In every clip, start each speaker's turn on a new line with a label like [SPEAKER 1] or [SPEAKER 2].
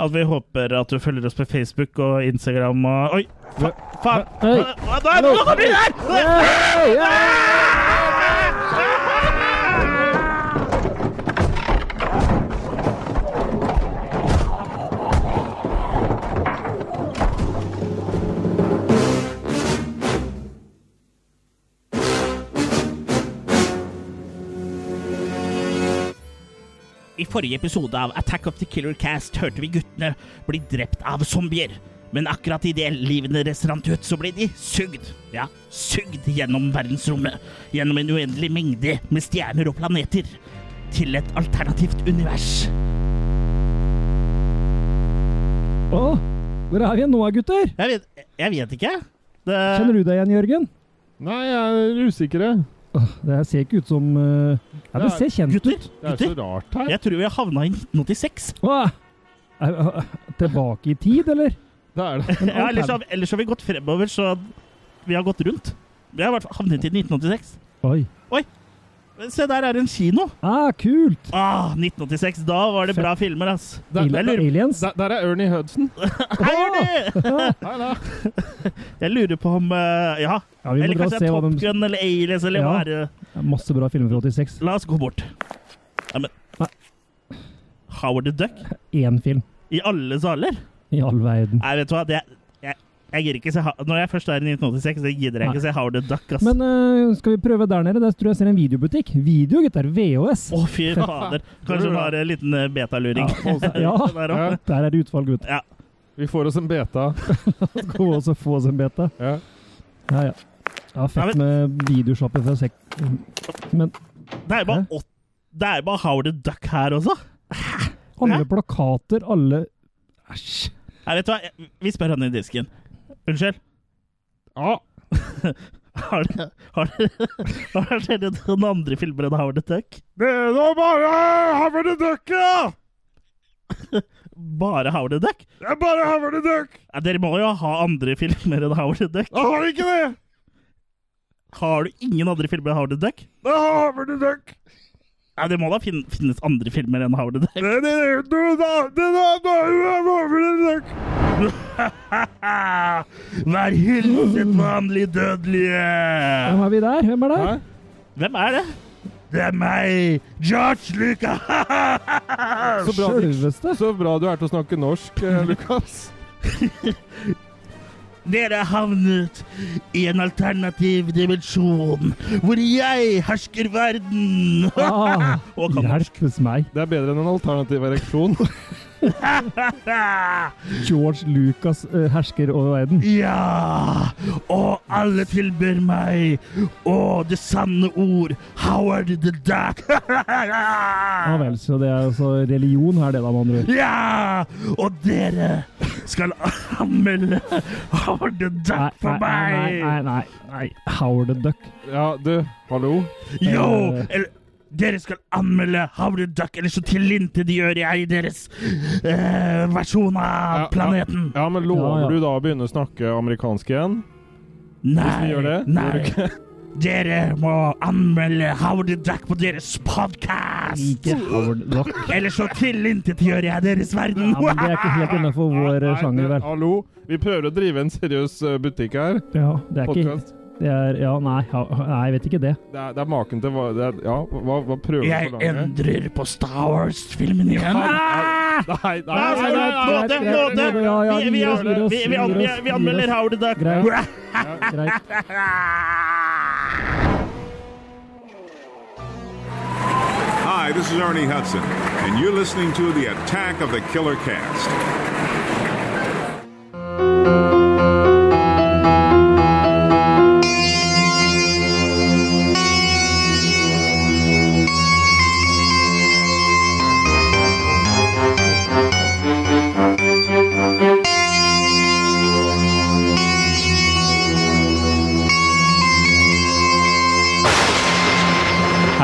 [SPEAKER 1] At vi håper at du følger oss på Facebook og Instagram og Oi! Fa faen!
[SPEAKER 2] Oi.
[SPEAKER 1] Hva- hva- hva- Nå kommer de der! I forrige episode av Attack of the Killer Cast hørte vi guttene bli drept av zombier. Men akkurat idet livene deres rant ut, så ble de sugd. Ja, sugd gjennom verdensrommet. Gjennom en uendelig mengde med stjerner og planeter. Til et alternativt univers.
[SPEAKER 2] Å, hvor er vi igjen nå, gutter?
[SPEAKER 1] Jeg vet, jeg vet ikke. Det,
[SPEAKER 2] Kjenner du deg igjen, Jørgen?
[SPEAKER 3] Nei, jeg er usikker. jeg.
[SPEAKER 2] Åh, Det her ser ikke ut som eh, Ja, det
[SPEAKER 3] Det er-
[SPEAKER 2] ser kjent ut.
[SPEAKER 1] Gutter,
[SPEAKER 3] Det er så
[SPEAKER 1] gutter,
[SPEAKER 3] rart her.
[SPEAKER 1] jeg tror vi havna i 1986.
[SPEAKER 2] Åh, er, er- tilbake i tid, eller?
[SPEAKER 3] Det er det.
[SPEAKER 1] Ja, sånn. ellers, har, ellers har vi gått fremover, så vi har gått rundt. Vi har i hvert fall havnet i 1986.
[SPEAKER 2] Oi.
[SPEAKER 1] Se, der er en kino.
[SPEAKER 2] Ah, kult!
[SPEAKER 1] Ah, 1986. Da var det bra filmer, ass.
[SPEAKER 3] Der,
[SPEAKER 1] Jeg
[SPEAKER 3] der,
[SPEAKER 1] lurer,
[SPEAKER 2] Aliens.
[SPEAKER 3] der, der er Ernie Hudson.
[SPEAKER 1] Hei, Ernie!
[SPEAKER 3] Hei da.
[SPEAKER 1] Jeg lurer på om eh, Ja,
[SPEAKER 2] Ja, vi må
[SPEAKER 1] eller
[SPEAKER 2] dra og
[SPEAKER 1] kanskje
[SPEAKER 2] se hva
[SPEAKER 1] Top
[SPEAKER 2] de
[SPEAKER 1] Gun eller Aliens eller hva
[SPEAKER 2] Ja.
[SPEAKER 1] er det?
[SPEAKER 2] Masse bra filmer fra 86.
[SPEAKER 1] La oss gå bort. Nei, men
[SPEAKER 2] Hva?
[SPEAKER 1] Howard the Duck?
[SPEAKER 2] Én film
[SPEAKER 1] I alle saler?
[SPEAKER 2] i all verden.
[SPEAKER 1] Nei, vet du hva. Det, jeg, jeg gidder ikke se Ha- Når jeg først er i 1986, så gidder jeg ikke se Howard the Duck, ass.
[SPEAKER 2] Men eh, skal vi prøve der nede? Der tror jeg jeg ser en videobutikk. Video, gutter. VHS.
[SPEAKER 1] Å, fy fader. Kanskje hun har en liten eh, betaluring.
[SPEAKER 2] Ja.
[SPEAKER 1] Der også.
[SPEAKER 3] Ja.
[SPEAKER 2] Der er det utvalg, gutter.
[SPEAKER 3] Vi får oss en beta.
[SPEAKER 2] Gå og så få oss en beta.
[SPEAKER 3] Ja.
[SPEAKER 2] Ja, ja. Ja, fett med videoshoppen fra sek... Men
[SPEAKER 1] Det er bare, åt, det er bare Howard the Duck her også.
[SPEAKER 2] alle
[SPEAKER 1] Hæ?
[SPEAKER 2] plakater, alle Æsj.
[SPEAKER 1] Nei, vet du hva? Jeg- Vi spør han i disken. Unnskyld.
[SPEAKER 3] Ja.
[SPEAKER 1] Har det, har det, har det skjedd noen andre filmer enn Howard the Duck?
[SPEAKER 3] Det er nå bare Hammer the Duck, ja!
[SPEAKER 1] Bare Howard the Duck?
[SPEAKER 3] Det er bare Hammer the Duck!
[SPEAKER 1] Ja, dere må jo ha andre filmer enn Howard the Duck.
[SPEAKER 3] Da har de ikke det!
[SPEAKER 1] Har du ingen andre filmer enn Howard the Duck?
[SPEAKER 3] Det er Hammer the Duck!
[SPEAKER 1] Ja, det må da fin finnes andre filmer enn Howard the Duck.
[SPEAKER 3] Det er det er- du, da, det da, da er det Hammer the Duck!
[SPEAKER 1] Vær hilset, vanlig dødelige!
[SPEAKER 2] Hvem er vi der? Hvem er der?
[SPEAKER 3] Hæ?
[SPEAKER 1] Hvem er det? Det er meg, George Lucas!
[SPEAKER 3] Så bra,
[SPEAKER 2] Sjølveste.
[SPEAKER 3] så bra du er til å snakke norsk, eh, Lukas.
[SPEAKER 1] Dere har havnet i en alternativ dimensjon hvor jeg hersker verden.
[SPEAKER 2] Ah,
[SPEAKER 1] Og kan-
[SPEAKER 2] Hjelp hos meg.
[SPEAKER 3] Det er bedre enn en alternativ ereksjon.
[SPEAKER 2] George Lucas eh, hersker over verden.
[SPEAKER 1] Ja, og alle tilber meg og det sanne ord, Howard the Duck.
[SPEAKER 2] Ja vel, så det er altså religion her, det da, med andre ord.
[SPEAKER 1] Ja, og dere skal anmelde Howard the
[SPEAKER 2] Nei,
[SPEAKER 1] Duck
[SPEAKER 2] nei,
[SPEAKER 1] for
[SPEAKER 2] nei, nei,
[SPEAKER 1] meg.
[SPEAKER 2] nei, nei. Howard the Duck.
[SPEAKER 3] Ja, du, hallo?
[SPEAKER 1] Jo,
[SPEAKER 2] Eh.
[SPEAKER 1] eller, dere skal anmelde Howard the Duck, eller så tilintetgjør jeg deres eh, versjon av
[SPEAKER 3] Ja,
[SPEAKER 1] planeten.
[SPEAKER 3] Ja, men lover
[SPEAKER 2] Ja, ja.
[SPEAKER 3] du da å begynne å snakke amerikansk igjen?
[SPEAKER 1] Nei,
[SPEAKER 3] Gjør det? Gjør du
[SPEAKER 1] nei.
[SPEAKER 3] ikke?
[SPEAKER 1] Dere må anmelde Howard the Duck på deres podkast!
[SPEAKER 2] Ikke Howard the Duck.
[SPEAKER 1] Eller så tilintetgjør jeg deres verden!
[SPEAKER 2] Ja, men det er ikke helt innafor vår eh,
[SPEAKER 3] Nei,
[SPEAKER 2] sjanger,
[SPEAKER 3] det-
[SPEAKER 2] vel.
[SPEAKER 3] Hallo? Vi prøver å drive en seriøs eh, butikk her.
[SPEAKER 2] Ja, det er ikke
[SPEAKER 3] Podcast.
[SPEAKER 2] det er, Ja, nei, ha- nei, jeg vet ikke det.
[SPEAKER 3] Det er, det er maken til hva det er, Ja, hva, hva prøver du
[SPEAKER 1] Jeg
[SPEAKER 3] å forlange?
[SPEAKER 1] endrer på Star Wars-filmen igjen.
[SPEAKER 3] Ja,
[SPEAKER 1] Ah!
[SPEAKER 3] Nei, nei,
[SPEAKER 1] Nei, nei, nei,
[SPEAKER 2] nei,
[SPEAKER 1] nåde,
[SPEAKER 2] greit, greit,
[SPEAKER 1] nåde!
[SPEAKER 2] ja, ja,
[SPEAKER 1] Vi-
[SPEAKER 2] vi
[SPEAKER 1] vi-
[SPEAKER 2] gir oss, vi gir oss,
[SPEAKER 1] vi- vi-
[SPEAKER 2] vi gir
[SPEAKER 1] vi-
[SPEAKER 2] oss,
[SPEAKER 1] Vi
[SPEAKER 2] vi gir
[SPEAKER 1] anmelder
[SPEAKER 2] oss.
[SPEAKER 1] Howard the Duck.
[SPEAKER 2] Greit. Greit.
[SPEAKER 4] Hi, this is Ernie Hudson, and you're listening to the Attack of the Killer Cast.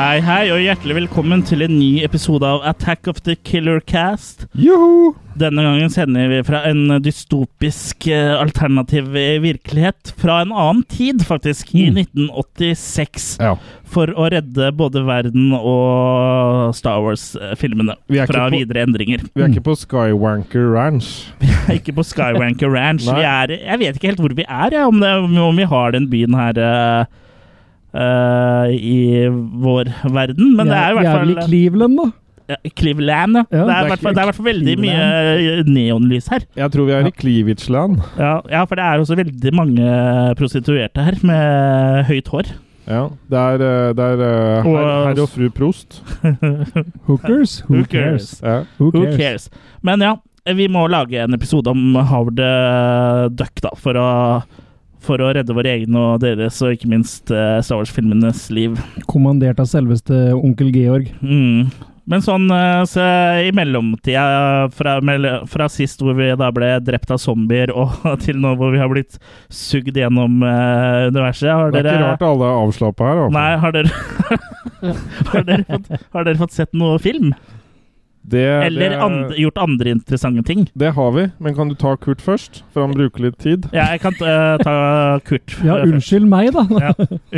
[SPEAKER 1] Hei, Hei, hei, og hjertelig velkommen til en ny episode av Attack of the Killer Cast.
[SPEAKER 3] Joho!
[SPEAKER 1] Denne gangen sender vi fra en dystopisk eh, alternativ eh, virkelighet. Fra en annen tid, faktisk,
[SPEAKER 3] Mm.
[SPEAKER 1] i 1986.
[SPEAKER 3] Ja.
[SPEAKER 1] For å redde både verden og Star Wars-filmene
[SPEAKER 3] Vi er ikke
[SPEAKER 1] fra
[SPEAKER 3] på-
[SPEAKER 1] videre endringer.
[SPEAKER 3] Vi er ikke på Skywanker Ranch.
[SPEAKER 1] Vi er ikke på Skywanker Ranch.
[SPEAKER 3] Nei.
[SPEAKER 1] vi er, jeg vet ikke helt hvor vi er, jeg, om, det, om vi har den byen her eh, eh, i vår verden. Men det er i hvert fall
[SPEAKER 2] Jævlig Cleveland, da.
[SPEAKER 1] Ja, Cleveland, ja.
[SPEAKER 2] Ja,
[SPEAKER 1] det, er i
[SPEAKER 3] det er
[SPEAKER 1] hvert fall- det er i hvert fall veldig mye eh,
[SPEAKER 2] Cleveland.
[SPEAKER 1] neonlys her.
[SPEAKER 3] Jeg tror vi er i Klivitsland.
[SPEAKER 1] Ja, ja, for det er også veldig mange eh, prostituerte her med høyt hår.
[SPEAKER 3] Ja. Det er, eh, det er eh,
[SPEAKER 1] Og-
[SPEAKER 3] herr herr og fru Prost.
[SPEAKER 2] Hookers? Who
[SPEAKER 1] Who
[SPEAKER 2] cares?
[SPEAKER 1] cares?
[SPEAKER 3] Ja.
[SPEAKER 2] Who
[SPEAKER 1] Who
[SPEAKER 2] cares?
[SPEAKER 1] cares? Men ja, vi må lage en episode om Howard eh, Duck, da, for å for å redde våre egne og deres, og ikke minst eh, Star Wars-filmenes liv.
[SPEAKER 2] Kommandert av selveste onkel Georg.
[SPEAKER 1] Mm. Men sånn eh, så i mellomtida, fra, mell- fra sist hvor vi da ble drept av zombier, og til nå hvor vi har blitt sugd gjennom eh, universet, har
[SPEAKER 3] Det er
[SPEAKER 1] dere
[SPEAKER 3] ikke rart alle er avslappa her. altså. Da.
[SPEAKER 1] Nei, har dere, har, dere fått, har dere fått sett noe film?
[SPEAKER 3] Det,
[SPEAKER 1] Eller
[SPEAKER 3] det,
[SPEAKER 1] andre, gjort andre interessante ting?
[SPEAKER 3] det har vi, men kan du ta Kurt først? For han bruker litt tid.
[SPEAKER 1] Ja, jeg kan eh, ta Kurt.
[SPEAKER 2] Ja,
[SPEAKER 1] først.
[SPEAKER 2] unnskyld meg, da.
[SPEAKER 1] Ja.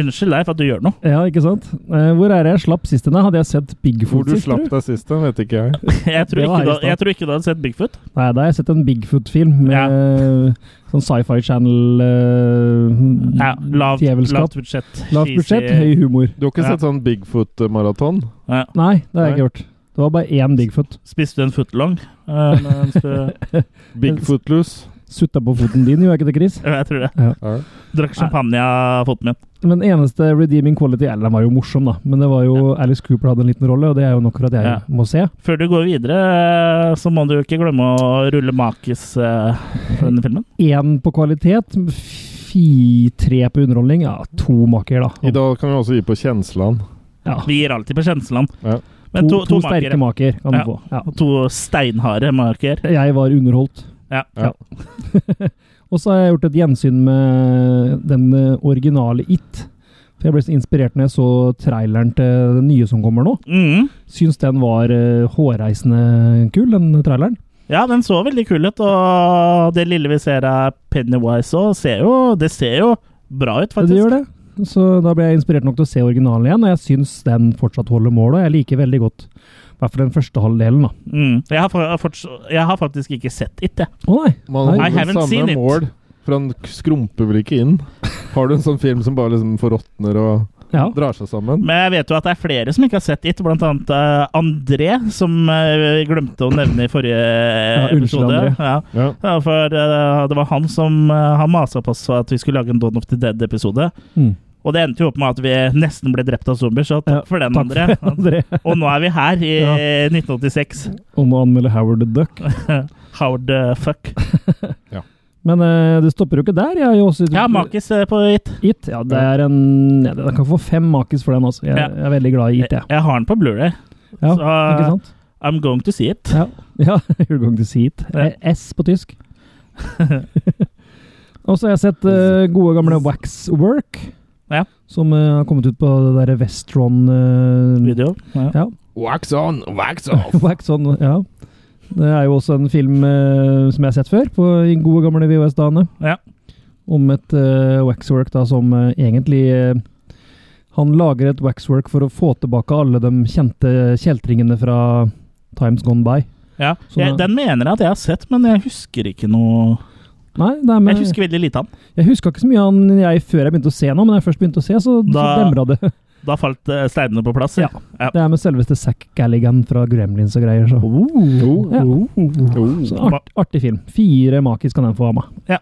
[SPEAKER 1] Unnskyld deg for at du gjør noe.
[SPEAKER 2] Ja, ikke sant? Eh, Hvor er det jeg slapp sist henne? Hadde jeg sett
[SPEAKER 3] Hvor
[SPEAKER 2] Bigfoot
[SPEAKER 3] du
[SPEAKER 2] sist? tror
[SPEAKER 3] slapp
[SPEAKER 2] du?
[SPEAKER 3] deg sist, det vet ikke jeg.
[SPEAKER 1] Jeg tror, ikke
[SPEAKER 2] Det var her i
[SPEAKER 1] du,
[SPEAKER 2] stad.
[SPEAKER 1] jeg tror ikke du hadde sett Bigfoot.
[SPEAKER 2] Nei, da har jeg sett en Bigfoot-film med
[SPEAKER 1] Ja.
[SPEAKER 2] eh, sånn sci-fi channel eh,
[SPEAKER 1] Ja, lavt,
[SPEAKER 2] Djevelskap.
[SPEAKER 1] lavt budsjett.
[SPEAKER 2] Lavt budsjett,
[SPEAKER 1] cheesy-
[SPEAKER 2] høy humor.
[SPEAKER 3] Du har ikke
[SPEAKER 1] Ja.
[SPEAKER 3] sett sånn Bigfoot-maraton?
[SPEAKER 1] Ja.
[SPEAKER 2] Nei, det har jeg
[SPEAKER 3] Nei.
[SPEAKER 2] ikke gjort. Det var bare én Bigfoot.
[SPEAKER 1] Spiste du en footlong? eh, mens du-
[SPEAKER 3] Bigfootloose?
[SPEAKER 2] Sutta på foten din, gjorde jeg ikke det, Chris?
[SPEAKER 1] Ja, jeg tror det.
[SPEAKER 3] Ja.
[SPEAKER 1] Drakk champagne av foten min.
[SPEAKER 2] Men eneste redeeming quality Eller den var jo morsom, da. Men det var jo Alice Cooper hadde en liten rolle, og det er jo nok for at jeg
[SPEAKER 1] Ja.
[SPEAKER 2] må se.
[SPEAKER 1] Før du går videre, eh, så må du ikke glemme å rulle makis eh, for denne filmen.
[SPEAKER 2] Én på kvalitet, fi, tre på underholdning. Ja, to maker, da.
[SPEAKER 3] I dag kan vi også gi på Kjensland.
[SPEAKER 2] Ja,
[SPEAKER 1] Vi gir alltid på Kjensland.
[SPEAKER 3] Ja.
[SPEAKER 1] Men to, to,
[SPEAKER 2] sterke
[SPEAKER 1] maker.
[SPEAKER 2] maker kan
[SPEAKER 1] Ja.
[SPEAKER 2] du få. Ja.
[SPEAKER 1] To steinharde maker.
[SPEAKER 2] Jeg var underholdt.
[SPEAKER 1] Ja.
[SPEAKER 3] Ja.
[SPEAKER 2] og så har jeg gjort et gjensyn med den eh, originale It. For jeg ble så inspirert når jeg så traileren til den nye som kommer nå.
[SPEAKER 1] Mm.
[SPEAKER 2] Syns den var eh, hårreisende kul, den traileren.
[SPEAKER 1] Ja, den så veldig kul ut, og det lille vi ser av Pennywise òg, ser jo Det ser jo bra ut,
[SPEAKER 2] Det
[SPEAKER 1] faktisk.
[SPEAKER 2] gjør det. Så da ble jeg inspirert nok til å se originalen igjen, og jeg syns den fortsatt holder mål, og jeg liker veldig godt i hvert fall den første halvdelen, da.
[SPEAKER 1] Mm. Jeg, har, fa- forts- jeg har faktisk ikke sett It, jeg.
[SPEAKER 2] Å nei!
[SPEAKER 3] Man
[SPEAKER 2] Nei.
[SPEAKER 1] I haven't
[SPEAKER 3] holder
[SPEAKER 1] seen
[SPEAKER 3] samme
[SPEAKER 1] it.
[SPEAKER 3] mål, for han skrumper vel ikke inn. Har du en sånn film som bare liksom forråtner og
[SPEAKER 2] Ja.
[SPEAKER 3] drar seg sammen?
[SPEAKER 1] Men jeg vet jo at det er flere som ikke har sett It, blant annet eh, André, som eh, vi glemte å nevne i forrige
[SPEAKER 2] unnskyld,
[SPEAKER 1] episode.
[SPEAKER 2] André.
[SPEAKER 1] Ja.
[SPEAKER 3] Ja.
[SPEAKER 1] Ja, for eh, det var han som eh, han masa på oss for at vi skulle lage en Dawn of the Dead-episode.
[SPEAKER 2] Mm.
[SPEAKER 1] Og det endte jo opp med at vi nesten ble drept av zombier, så
[SPEAKER 2] Ja,
[SPEAKER 1] takk for den,
[SPEAKER 2] Takk
[SPEAKER 1] André.
[SPEAKER 2] for André.
[SPEAKER 1] Og nå er vi her i
[SPEAKER 2] Ja.
[SPEAKER 1] 1986.
[SPEAKER 2] Om å anmelde Howard the Duck.
[SPEAKER 1] Howard the fuck.
[SPEAKER 2] Men eh, det stopper jo ikke der. Jeg har jo også
[SPEAKER 1] Ja, makis eh, på It.
[SPEAKER 2] It. Ja, det er en ja, Jeg kan få fem makis for den, altså. Jeg,
[SPEAKER 1] Ja. Eh,
[SPEAKER 2] jeg er veldig glad i
[SPEAKER 1] Jeg,
[SPEAKER 2] It, jeg.
[SPEAKER 1] jeg har den på Blu-ray
[SPEAKER 2] Ja,
[SPEAKER 1] så
[SPEAKER 2] ikke sant?
[SPEAKER 1] I'm going to see it.
[SPEAKER 2] Ja, ja you're going to see it.
[SPEAKER 1] Ja.
[SPEAKER 2] Eh, S på tysk. Og så har jeg sett eh, gode gamle Waxwork,
[SPEAKER 1] Ja.
[SPEAKER 2] som eh, har kommet ut på det derre Westron eh,
[SPEAKER 1] Video. Ja.
[SPEAKER 2] Ja.
[SPEAKER 3] Wax on, wax off!
[SPEAKER 2] Wax on, ja. Det er jo også en film eh, som jeg har sett før, på i gode gamle VHS-dagene.
[SPEAKER 1] Ja.
[SPEAKER 2] Om et eh, waxwork da som eh, egentlig eh, Han lager et waxwork for å få tilbake alle de kjente kjeltringene fra Times Gone By.
[SPEAKER 1] Ja.
[SPEAKER 2] Så
[SPEAKER 1] Jeg,
[SPEAKER 2] da-
[SPEAKER 1] den mener jeg at jeg har sett, men jeg husker ikke noe
[SPEAKER 2] Nei, det er med,
[SPEAKER 1] Jeg husker veldig lite av den.
[SPEAKER 2] Jeg huska ikke så mye av den jeg før jeg begynte å se nå, men da jeg først begynte å se, så, så
[SPEAKER 1] Da-
[SPEAKER 2] demra det.
[SPEAKER 1] Da falt eh, steinene på plass.
[SPEAKER 2] Ja. Det er med selveste Zack Galligan fra Gremlins og greier, så.
[SPEAKER 3] Oh.
[SPEAKER 2] Ja.
[SPEAKER 1] Mm.
[SPEAKER 3] Oh.
[SPEAKER 2] så art, artig film. Fire makis kan den få av meg.
[SPEAKER 1] Ja.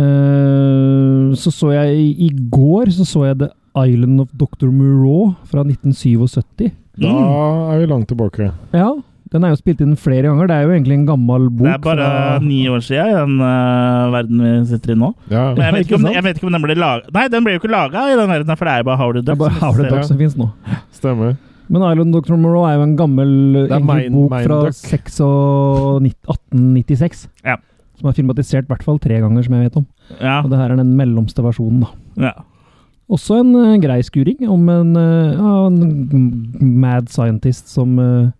[SPEAKER 2] Eh, så så jeg i, i går så så jeg The Island of Dr. Moreau fra 1977.
[SPEAKER 3] Da
[SPEAKER 1] Mm.
[SPEAKER 3] er vi langt tilbake.
[SPEAKER 2] Ja, den er jo spilt inn flere ganger. Det er jo egentlig en gammel bok.
[SPEAKER 1] Det er bare
[SPEAKER 2] fra-
[SPEAKER 1] ni år siden i den eh, verden vi sitter i nå.
[SPEAKER 3] Ja.
[SPEAKER 1] Men jeg vet ikke om,
[SPEAKER 2] ikke sant? det er
[SPEAKER 1] Duck.
[SPEAKER 2] bare
[SPEAKER 1] som
[SPEAKER 2] Howlett
[SPEAKER 1] eksisterer.
[SPEAKER 2] Duck som finnes nå.
[SPEAKER 3] Stemmer.
[SPEAKER 2] Men Island of Dr. Moreau er jo en gammel
[SPEAKER 3] Det er
[SPEAKER 2] egentlig
[SPEAKER 3] Mind-
[SPEAKER 2] bok fra
[SPEAKER 3] Mindduck.
[SPEAKER 2] 6 og nitt- 1896.
[SPEAKER 1] Ja.
[SPEAKER 2] Som er filmatisert i hvert fall tre ganger, som jeg vet om.
[SPEAKER 1] Ja.
[SPEAKER 2] Og det her er den mellomste versjonen, da.
[SPEAKER 1] Ja.
[SPEAKER 2] Også en eh, grei skuring om en, eh, ja, en mad scientist som eh,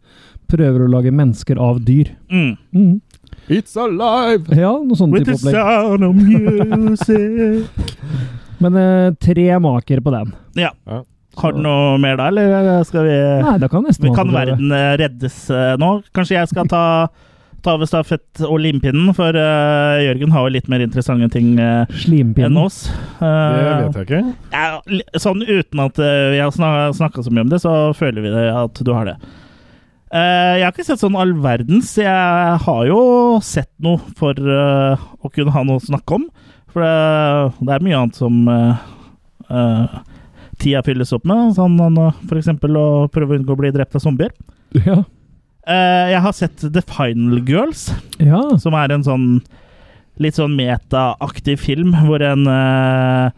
[SPEAKER 2] prøver å lage mennesker av dyr.
[SPEAKER 1] Mm.
[SPEAKER 2] Mm.
[SPEAKER 3] It's alive!
[SPEAKER 2] Ja, noe sånn type opplegg.
[SPEAKER 1] sound of music
[SPEAKER 2] Men eh, tre maker på den.
[SPEAKER 1] Ja.
[SPEAKER 3] Ja.
[SPEAKER 1] Har du noe mer da, eller skal vi
[SPEAKER 2] Nei, da kan nesten
[SPEAKER 1] Eh, Vi kan
[SPEAKER 2] være
[SPEAKER 1] verden eh, reddes eh, nå. Kanskje jeg skal ta, ta over stafett og limpinnen, for eh, Jørgen har jo litt mer interessante ting eh, enn
[SPEAKER 2] Slimpinnen.
[SPEAKER 1] oss. Eh,
[SPEAKER 3] Det vet jeg ikke.
[SPEAKER 1] sånn uten at eh, vi har snakka så mye om det, så føler vi det at du har det. Eh, jeg har ikke sett sånn all verdens. Jeg har jo sett noe for eh, å kunne ha noe å snakke om. For det, det er mye annet som eh, eh, tida fylles opp med. Sånn eh, for eksempel å prøve å unngå å bli drept av zombier.
[SPEAKER 2] Ja.
[SPEAKER 1] Eh, jeg har sett The Final Girls,
[SPEAKER 2] ja.
[SPEAKER 1] som er en sånn litt sånn metaaktig film hvor en eh,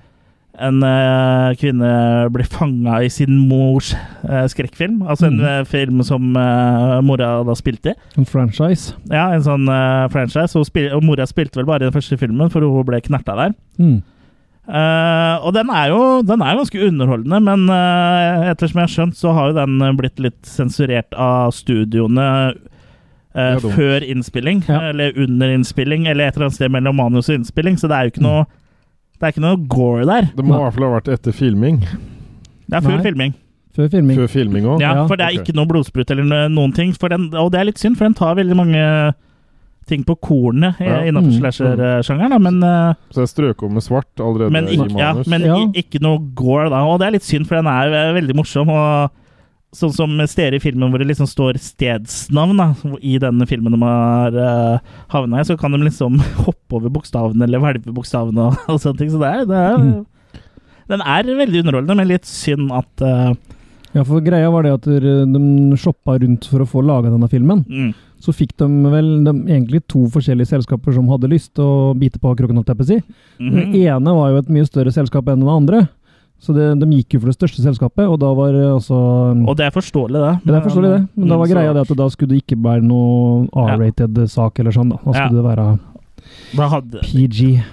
[SPEAKER 1] en eh, kvinne blir fanga i sin mors eh, skrekkfilm. Altså en
[SPEAKER 2] Mm.
[SPEAKER 1] eh, film som eh, mora da spilte i.
[SPEAKER 2] En franchise.
[SPEAKER 1] Ja, en sånn eh, franchise. Og, spil og mora spilte vel bare i den første filmen, for hun ble knerta der.
[SPEAKER 2] Mm.
[SPEAKER 1] Eh, og den er jo den er ganske underholdende, men eh, ettersom jeg har skjønt, så har jo den eh, blitt litt sensurert av studioene eh,
[SPEAKER 3] Ja, dumt.
[SPEAKER 1] før innspilling,
[SPEAKER 2] Ja.
[SPEAKER 1] eller under innspilling, eller et eller annet sted mellom manus og innspilling, så det er jo ikke noe det er ikke noe gore der.
[SPEAKER 3] Det må
[SPEAKER 2] Nei.
[SPEAKER 3] i hvert fall ha vært etter filming.
[SPEAKER 1] Det er før
[SPEAKER 2] Nei.
[SPEAKER 1] filming.
[SPEAKER 2] Før filming.
[SPEAKER 3] Før filming òg.
[SPEAKER 1] Ja,
[SPEAKER 2] Ja,
[SPEAKER 1] For det er
[SPEAKER 3] ok.
[SPEAKER 1] ikke noe blodsprut eller no- noen ting. For den, og det er litt synd, for den tar veldig mange ting på kornet
[SPEAKER 3] Ja.
[SPEAKER 1] eh, innenfor
[SPEAKER 2] Mm.
[SPEAKER 1] slasher-sjangeren. da, Men, eh,
[SPEAKER 3] Så jeg strøk om med svart allerede
[SPEAKER 1] men,
[SPEAKER 3] i
[SPEAKER 1] ikke, ja,
[SPEAKER 3] manus.
[SPEAKER 1] men
[SPEAKER 2] Ja.
[SPEAKER 1] i- ikke noe gore, da. Og det er litt synd, for den er eh, veldig morsom. og Sånn som steder i filmen hvor det liksom står stedsnavn, da, hvor- i denne filmen de har uh, havna i, så kan de liksom hoppe over bokstavene eller hvelve bokstavene og, og sånne ting. Så det er, det er
[SPEAKER 2] Mm.
[SPEAKER 1] Den er veldig underholdende, men litt synd at eh,
[SPEAKER 2] Ja, for greia var det at eh, de shoppa rundt for å få laga denne filmen.
[SPEAKER 1] mm,
[SPEAKER 2] Så fikk de vel de, egentlig to forskjellige selskaper som hadde lyst til å bite på kroken. holdt jeg på å si.
[SPEAKER 1] mhm.
[SPEAKER 2] Det ene var jo et mye større selskap enn det andre, så det, de gikk jo for det største selskapet. Og da var det altså
[SPEAKER 1] Og det er forståelig, det.
[SPEAKER 2] ja, det er forståelig det, men da
[SPEAKER 1] Mm,
[SPEAKER 2] var
[SPEAKER 1] så-
[SPEAKER 2] greia det at da skulle det ikke være noe R-rated sak eller sånn, da. Da skulle det være
[SPEAKER 1] Da hadde,
[SPEAKER 2] PG.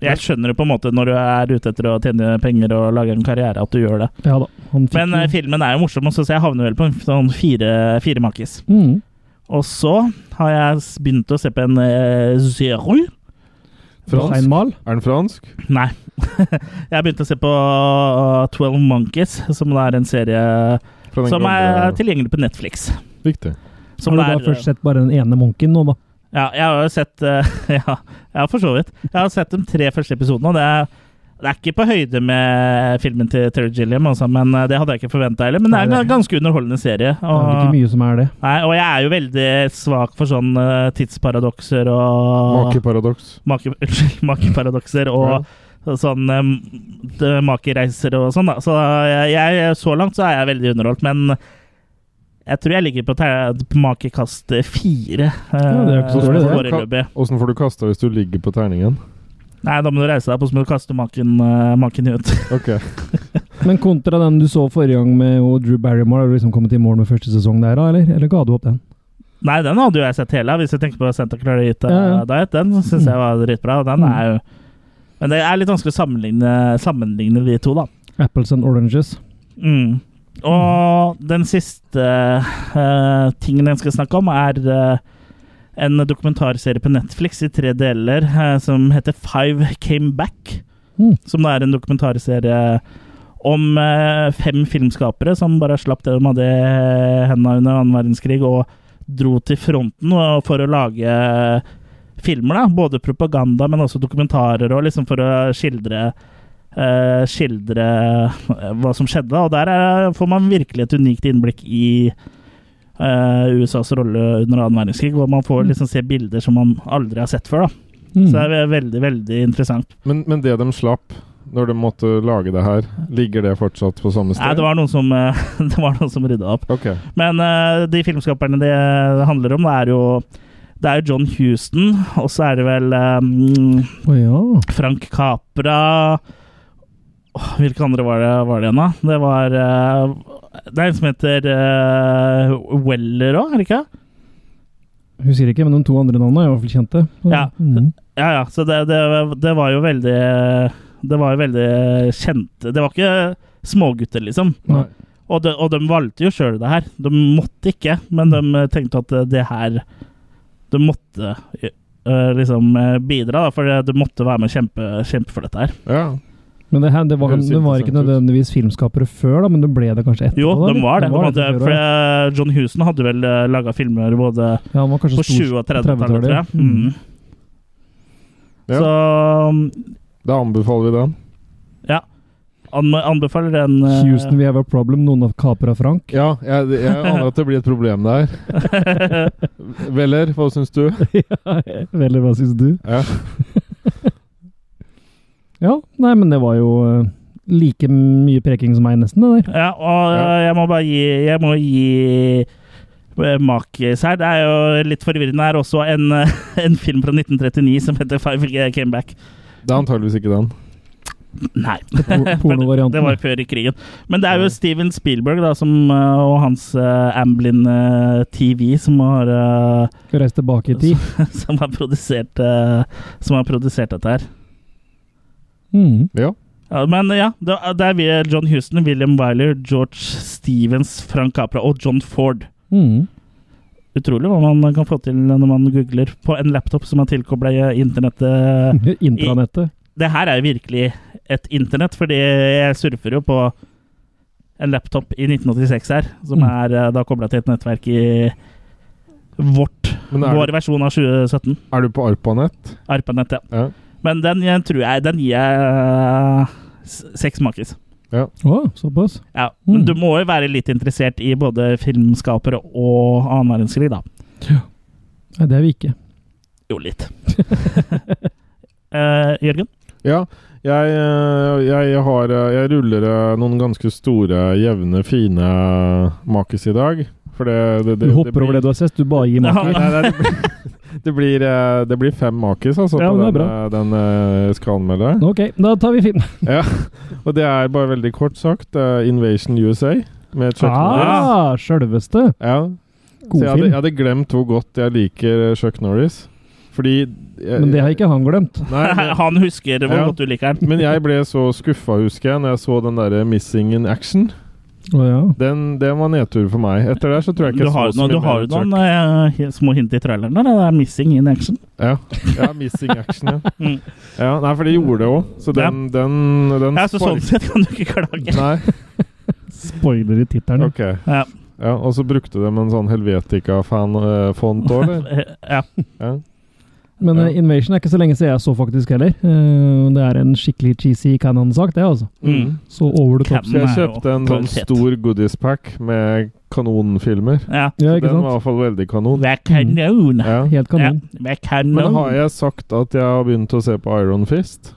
[SPEAKER 1] jeg skjønner det på en måte når du er ute etter å tjene penger og lage en karriere, at du gjør det.
[SPEAKER 2] Ja da. Han fikk
[SPEAKER 1] Men eh,
[SPEAKER 2] jo-
[SPEAKER 1] filmen er jo morsom, også, så jeg havner vel på en sånn fire, fire makis.
[SPEAKER 2] mm.
[SPEAKER 1] Og så har jeg s- begynt å se på en uh, Zero.
[SPEAKER 3] Fransk?
[SPEAKER 2] Steinmal.
[SPEAKER 3] Er den fransk?
[SPEAKER 1] Nei. jeg har begynt å se på eh, Twelve Monkeys, som da er en serie
[SPEAKER 3] Fra den
[SPEAKER 1] som er
[SPEAKER 3] gamle-
[SPEAKER 1] tilgjengelig på Netflix.
[SPEAKER 3] Riktig.
[SPEAKER 1] Som
[SPEAKER 2] har du
[SPEAKER 1] det
[SPEAKER 2] da
[SPEAKER 1] er-
[SPEAKER 2] først sett bare den ene munken nå, da?
[SPEAKER 1] Ja, jeg har jo sett eh, Ja, ja for så vidt. Jeg har sett de tre første episodene, og det er, det er ikke på høyde med filmen til Terry Gilliam, altså, men eh, det hadde jeg ikke forventa heller. Men det er
[SPEAKER 2] Nei,
[SPEAKER 1] en ganske underholdende serie.
[SPEAKER 2] Det er vel ikke
[SPEAKER 1] Og,
[SPEAKER 2] mye som er det.
[SPEAKER 1] nei, og jeg er jo veldig svak for sånn eh, tidsparadokser og
[SPEAKER 3] Makeparadoks.
[SPEAKER 1] Make, unnskyld, makeparadokser Ah. og sånn um, de- makereiser og sånn, da. Så jeg, jeg, så langt så er jeg veldig underholdt, men jeg tror jeg ligger på, ter- på makekast fire.
[SPEAKER 2] Ja, det er ikke så
[SPEAKER 1] eh,
[SPEAKER 2] dårlig, det.
[SPEAKER 1] foreløpig.
[SPEAKER 3] Åssen får du kasta hvis du ligger på terningen?
[SPEAKER 1] Nei, da må du reise deg på, så må du kaste maken, eh, maken ut.
[SPEAKER 3] Ok.
[SPEAKER 2] Men kontra den du så forrige gang med og Drew Barrymore, har du liksom kommet i mål med første sesong der, da, eller? Eller ga du opp den?
[SPEAKER 1] Nei, den hadde jo jeg sett hele, hvis jeg tenker på Santa Clarita
[SPEAKER 2] Ja, Mm. ja.
[SPEAKER 1] Diet. Den syns jeg var dritbra, og den er jo Men det er litt vanskelig å sammenligne, sammenligne de to, da.
[SPEAKER 2] Apples and Oranges.
[SPEAKER 1] Mm. Og den siste eh, tingen jeg skal snakke om, er eh, en dokumentarserie på Netflix i tre deler eh, som heter Five Came Back.
[SPEAKER 2] Mm.
[SPEAKER 1] Som da er en dokumentarserie om eh, fem filmskapere som bare slapp det de hadde i hendene under annen verdenskrig, og dro til fronten og- for å lage eh, filmer. da, Både propaganda, men også dokumentarer, og liksom for å skildre eh, skildre eh, hva som skjedde. da. Og der er, får man virkelig et unikt innblikk i eh, USAs rolle under annen verdenskrig. Hvor man får liksom se bilder som man aldri har sett før. da.
[SPEAKER 2] Mm.
[SPEAKER 1] Så det er veldig, veldig interessant.
[SPEAKER 3] Men, men det de slapp når de måtte lage det her, ligger det fortsatt på samme sted?
[SPEAKER 1] Nei, det var noen som, eh, det var noen som rydda opp.
[SPEAKER 3] Ok.
[SPEAKER 1] Men eh, de filmskaperne det handler om, det er jo det er jo John Houston, og så er det vel eh,
[SPEAKER 2] Å ja.
[SPEAKER 1] Frank Capra Åh, Hvilke andre var det, var det igjen, da? Det var eh, Det er en som heter eh, Weller òg, er det ikke?
[SPEAKER 2] Husker ikke, men de to andre navnene er i hvert fall kjente. Så-
[SPEAKER 1] Ja.
[SPEAKER 2] Mm.
[SPEAKER 1] Ja ja, så det, det, det var jo veldig Det var jo veldig kjente Det var ikke smågutter, liksom.
[SPEAKER 2] Nei.
[SPEAKER 1] Og de, og de valgte jo sjøl det her. De måtte ikke, men de eh, tenkte at det her De måtte øh, liksom øh, bidra, da, for de måtte være med og kjempe, kjempe for dette her.
[SPEAKER 3] Ja.
[SPEAKER 2] Men det, her, det, var,
[SPEAKER 3] Høres
[SPEAKER 2] det var ikke
[SPEAKER 3] interessant ut.
[SPEAKER 2] nødvendigvis filmskapere før, da, men det ble det kanskje etterpå?
[SPEAKER 1] Jo,
[SPEAKER 2] da,
[SPEAKER 1] de
[SPEAKER 2] eller?
[SPEAKER 1] var det.
[SPEAKER 2] De
[SPEAKER 1] De hadde,
[SPEAKER 2] før,
[SPEAKER 1] for
[SPEAKER 2] ja.
[SPEAKER 1] øh, John Houston hadde vel laga filmer både
[SPEAKER 2] ja, han var kanskje
[SPEAKER 1] på 20- og 30-tallet, tror jeg.
[SPEAKER 2] 30-tallet, ja.
[SPEAKER 1] Mm.
[SPEAKER 3] Ja.
[SPEAKER 1] Så um,
[SPEAKER 3] Da anbefaler vi den.
[SPEAKER 1] anbe- anbefaler den øh,
[SPEAKER 2] eh, Houston, we have a problem. Noen har kapra Frank.
[SPEAKER 3] Ja, jeg, jeg aner at det blir et problem der.
[SPEAKER 1] eh,
[SPEAKER 3] Veller, hva syns du?
[SPEAKER 2] Eller hva syns du?
[SPEAKER 3] Ja.
[SPEAKER 2] Ja, nei, men det var jo eh, like mye preking som meg, nesten, det der.
[SPEAKER 1] Ja, og
[SPEAKER 3] Ja.
[SPEAKER 1] øh, jeg må bare gi Jeg må gi øh, Makis her. Det er jo litt forvirrende her også en, øh, en film fra 1939 som heter Five Will Came Back.
[SPEAKER 3] Det er antageligvis ikke den.
[SPEAKER 1] Nei,
[SPEAKER 2] Po-
[SPEAKER 1] det var
[SPEAKER 2] Pornovarianten.
[SPEAKER 1] før i krigen. Men det er jo Steven Spielberg da, som, øh, og hans øh, Amblin øh, TV som har, øh,
[SPEAKER 2] Skal reise tilbake i tid.
[SPEAKER 1] som har, produsert, øh, som har produsert dette her.
[SPEAKER 2] Mm.
[SPEAKER 3] Ja.
[SPEAKER 1] Ja, men ja, det det er vi- John Houston, William Wyler, George Stevens, Frank Capra og John Ford.
[SPEAKER 2] Mm.
[SPEAKER 1] Utrolig hva man kan få til når man googler på en laptop som er tilkobla internettet.
[SPEAKER 2] Intranettet.
[SPEAKER 1] Det her er jo virkelig et internett, fordi jeg surfer jo på en laptop i 1986 her, som
[SPEAKER 2] Mm.
[SPEAKER 1] er eh, da kobla til et nettverk i vårt,
[SPEAKER 3] Men er,
[SPEAKER 1] vår versjon av 2017.
[SPEAKER 3] du- er du på ARPANET?
[SPEAKER 1] Arpanett, ja.
[SPEAKER 3] Ja.
[SPEAKER 1] Men den eh, tror jeg Den gir jeg eh, s- seks makis.
[SPEAKER 2] Å, såpass.
[SPEAKER 1] Ja, men
[SPEAKER 2] Mm.
[SPEAKER 1] du må jo være litt interessert i både filmskapere og annen verdenskrig, da.
[SPEAKER 2] Nei, det er vi ikke.
[SPEAKER 1] Jo, litt. Eh, Jørgen?
[SPEAKER 3] Ja. Jeg, eh, jeg, har, eh, jeg ruller eh, noen ganske store, jevne, fine makis i dag. For det,
[SPEAKER 2] Du
[SPEAKER 3] det, det, det
[SPEAKER 2] hopper
[SPEAKER 3] blir-
[SPEAKER 2] over det du har sett, du bare gir
[SPEAKER 1] Ja.
[SPEAKER 2] meg.
[SPEAKER 3] Nei, nei, det, blir, det, blir, eh, det blir fem makis altså,
[SPEAKER 2] Ja,
[SPEAKER 3] på
[SPEAKER 2] men det er
[SPEAKER 3] den, eh, den eh, jeg skal anmelde.
[SPEAKER 2] Ok, da tar vi film.
[SPEAKER 3] Og det er bare veldig kort sagt eh, Invasion USA med Chuck Norris.
[SPEAKER 2] Ah, sjølveste.
[SPEAKER 3] Ja. Så
[SPEAKER 2] God
[SPEAKER 3] jeg hadde, jeg
[SPEAKER 2] film.
[SPEAKER 3] hadde glemt hvor godt jeg liker eh, Chuck Norris. Fordi jeg,
[SPEAKER 2] Men det har ikke han glemt.
[SPEAKER 3] Nei, men,
[SPEAKER 1] Han husker hvor
[SPEAKER 3] Ja.
[SPEAKER 1] godt du liker den.
[SPEAKER 3] men jeg ble så skuffa, husker jeg, når jeg så den derre Missing in Action.
[SPEAKER 2] Å ja.
[SPEAKER 3] Den, den var nedtur for meg. Etter det så tror jeg ikke
[SPEAKER 1] Du
[SPEAKER 3] jeg
[SPEAKER 1] har,
[SPEAKER 3] så så
[SPEAKER 1] du har jo
[SPEAKER 3] mer
[SPEAKER 1] noen
[SPEAKER 3] Chuck.
[SPEAKER 1] eh, he- små hint i traileren der. Det er 'missing in action'.
[SPEAKER 3] Ja. ja, Missing Action, ja.
[SPEAKER 1] Mm.
[SPEAKER 3] ja. Nei, for det gjorde det òg. Så den, den, den
[SPEAKER 1] Ja, så sånn sett kan du ikke klage.
[SPEAKER 3] Nei,
[SPEAKER 2] Spoiler i tittelen.
[SPEAKER 3] ok.
[SPEAKER 1] Ja.
[SPEAKER 3] Ja, og så brukte de en sånn Helvetica-font òg, eller?
[SPEAKER 1] Eh, ja.
[SPEAKER 3] Ja.
[SPEAKER 2] Men
[SPEAKER 3] Ja.
[SPEAKER 2] eh, Invasion er ikke så lenge siden jeg så faktisk heller. Eh, det er en skikkelig cheesy canon-sak, det, altså.
[SPEAKER 1] Mm.
[SPEAKER 2] Så over det topp.
[SPEAKER 1] Canon. Den er jo
[SPEAKER 3] Så jeg kjøpte en sånn
[SPEAKER 1] kvalitet.
[SPEAKER 3] stor goodiespack med kanonfilmer.
[SPEAKER 1] ja.
[SPEAKER 2] Ja, ikke
[SPEAKER 3] Den
[SPEAKER 2] sant?
[SPEAKER 3] var iallfall veldig kanon.
[SPEAKER 1] Hva kan noen?
[SPEAKER 3] Ja.
[SPEAKER 2] Helt
[SPEAKER 1] Ja,
[SPEAKER 2] kanon.
[SPEAKER 1] hva kan
[SPEAKER 3] Men har
[SPEAKER 1] noen?
[SPEAKER 3] jeg sagt at jeg har begynt å se på Iron Fist?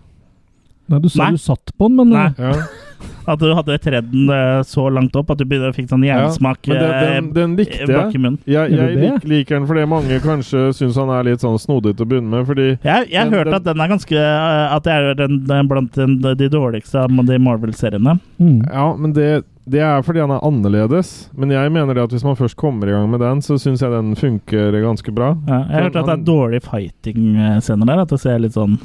[SPEAKER 2] Nei, du sa
[SPEAKER 1] Nei.
[SPEAKER 2] du satt på den, men
[SPEAKER 1] Nei.
[SPEAKER 3] Ja.
[SPEAKER 1] At du hadde tredden eh, så langt opp at du begynte- fikk sånn
[SPEAKER 3] Ja,
[SPEAKER 1] jernsmak
[SPEAKER 3] Men den,
[SPEAKER 1] eh,
[SPEAKER 3] den, den
[SPEAKER 1] eh,
[SPEAKER 3] likte
[SPEAKER 1] bak
[SPEAKER 3] jeg.
[SPEAKER 1] i munnen.
[SPEAKER 3] Jeg,
[SPEAKER 2] Gjør
[SPEAKER 3] jeg
[SPEAKER 2] du det?
[SPEAKER 3] lik, liker den fordi mange kanskje syns han er litt sånn snodig til å begynne med. Fordi
[SPEAKER 1] Jeg, jeg
[SPEAKER 3] Den-
[SPEAKER 1] hørte
[SPEAKER 3] den-
[SPEAKER 1] at den er ganske eh, At det er den, den blant den, de dårligste av de Marvel-seriene.
[SPEAKER 2] Mm.
[SPEAKER 3] Ja, men det, det er fordi han er annerledes. Men jeg mener det at hvis man først kommer i gang med den, så syns jeg den funker ganske bra.
[SPEAKER 1] Ja, jeg
[SPEAKER 3] Så
[SPEAKER 1] hørte at det er
[SPEAKER 3] han-
[SPEAKER 1] dårlige fighting-scener der. At det ser litt sånn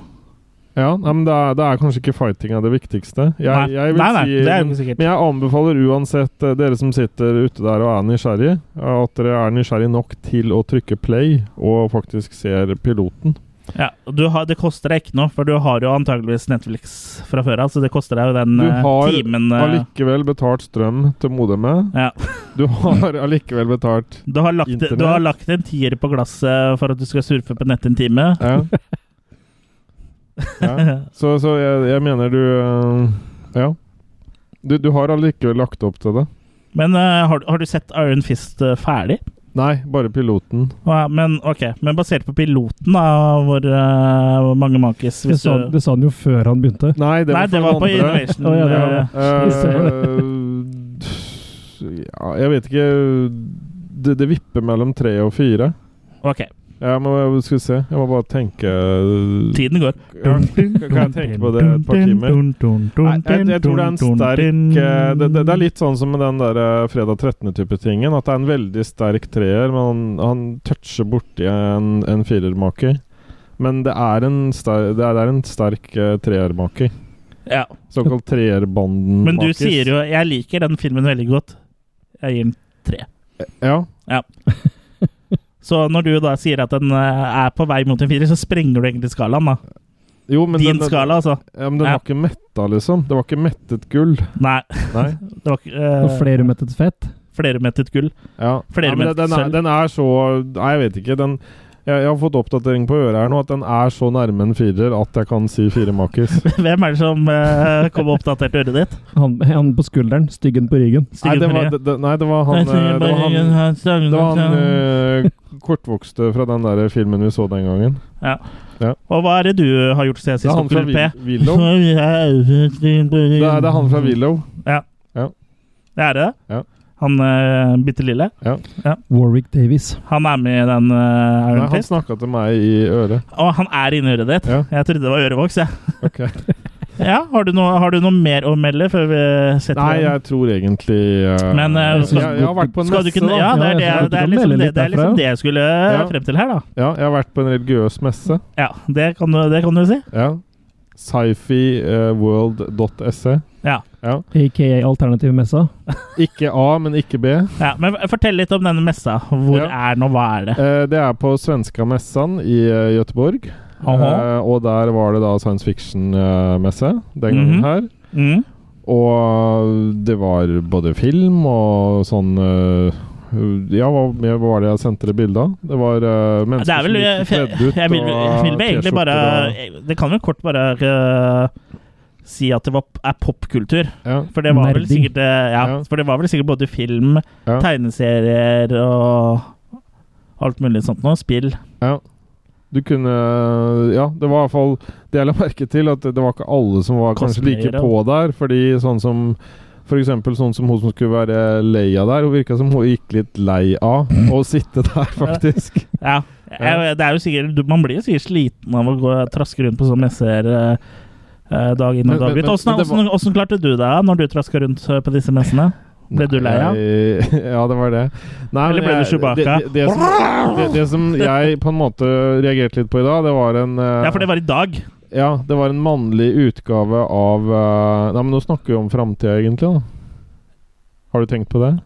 [SPEAKER 3] Ja, nei, men det er, det er kanskje ikke fightinga det viktigste. Jeg,
[SPEAKER 1] Nei,
[SPEAKER 3] jeg vil
[SPEAKER 1] nei, nei
[SPEAKER 3] si,
[SPEAKER 1] det er jo
[SPEAKER 3] men,
[SPEAKER 1] ikke sikkert.
[SPEAKER 3] men jeg anbefaler uansett eh, dere som sitter ute der og er nysgjerrige, at dere er nysgjerrige nok til å trykke play og faktisk ser piloten.
[SPEAKER 1] Ja, du har, det koster deg ikke noe, for du har jo antageligvis Netflix fra før av, så det koster deg jo den
[SPEAKER 3] Du
[SPEAKER 1] eh,
[SPEAKER 3] har
[SPEAKER 1] timen eh,
[SPEAKER 3] Allikevel betalt strøm til modemet.
[SPEAKER 1] ja.
[SPEAKER 3] Du har allikevel betalt
[SPEAKER 1] du, har lagt,
[SPEAKER 3] Internett.
[SPEAKER 1] du har lagt en tier på glasset eh, for at du skal surfe på nettet en time.
[SPEAKER 3] Ja. ja. Så, så jeg, jeg mener du eh, Ja. Du, du har allikevel lagt opp til det.
[SPEAKER 1] Men eh, har, du- har du sett Iron Fist eh, ferdig?
[SPEAKER 3] Nei, bare piloten.
[SPEAKER 1] Ja, men ok, men basert på piloten, da, hvor eh, hvor mange
[SPEAKER 3] altså,
[SPEAKER 1] makis
[SPEAKER 2] Det,
[SPEAKER 1] hvis
[SPEAKER 2] sa,
[SPEAKER 1] du
[SPEAKER 3] sånn-
[SPEAKER 2] det sa han jo før han begynte.
[SPEAKER 3] Nei, det
[SPEAKER 1] Nei,
[SPEAKER 3] var
[SPEAKER 1] det
[SPEAKER 3] for
[SPEAKER 1] var på
[SPEAKER 3] noen andre.
[SPEAKER 1] Innovation.
[SPEAKER 2] Å, ja, det var
[SPEAKER 1] eh,
[SPEAKER 2] det.
[SPEAKER 3] Eh, ja, jeg vet ikke det, det vipper mellom tre og fire.
[SPEAKER 1] Ok,
[SPEAKER 3] Jeg må jeg skal vi se. Jeg må bare tenke eh, ja,
[SPEAKER 1] tiden går.
[SPEAKER 3] Kan jeg tenke på det et par timer? Nei, jeg, jeg tror det er en sterk eh, det, det, det er litt sånn som med den der eh, fredag 13.-type tingen. At det er en veldig sterk treer, men han, han toucher borti en, en firermaker. Men det er en, ster, det er, det er en sterk eh, treermaker.
[SPEAKER 1] Ja.
[SPEAKER 3] Såkalt treerbanden.
[SPEAKER 1] Men du sier jo Jeg liker den filmen veldig godt. Jeg gir den tre.
[SPEAKER 3] Ja.
[SPEAKER 1] Ja. Så når du da sier at den eh, er på vei mot en firer, så sprenger du egentlig skalaen, da.
[SPEAKER 3] Jo, men
[SPEAKER 1] Din
[SPEAKER 3] den, den,
[SPEAKER 1] skala, altså.
[SPEAKER 3] Ja, men den
[SPEAKER 1] Ja.
[SPEAKER 3] var ikke metta, liksom. Det var ikke mettet gull.
[SPEAKER 1] Nei.
[SPEAKER 3] Nei.
[SPEAKER 1] Det var ikke
[SPEAKER 2] Og
[SPEAKER 1] eh,
[SPEAKER 2] flerumettet fett.
[SPEAKER 1] flerumettet gull.
[SPEAKER 3] Ja.
[SPEAKER 1] Flere
[SPEAKER 3] ja, men
[SPEAKER 1] med
[SPEAKER 3] den, er,
[SPEAKER 1] selv.
[SPEAKER 3] den er så Nei, jeg vet ikke. Den, jeg, jeg har fått oppdatering på øret her nå at den er så nærme en firer at jeg kan si firemakis.
[SPEAKER 1] Hvem er det som eh, kom og oppdaterte øret ditt?
[SPEAKER 2] Han, han på skulderen, styggen på ryggen.
[SPEAKER 3] Nei,
[SPEAKER 1] Styggen
[SPEAKER 3] det var,
[SPEAKER 1] Marie.
[SPEAKER 3] det, det- nei, det var han eh, Det var han, det var han eh, kortvokste fra den der filmen vi så den gangen.
[SPEAKER 1] Og hva er det du har gjort siden
[SPEAKER 3] Det er
[SPEAKER 1] sist,
[SPEAKER 3] han fra
[SPEAKER 1] onkel P?
[SPEAKER 3] Wi- Willow. Det er, det er han fra Willow.
[SPEAKER 1] Det er det?
[SPEAKER 3] Ja.
[SPEAKER 1] Han uh, bitte lille?
[SPEAKER 2] Warwick Davies.
[SPEAKER 1] Han er med i den eh,
[SPEAKER 3] Nei,
[SPEAKER 1] Iron
[SPEAKER 3] han
[SPEAKER 1] Fist?
[SPEAKER 3] snakka til meg i øret.
[SPEAKER 1] Å, han er inni øret ditt?
[SPEAKER 3] Ja.
[SPEAKER 1] Jeg trodde det var ørevoks, jeg.
[SPEAKER 3] Ok.
[SPEAKER 1] Ja, har du, noe, har du noe mer å melde før vi setter
[SPEAKER 3] Nei,
[SPEAKER 1] i gang?
[SPEAKER 3] jeg tror egentlig eh,
[SPEAKER 1] Men, eh,
[SPEAKER 3] jeg,
[SPEAKER 1] skal-
[SPEAKER 3] jeg har vært på en
[SPEAKER 1] Skal du
[SPEAKER 3] messe,
[SPEAKER 1] kunne, ja,
[SPEAKER 3] da.
[SPEAKER 1] det er, det,
[SPEAKER 2] Ja, jeg
[SPEAKER 1] det, er
[SPEAKER 2] skal melde
[SPEAKER 1] liksom det,
[SPEAKER 2] litt
[SPEAKER 1] det er
[SPEAKER 2] derfra,
[SPEAKER 1] liksom det jeg skulle frem til her, da.
[SPEAKER 3] Ja, jeg har vært på en religiøs messe.
[SPEAKER 1] Ja, det kan du, det kan du si.
[SPEAKER 3] Ja. eh, Scifiworld.se.
[SPEAKER 1] Ja.
[SPEAKER 3] ja.
[SPEAKER 2] Aka Alternativmessa.
[SPEAKER 3] Ikke A, men ikke B.
[SPEAKER 1] Ja, men fortell litt om denne messa. Hvor
[SPEAKER 3] Ja.
[SPEAKER 1] er den, og hva er det?
[SPEAKER 3] Eh, Det er på svenska messan i eh, Göteborg.
[SPEAKER 1] Aha.
[SPEAKER 3] Eh, Og der var det da science fiction-messe den gangen
[SPEAKER 1] Mhm.
[SPEAKER 3] her.
[SPEAKER 1] Mm.
[SPEAKER 3] Og det var både film og sånn eh, Ja, hva mer var det jeg sendte dere bilde av? Det var eh,
[SPEAKER 1] Det
[SPEAKER 3] mennesker
[SPEAKER 1] er vel
[SPEAKER 3] som
[SPEAKER 1] jeg,
[SPEAKER 3] gikk kledd ut
[SPEAKER 1] jeg vil, jeg vil vel egentlig bare
[SPEAKER 3] T-skjorter
[SPEAKER 1] Det kan vel kort bare eh, si at det var, er popkultur.
[SPEAKER 3] og- ja.
[SPEAKER 1] For det var vel
[SPEAKER 2] Nerding.
[SPEAKER 1] sikkert eh, ja,
[SPEAKER 3] Ja.
[SPEAKER 1] For det var vel sikkert både film,
[SPEAKER 3] Ja.
[SPEAKER 1] tegneserier og alt mulig sånt noe. Spill.
[SPEAKER 3] Du kunne Ja, det var i hvert fall Det jeg la merke til, at det var ikke alle som var kanskje like
[SPEAKER 1] Cosplayere.
[SPEAKER 3] på der. Fordi sånn som For eksempel sånn som hun som skulle være Leia der, hun virka som hun gikk litt lei av å sitte der, faktisk.
[SPEAKER 1] Ja. Jeg, det er jo sikkert, du- man blir jo sikkert sliten av å gå traske rundt på sånne messer eh, eh, dag inn
[SPEAKER 3] Men-
[SPEAKER 1] og dag ut.
[SPEAKER 3] men- men-
[SPEAKER 1] Åssen
[SPEAKER 3] men det var-
[SPEAKER 1] åssen klarte du deg når du traska rundt eh, på disse messene? Ble du lei av?
[SPEAKER 3] Nei, Ja, det var det. Nei,
[SPEAKER 1] Eller
[SPEAKER 3] men
[SPEAKER 1] ble du
[SPEAKER 3] jeg-
[SPEAKER 1] Chewbacca?
[SPEAKER 3] Det, det, det, som, det, det som jeg på en måte reagerte litt på i dag, det var en eh,
[SPEAKER 1] Ja, for det var i dag.
[SPEAKER 3] ja, det var en mannlig utgave av eh, Nei, men nå snakker vi om framtida, egentlig, da. Har du tenkt på det?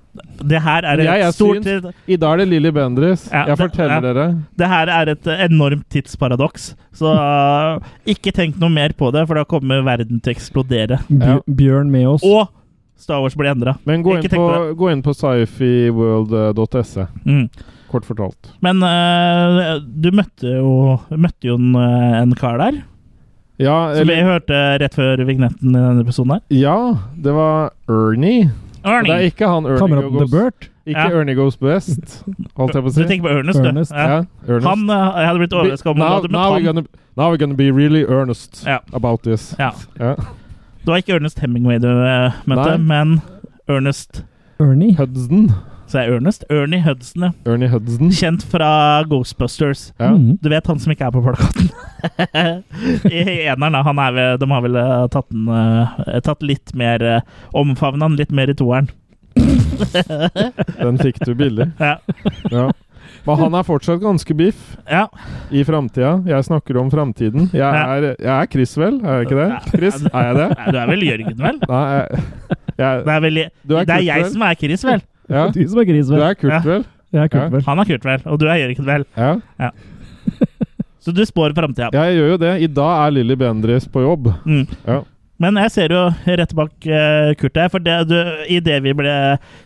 [SPEAKER 1] Det her er et
[SPEAKER 3] Jeg er
[SPEAKER 1] stort
[SPEAKER 3] I dag er det Lilly Bendriss.
[SPEAKER 1] Ja,
[SPEAKER 3] jeg
[SPEAKER 1] det-
[SPEAKER 3] forteller
[SPEAKER 1] ja.
[SPEAKER 3] dere.
[SPEAKER 1] Det her er et eh, enormt tidsparadoks, så eh, ikke tenk noe mer på det, for da kommer verden til å eksplodere.
[SPEAKER 2] Bj
[SPEAKER 3] Ja.
[SPEAKER 2] Bjørn med oss.
[SPEAKER 1] Og Star Wars blir endra.
[SPEAKER 3] Men gå
[SPEAKER 1] Ikke
[SPEAKER 3] inn,
[SPEAKER 1] tenk
[SPEAKER 3] på,
[SPEAKER 1] på
[SPEAKER 3] gå inn på eh, scifiworld.se,
[SPEAKER 1] Mm.
[SPEAKER 3] E, kort fortalt.
[SPEAKER 1] Men eh, du møtte jo, møtte jo en, eh, en kar der,
[SPEAKER 3] Ja,
[SPEAKER 1] som
[SPEAKER 3] eller,
[SPEAKER 1] jeg hørte rett før vignetten i denne episoden her.
[SPEAKER 3] ja det var Ernie. Det er
[SPEAKER 1] Ernie!
[SPEAKER 3] ikke han Ernie
[SPEAKER 2] Kameraten The
[SPEAKER 3] Goes
[SPEAKER 2] Burt.
[SPEAKER 3] Ikke
[SPEAKER 1] Ja.
[SPEAKER 3] Ernie Goes West, holdt jeg på
[SPEAKER 1] Du
[SPEAKER 3] å si.
[SPEAKER 1] tenker på Ernest, du.
[SPEAKER 2] Ernest,
[SPEAKER 1] Ja.
[SPEAKER 3] Ernest.
[SPEAKER 1] Han eh, Jeg hadde blitt overraska om du
[SPEAKER 3] now,
[SPEAKER 1] hadde
[SPEAKER 3] now, we're
[SPEAKER 1] møtt han.
[SPEAKER 3] gonna, now we're gonna be really earnest
[SPEAKER 1] Ja.
[SPEAKER 3] about this.
[SPEAKER 1] Ja.
[SPEAKER 3] Ja.
[SPEAKER 1] Det var ikke Ernest Hemingway du eh, møtte,
[SPEAKER 3] Nei.
[SPEAKER 1] men Ernest
[SPEAKER 2] Ernie.
[SPEAKER 3] Hudson.
[SPEAKER 1] Så er Ernest Ernie Hudson, ja.
[SPEAKER 3] Ernie Hudson.
[SPEAKER 1] Kjent fra Ghostbusters.
[SPEAKER 3] Ja.
[SPEAKER 2] Mhm.
[SPEAKER 1] Du vet han som ikke er på plakaten? I eneren, da. Han er vel, de har vel eh, tatt, den, eh, tatt litt mer eh, Omfavnet han litt mer i toeren.
[SPEAKER 3] Den fikk du billig.
[SPEAKER 1] Ja.
[SPEAKER 3] Ja. Men han er fortsatt ganske biff
[SPEAKER 1] ja.
[SPEAKER 3] i framtida. Jeg snakker om framtiden. Jeg
[SPEAKER 1] Ja.
[SPEAKER 3] er, jeg er Chris, vel? Er jeg ikke det? Chris, er jeg det?
[SPEAKER 1] Nei, Du er vel Jørgen, vel?
[SPEAKER 3] Nei, jeg, jeg,
[SPEAKER 1] Det er, vel,
[SPEAKER 3] Du er
[SPEAKER 1] det er
[SPEAKER 3] Kurt,
[SPEAKER 1] jeg
[SPEAKER 3] vel?
[SPEAKER 1] som er Chris, vel?
[SPEAKER 3] ja,
[SPEAKER 2] Du som er gris,
[SPEAKER 3] du
[SPEAKER 2] vel.
[SPEAKER 3] er Kurt,
[SPEAKER 1] Ja.
[SPEAKER 3] vel?
[SPEAKER 2] Jeg er
[SPEAKER 3] Ja.
[SPEAKER 2] kult, vel.
[SPEAKER 1] Han er Kurt, vel? Og du er Jørgen, vel?
[SPEAKER 3] Ja.
[SPEAKER 1] Så du spår framtida.
[SPEAKER 3] ja, jeg gjør jo det. I dag er Lilly Bendriss på jobb.
[SPEAKER 1] Mm.
[SPEAKER 3] Ja.
[SPEAKER 1] Men jeg ser jo rett bak eh, Kurt her, for det, du, i det vi ble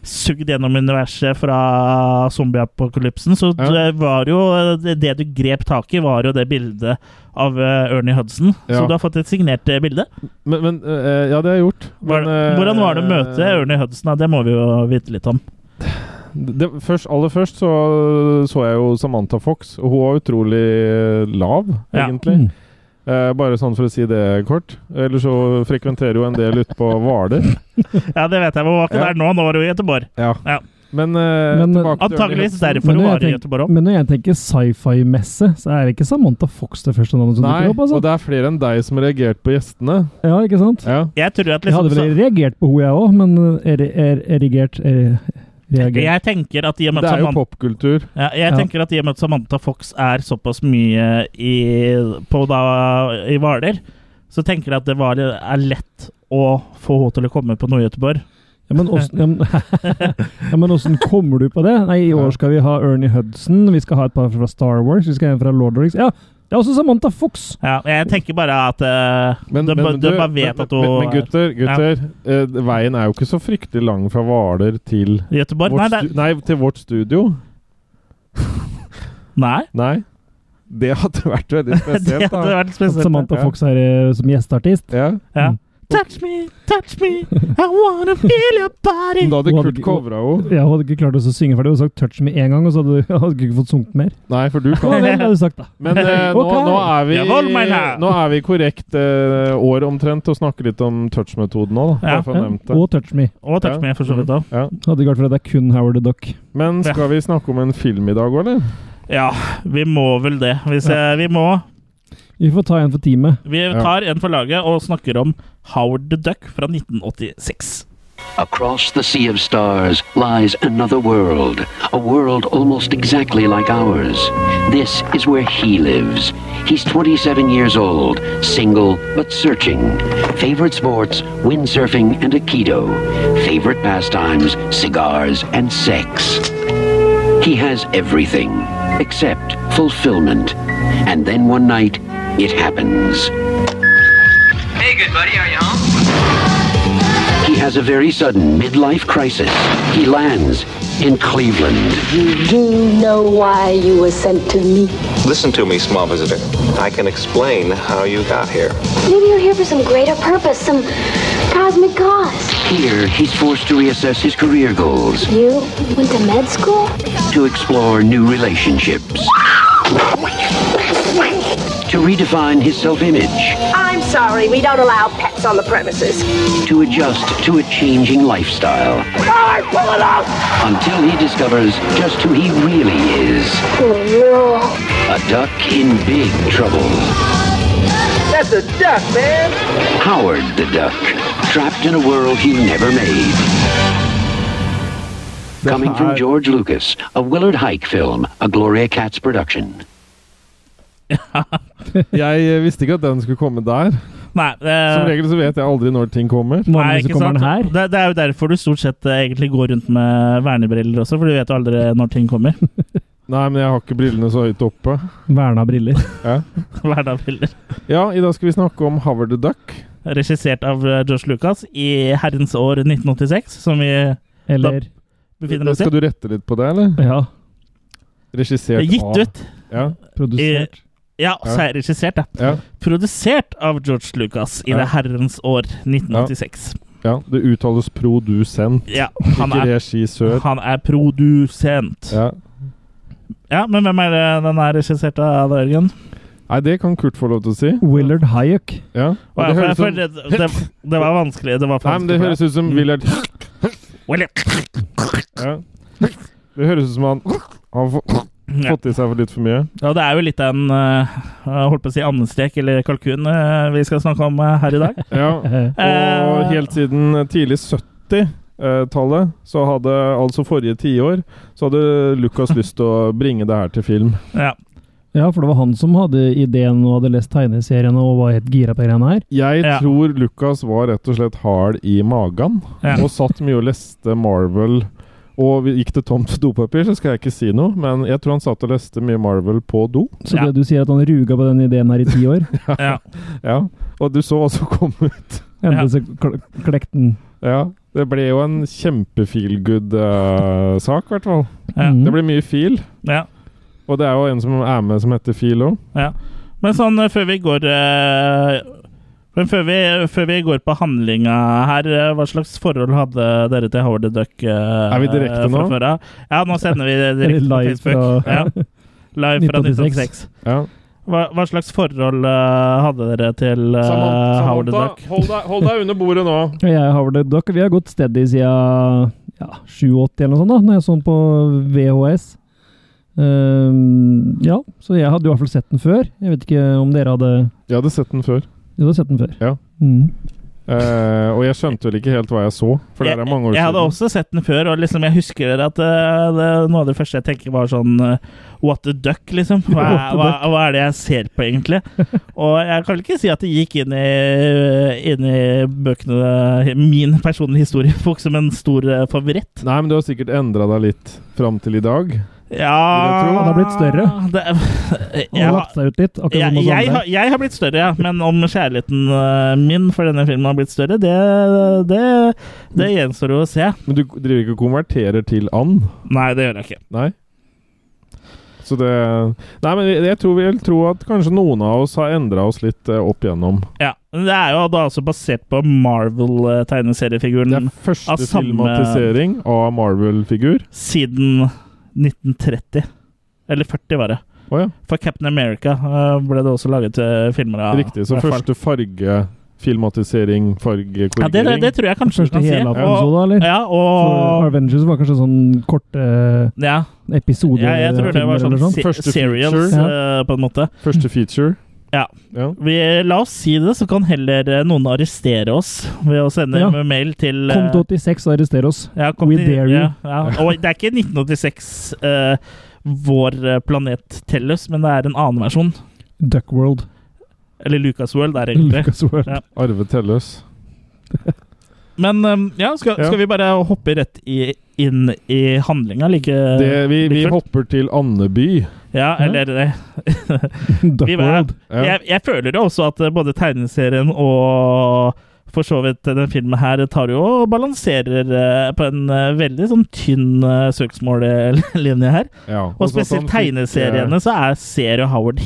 [SPEAKER 1] sugd gjennom universet fra zombieapokalypsen, så
[SPEAKER 3] Ja.
[SPEAKER 1] det var jo det, det du grep tak i, var jo det bildet av eh, Ernie Hudson.
[SPEAKER 3] Ja.
[SPEAKER 1] Så du har fått et signert eh, bilde.
[SPEAKER 3] Men, men eh, Ja, det har jeg gjort.
[SPEAKER 1] Var,
[SPEAKER 3] Men, eh,
[SPEAKER 1] hvordan var det å møte Ernie Hudson? da? Det må vi jo vite litt om.
[SPEAKER 3] Det, først, aller først så, så jeg jo Samantha Fox. og Hun var utrolig lav,
[SPEAKER 1] Ja.
[SPEAKER 3] egentlig.
[SPEAKER 2] Hmm.
[SPEAKER 3] Eh, bare sånn for å si det kort. Ellers så frekventerer hun en del ute på Hvaler.
[SPEAKER 1] Ja, det vet jeg, men hun var ikke
[SPEAKER 3] Ja.
[SPEAKER 1] der nå. Nå var hun i Gøteborg. Ja.
[SPEAKER 3] Men, eh,
[SPEAKER 2] Men,
[SPEAKER 3] tilbake til
[SPEAKER 1] Antakeligvis
[SPEAKER 2] Men
[SPEAKER 1] derfor
[SPEAKER 2] når
[SPEAKER 1] hun
[SPEAKER 2] jeg
[SPEAKER 1] var i
[SPEAKER 2] tenk-
[SPEAKER 1] Gøteborg òg.
[SPEAKER 2] Men når jeg tenker sci-fi-messe, så er det ikke Samantha Fox det første navnet som
[SPEAKER 3] Nei,
[SPEAKER 2] dukker opp.
[SPEAKER 3] og
[SPEAKER 2] altså.
[SPEAKER 3] det er flere enn deg som har reagert på gjestene.
[SPEAKER 2] Ja, ikke sant?
[SPEAKER 3] Ja.
[SPEAKER 1] Jeg tror at
[SPEAKER 2] Jeg hadde
[SPEAKER 1] liksom
[SPEAKER 2] vel reagert på henne, jeg òg, men eh, er, er, erigert er,
[SPEAKER 1] så,
[SPEAKER 2] reagert.
[SPEAKER 1] Jeg tenker at i og med
[SPEAKER 3] Det
[SPEAKER 1] at
[SPEAKER 3] er jo
[SPEAKER 1] Samantha
[SPEAKER 3] popkultur.
[SPEAKER 1] Ja, jeg
[SPEAKER 2] Ja.
[SPEAKER 1] tenker at i og med at Samantha Fox er såpass mye i, på da, i Hvaler, så tenker de at det var, er lett å få henne til å komme på Nord-Göteborg.
[SPEAKER 2] Ja, men åssen ja, men- ja, men åssen kommer du på det? Nei, I år skal vi ha Ernie Hudson, vi skal ha et par fra Star Wars, vi skal ha en fra Lord of the Rings Ja, det er også Samantha Fox!
[SPEAKER 1] Ja, jeg tenker bare at eh,
[SPEAKER 3] Men,
[SPEAKER 1] de,
[SPEAKER 3] men,
[SPEAKER 1] de
[SPEAKER 3] du,
[SPEAKER 1] bare vet
[SPEAKER 3] men,
[SPEAKER 1] at hun
[SPEAKER 3] men, men gutter, gutter eh, veien er jo ikke så fryktelig lang fra Hvaler til
[SPEAKER 1] er i Göteborg.
[SPEAKER 3] vårt,
[SPEAKER 1] Nei, det,
[SPEAKER 3] stu- nei, til vårt studio.
[SPEAKER 1] nei,
[SPEAKER 3] Nei. Det hadde vært veldig
[SPEAKER 1] det
[SPEAKER 3] spesielt,
[SPEAKER 1] hadde
[SPEAKER 3] da.
[SPEAKER 1] vært
[SPEAKER 2] At
[SPEAKER 1] spesielt.
[SPEAKER 2] Samantha Mm.
[SPEAKER 3] Ja.
[SPEAKER 2] Fox er eh, som gjesteartist.
[SPEAKER 3] Ja.
[SPEAKER 1] Ja. Touch me, touch me, I wanna feel your body.
[SPEAKER 3] Men da hadde
[SPEAKER 2] Hun hadde
[SPEAKER 3] Kurt
[SPEAKER 2] ikke-
[SPEAKER 3] covra henne.
[SPEAKER 2] Jeg hadde ikke klart å synge ferdig. Hun hadde sagt 'touch me' én gang, og så hadde hadde du ikke fått sunget mer.
[SPEAKER 3] Nei, for du
[SPEAKER 2] Hva
[SPEAKER 3] kan
[SPEAKER 2] vel hadde du sagt, da?
[SPEAKER 3] Men eh, nå,
[SPEAKER 2] Ok.
[SPEAKER 3] nå, er vi,
[SPEAKER 1] Jeg holder meg her.
[SPEAKER 3] nå er vi korrekt eh, år omtrent og snakker litt om touch-metoden òg, da.
[SPEAKER 1] Ja.
[SPEAKER 3] Bare for å
[SPEAKER 2] Ja,
[SPEAKER 3] nevne det.
[SPEAKER 2] og 'touch me'.
[SPEAKER 1] Og touch me, for så vidt. da.
[SPEAKER 3] Ja.
[SPEAKER 2] Hadde ikke vært for at det er kun Howard the Duck.
[SPEAKER 3] Men skal vi snakke om en film i dag òg, eller?
[SPEAKER 1] Ja, vi må vel det. Hvis jeg, vi må
[SPEAKER 2] Vi får ta en for teamet.
[SPEAKER 1] Vi tar en for laget og snakker om Howard the Duck fra 1986.
[SPEAKER 5] Across the sea of stars lies another world, a world almost exactly like ours. This is where he lives. He's 27 years old, single but searching. Favorite sports, windsurfing and aikido. Favorite pastimes, cigars and sex. He has everything except fulfillment. And then one night, it happens.
[SPEAKER 6] Hey, good buddy, are you home?
[SPEAKER 5] He has a very sudden midlife crisis. He lands in Cleveland.
[SPEAKER 7] Do you know why you were sent to me?
[SPEAKER 8] Listen to me, small visitor. I can explain how you got here.
[SPEAKER 7] Maybe you're here for some greater purpose, some cosmic cause.
[SPEAKER 5] Here, he's forced to reassess his career goals,
[SPEAKER 7] You went to med school?
[SPEAKER 5] to explore new relationships, to redefine his self image,
[SPEAKER 9] I'm sorry, we don't allow pets on the premises.
[SPEAKER 5] to adjust to a changing lifestyle. Until he discovers just who he really is a duck in big trouble.
[SPEAKER 6] That's a duck, man.
[SPEAKER 5] Howard the Duck, trapped in a world he never made. Coming from George Lucas, a Willard Hike film, a Gloria Katz production.
[SPEAKER 3] Jeg eh, visste ikke at den skulle komme der.
[SPEAKER 1] Nei,
[SPEAKER 3] Som
[SPEAKER 1] eh,
[SPEAKER 3] regel så vet jeg aldri når ting kommer.
[SPEAKER 1] nei,
[SPEAKER 2] Vanligvis så
[SPEAKER 1] ikke
[SPEAKER 2] kommer
[SPEAKER 1] sant?
[SPEAKER 2] den her.
[SPEAKER 1] Det, det er jo derfor du stort sett eh, egentlig går rundt med vernebriller også, for du vet jo aldri når ting kommer.
[SPEAKER 3] Nei, men jeg har ikke brillene så høyt oppe.
[SPEAKER 2] Verna briller.
[SPEAKER 1] Hverdagsbriller.
[SPEAKER 3] Ja, i dag skal vi snakke om Howard the Duck.
[SPEAKER 1] Regissert av eh, Josh Lucas i herrens år 1986, som vi
[SPEAKER 2] Eller
[SPEAKER 1] befinner oss i.
[SPEAKER 3] Skal du rette litt på det, eller?
[SPEAKER 2] Ja,
[SPEAKER 3] Regissert av
[SPEAKER 1] Gitt ut.
[SPEAKER 3] Ja.
[SPEAKER 2] produsert.
[SPEAKER 1] Ja, så er regissert, ja.
[SPEAKER 3] ja.
[SPEAKER 1] Produsert av George Lucas i
[SPEAKER 3] Ja.
[SPEAKER 1] det herrens år 1986.
[SPEAKER 3] ja. Det uttales produsent,
[SPEAKER 1] Ja, han
[SPEAKER 3] ikke
[SPEAKER 1] er,
[SPEAKER 3] regissør.
[SPEAKER 1] han er produsent.
[SPEAKER 3] Ja.
[SPEAKER 1] Ja, men hvem er det den er regissert av, da, Jørgen?
[SPEAKER 3] Nei, det kan Kurt få lov til å si.
[SPEAKER 2] Willard Hayek.
[SPEAKER 3] Ja. Og
[SPEAKER 1] Ja, for
[SPEAKER 3] det
[SPEAKER 1] jeg
[SPEAKER 3] høres ut
[SPEAKER 1] føler det, det, det var vanskelig. Det var for
[SPEAKER 3] Nei, men det
[SPEAKER 1] vanskelig
[SPEAKER 3] høres ut som Willard
[SPEAKER 1] for meg.
[SPEAKER 3] ja. Det høres ut som han har få-
[SPEAKER 1] Ja.
[SPEAKER 3] fått i seg for litt for mye.
[SPEAKER 1] Ja, det er jo litt av en eh, jeg holdt på å si andestek eller kalkun eh, vi skal snakke om eh, her i dag.
[SPEAKER 3] Ja.
[SPEAKER 2] Eh,
[SPEAKER 1] Eh,
[SPEAKER 3] Og helt siden tidlig 70-tallet, så hadde altså forrige tiår, så hadde Lucas lyst til å bringe det her til film.
[SPEAKER 1] Ja.
[SPEAKER 2] Ja, for det var han som hadde ideen og hadde lest tegneseriene og var helt gira på greiene her.
[SPEAKER 3] Jeg
[SPEAKER 1] Ja.
[SPEAKER 3] tror Lucas var rett og slett hard i magen,
[SPEAKER 1] Ja.
[SPEAKER 3] og satt mye og leste Marvel. Og vi gikk det tomt for dopapir, så skal jeg ikke si noe, men jeg tror han satt og leste mye Marvel på do.
[SPEAKER 2] Så
[SPEAKER 1] Ja.
[SPEAKER 2] det du sier at han ruga på den ideen her i ti år,
[SPEAKER 1] ja.
[SPEAKER 3] Ja, Og du så hva som kom ut.
[SPEAKER 2] endelig så kl- klekte han.
[SPEAKER 3] Ja, Det ble jo en kjempe-feel-good-sak, i hvert fall.
[SPEAKER 1] Ja.
[SPEAKER 2] Mhm.
[SPEAKER 3] Det ble mye feel,
[SPEAKER 1] ja.
[SPEAKER 3] og det er jo en som er med som heter Feel òg.
[SPEAKER 1] Ja. Men sånn eh, før vi går eh, men før vi, før vi går på handlinga her, eh, hva slags forhold hadde dere til Howard the Duck? eh,
[SPEAKER 3] Er vi direkte nå?
[SPEAKER 1] Ja, nå sender vi det direkte på
[SPEAKER 2] Live
[SPEAKER 1] Facebook.
[SPEAKER 2] fra-
[SPEAKER 1] ja. Live fra 1986.
[SPEAKER 2] 1986.
[SPEAKER 3] Ja.
[SPEAKER 1] Hva, hva slags forhold eh, hadde dere til eh, Howard the Duck?
[SPEAKER 3] hold deg, hold deg under bordet nå.
[SPEAKER 2] Og Jeg har vel dere, vi har gått steady siden ja, 87 eller noe sånt da, når jeg så den på VHS. Ehm, ja, så jeg hadde i hvert fall sett den før. Jeg vet ikke om dere hadde,
[SPEAKER 3] Jeg hadde sett den før.
[SPEAKER 2] dere hadde sett den før.
[SPEAKER 3] Ja.
[SPEAKER 2] Mhm.
[SPEAKER 3] Eh, og jeg skjønte vel ikke helt hva jeg så, for det er mange år
[SPEAKER 1] jeg, jeg hadde
[SPEAKER 3] siden.
[SPEAKER 1] også sett den før, og liksom jeg husker at eh, det, noe av det første jeg tenker var sånn eh, What the duck, liksom. Hva,
[SPEAKER 3] What the
[SPEAKER 1] hva, hva er det jeg ser på, egentlig? og jeg kan vel ikke si at det gikk inn i, eh, inn i bøkene eh, Min personlige historiebok som en stor eh, favoritt.
[SPEAKER 3] Nei, men du har sikkert endra deg litt fram til i dag.
[SPEAKER 1] Ja
[SPEAKER 2] Vil jeg tro. Han har blitt større.
[SPEAKER 1] Det,
[SPEAKER 2] Han
[SPEAKER 1] jeg,
[SPEAKER 2] har
[SPEAKER 1] har-
[SPEAKER 2] lagt seg ut litt,
[SPEAKER 1] jeg,
[SPEAKER 2] akkurat som oss
[SPEAKER 1] jeg,
[SPEAKER 2] andre.
[SPEAKER 1] har- jeg har blitt større, ja. Men om kjærligheten eh, min for denne filmen har blitt større, det, det, det gjenstår jo å se.
[SPEAKER 3] Men du driver ikke og konverterer til and?
[SPEAKER 1] Nei, det gjør jeg ikke.
[SPEAKER 3] Nei? Så det Nei, men jeg, jeg tror vel tro at kanskje noen av oss har endra oss litt eh, opp igjennom.
[SPEAKER 1] Ja, men Det er jo da altså basert på
[SPEAKER 3] Det er
[SPEAKER 1] Marvel-tegneseriefiguren
[SPEAKER 3] første
[SPEAKER 1] Mm. av samme-
[SPEAKER 3] filmatisering av Marvel-figur.
[SPEAKER 1] siden 1930. Eller 40, var det.
[SPEAKER 3] Å ja.
[SPEAKER 1] For Captain America eh, ble det også laget eh, filmer av.
[SPEAKER 3] Riktig. Så
[SPEAKER 1] i hvert fall.
[SPEAKER 3] første farge Filmatisering,
[SPEAKER 1] ja, det, det,
[SPEAKER 3] fargekorrigering.
[SPEAKER 1] det tror jeg kanskje du
[SPEAKER 2] Første
[SPEAKER 1] kan si.
[SPEAKER 2] hele
[SPEAKER 1] Og-
[SPEAKER 2] av episoden, eller?
[SPEAKER 1] Ja,
[SPEAKER 2] For
[SPEAKER 1] og
[SPEAKER 2] Avengers var kanskje sånn korte eh,
[SPEAKER 1] ja,
[SPEAKER 2] episoder
[SPEAKER 1] ja, jeg tror det var
[SPEAKER 2] eller
[SPEAKER 1] sånn
[SPEAKER 2] noe
[SPEAKER 1] se
[SPEAKER 3] Første
[SPEAKER 1] serials,
[SPEAKER 3] feature.
[SPEAKER 1] eh, på en måte.
[SPEAKER 3] Første feature.
[SPEAKER 1] Ja.
[SPEAKER 3] ja.
[SPEAKER 1] Vi, la oss si det, så kan heller eh, noen arrestere oss ved å sende
[SPEAKER 2] Ja.
[SPEAKER 1] en mail til eh,
[SPEAKER 2] Kom til 86 og arrester oss.
[SPEAKER 1] ja, kom
[SPEAKER 2] We
[SPEAKER 1] til-
[SPEAKER 2] dare you.
[SPEAKER 1] Ja, ja. Og det er ikke 1986 eh, vår eh, planet Tellus, men det er en annen versjon.
[SPEAKER 2] Duckworld.
[SPEAKER 1] Eller Lucasworld er det egentlig.
[SPEAKER 2] Lucasworld.
[SPEAKER 1] Ja.
[SPEAKER 3] Arve Telløs.
[SPEAKER 1] Men eh, ja, skal,
[SPEAKER 3] Ja.
[SPEAKER 1] skal vi bare hoppe rett i, inn i handlinga? Like,
[SPEAKER 3] Det, vi, vi
[SPEAKER 1] Rikard?
[SPEAKER 3] hopper til Andeby.
[SPEAKER 1] ja, eller det.
[SPEAKER 2] Duckworld.
[SPEAKER 3] Ja.
[SPEAKER 1] Jeg, jeg føler jo også at eh, både tegneserien og for så vidt eh, den filmen her tar jo og balanserer eh, på en eh, veldig sånn tynn eh, søksmållinje her.
[SPEAKER 3] Ja.
[SPEAKER 1] Og sånn
[SPEAKER 3] så
[SPEAKER 1] spesielt
[SPEAKER 3] sånn at han fikk,
[SPEAKER 1] tegneseriene så er, ser jo Howard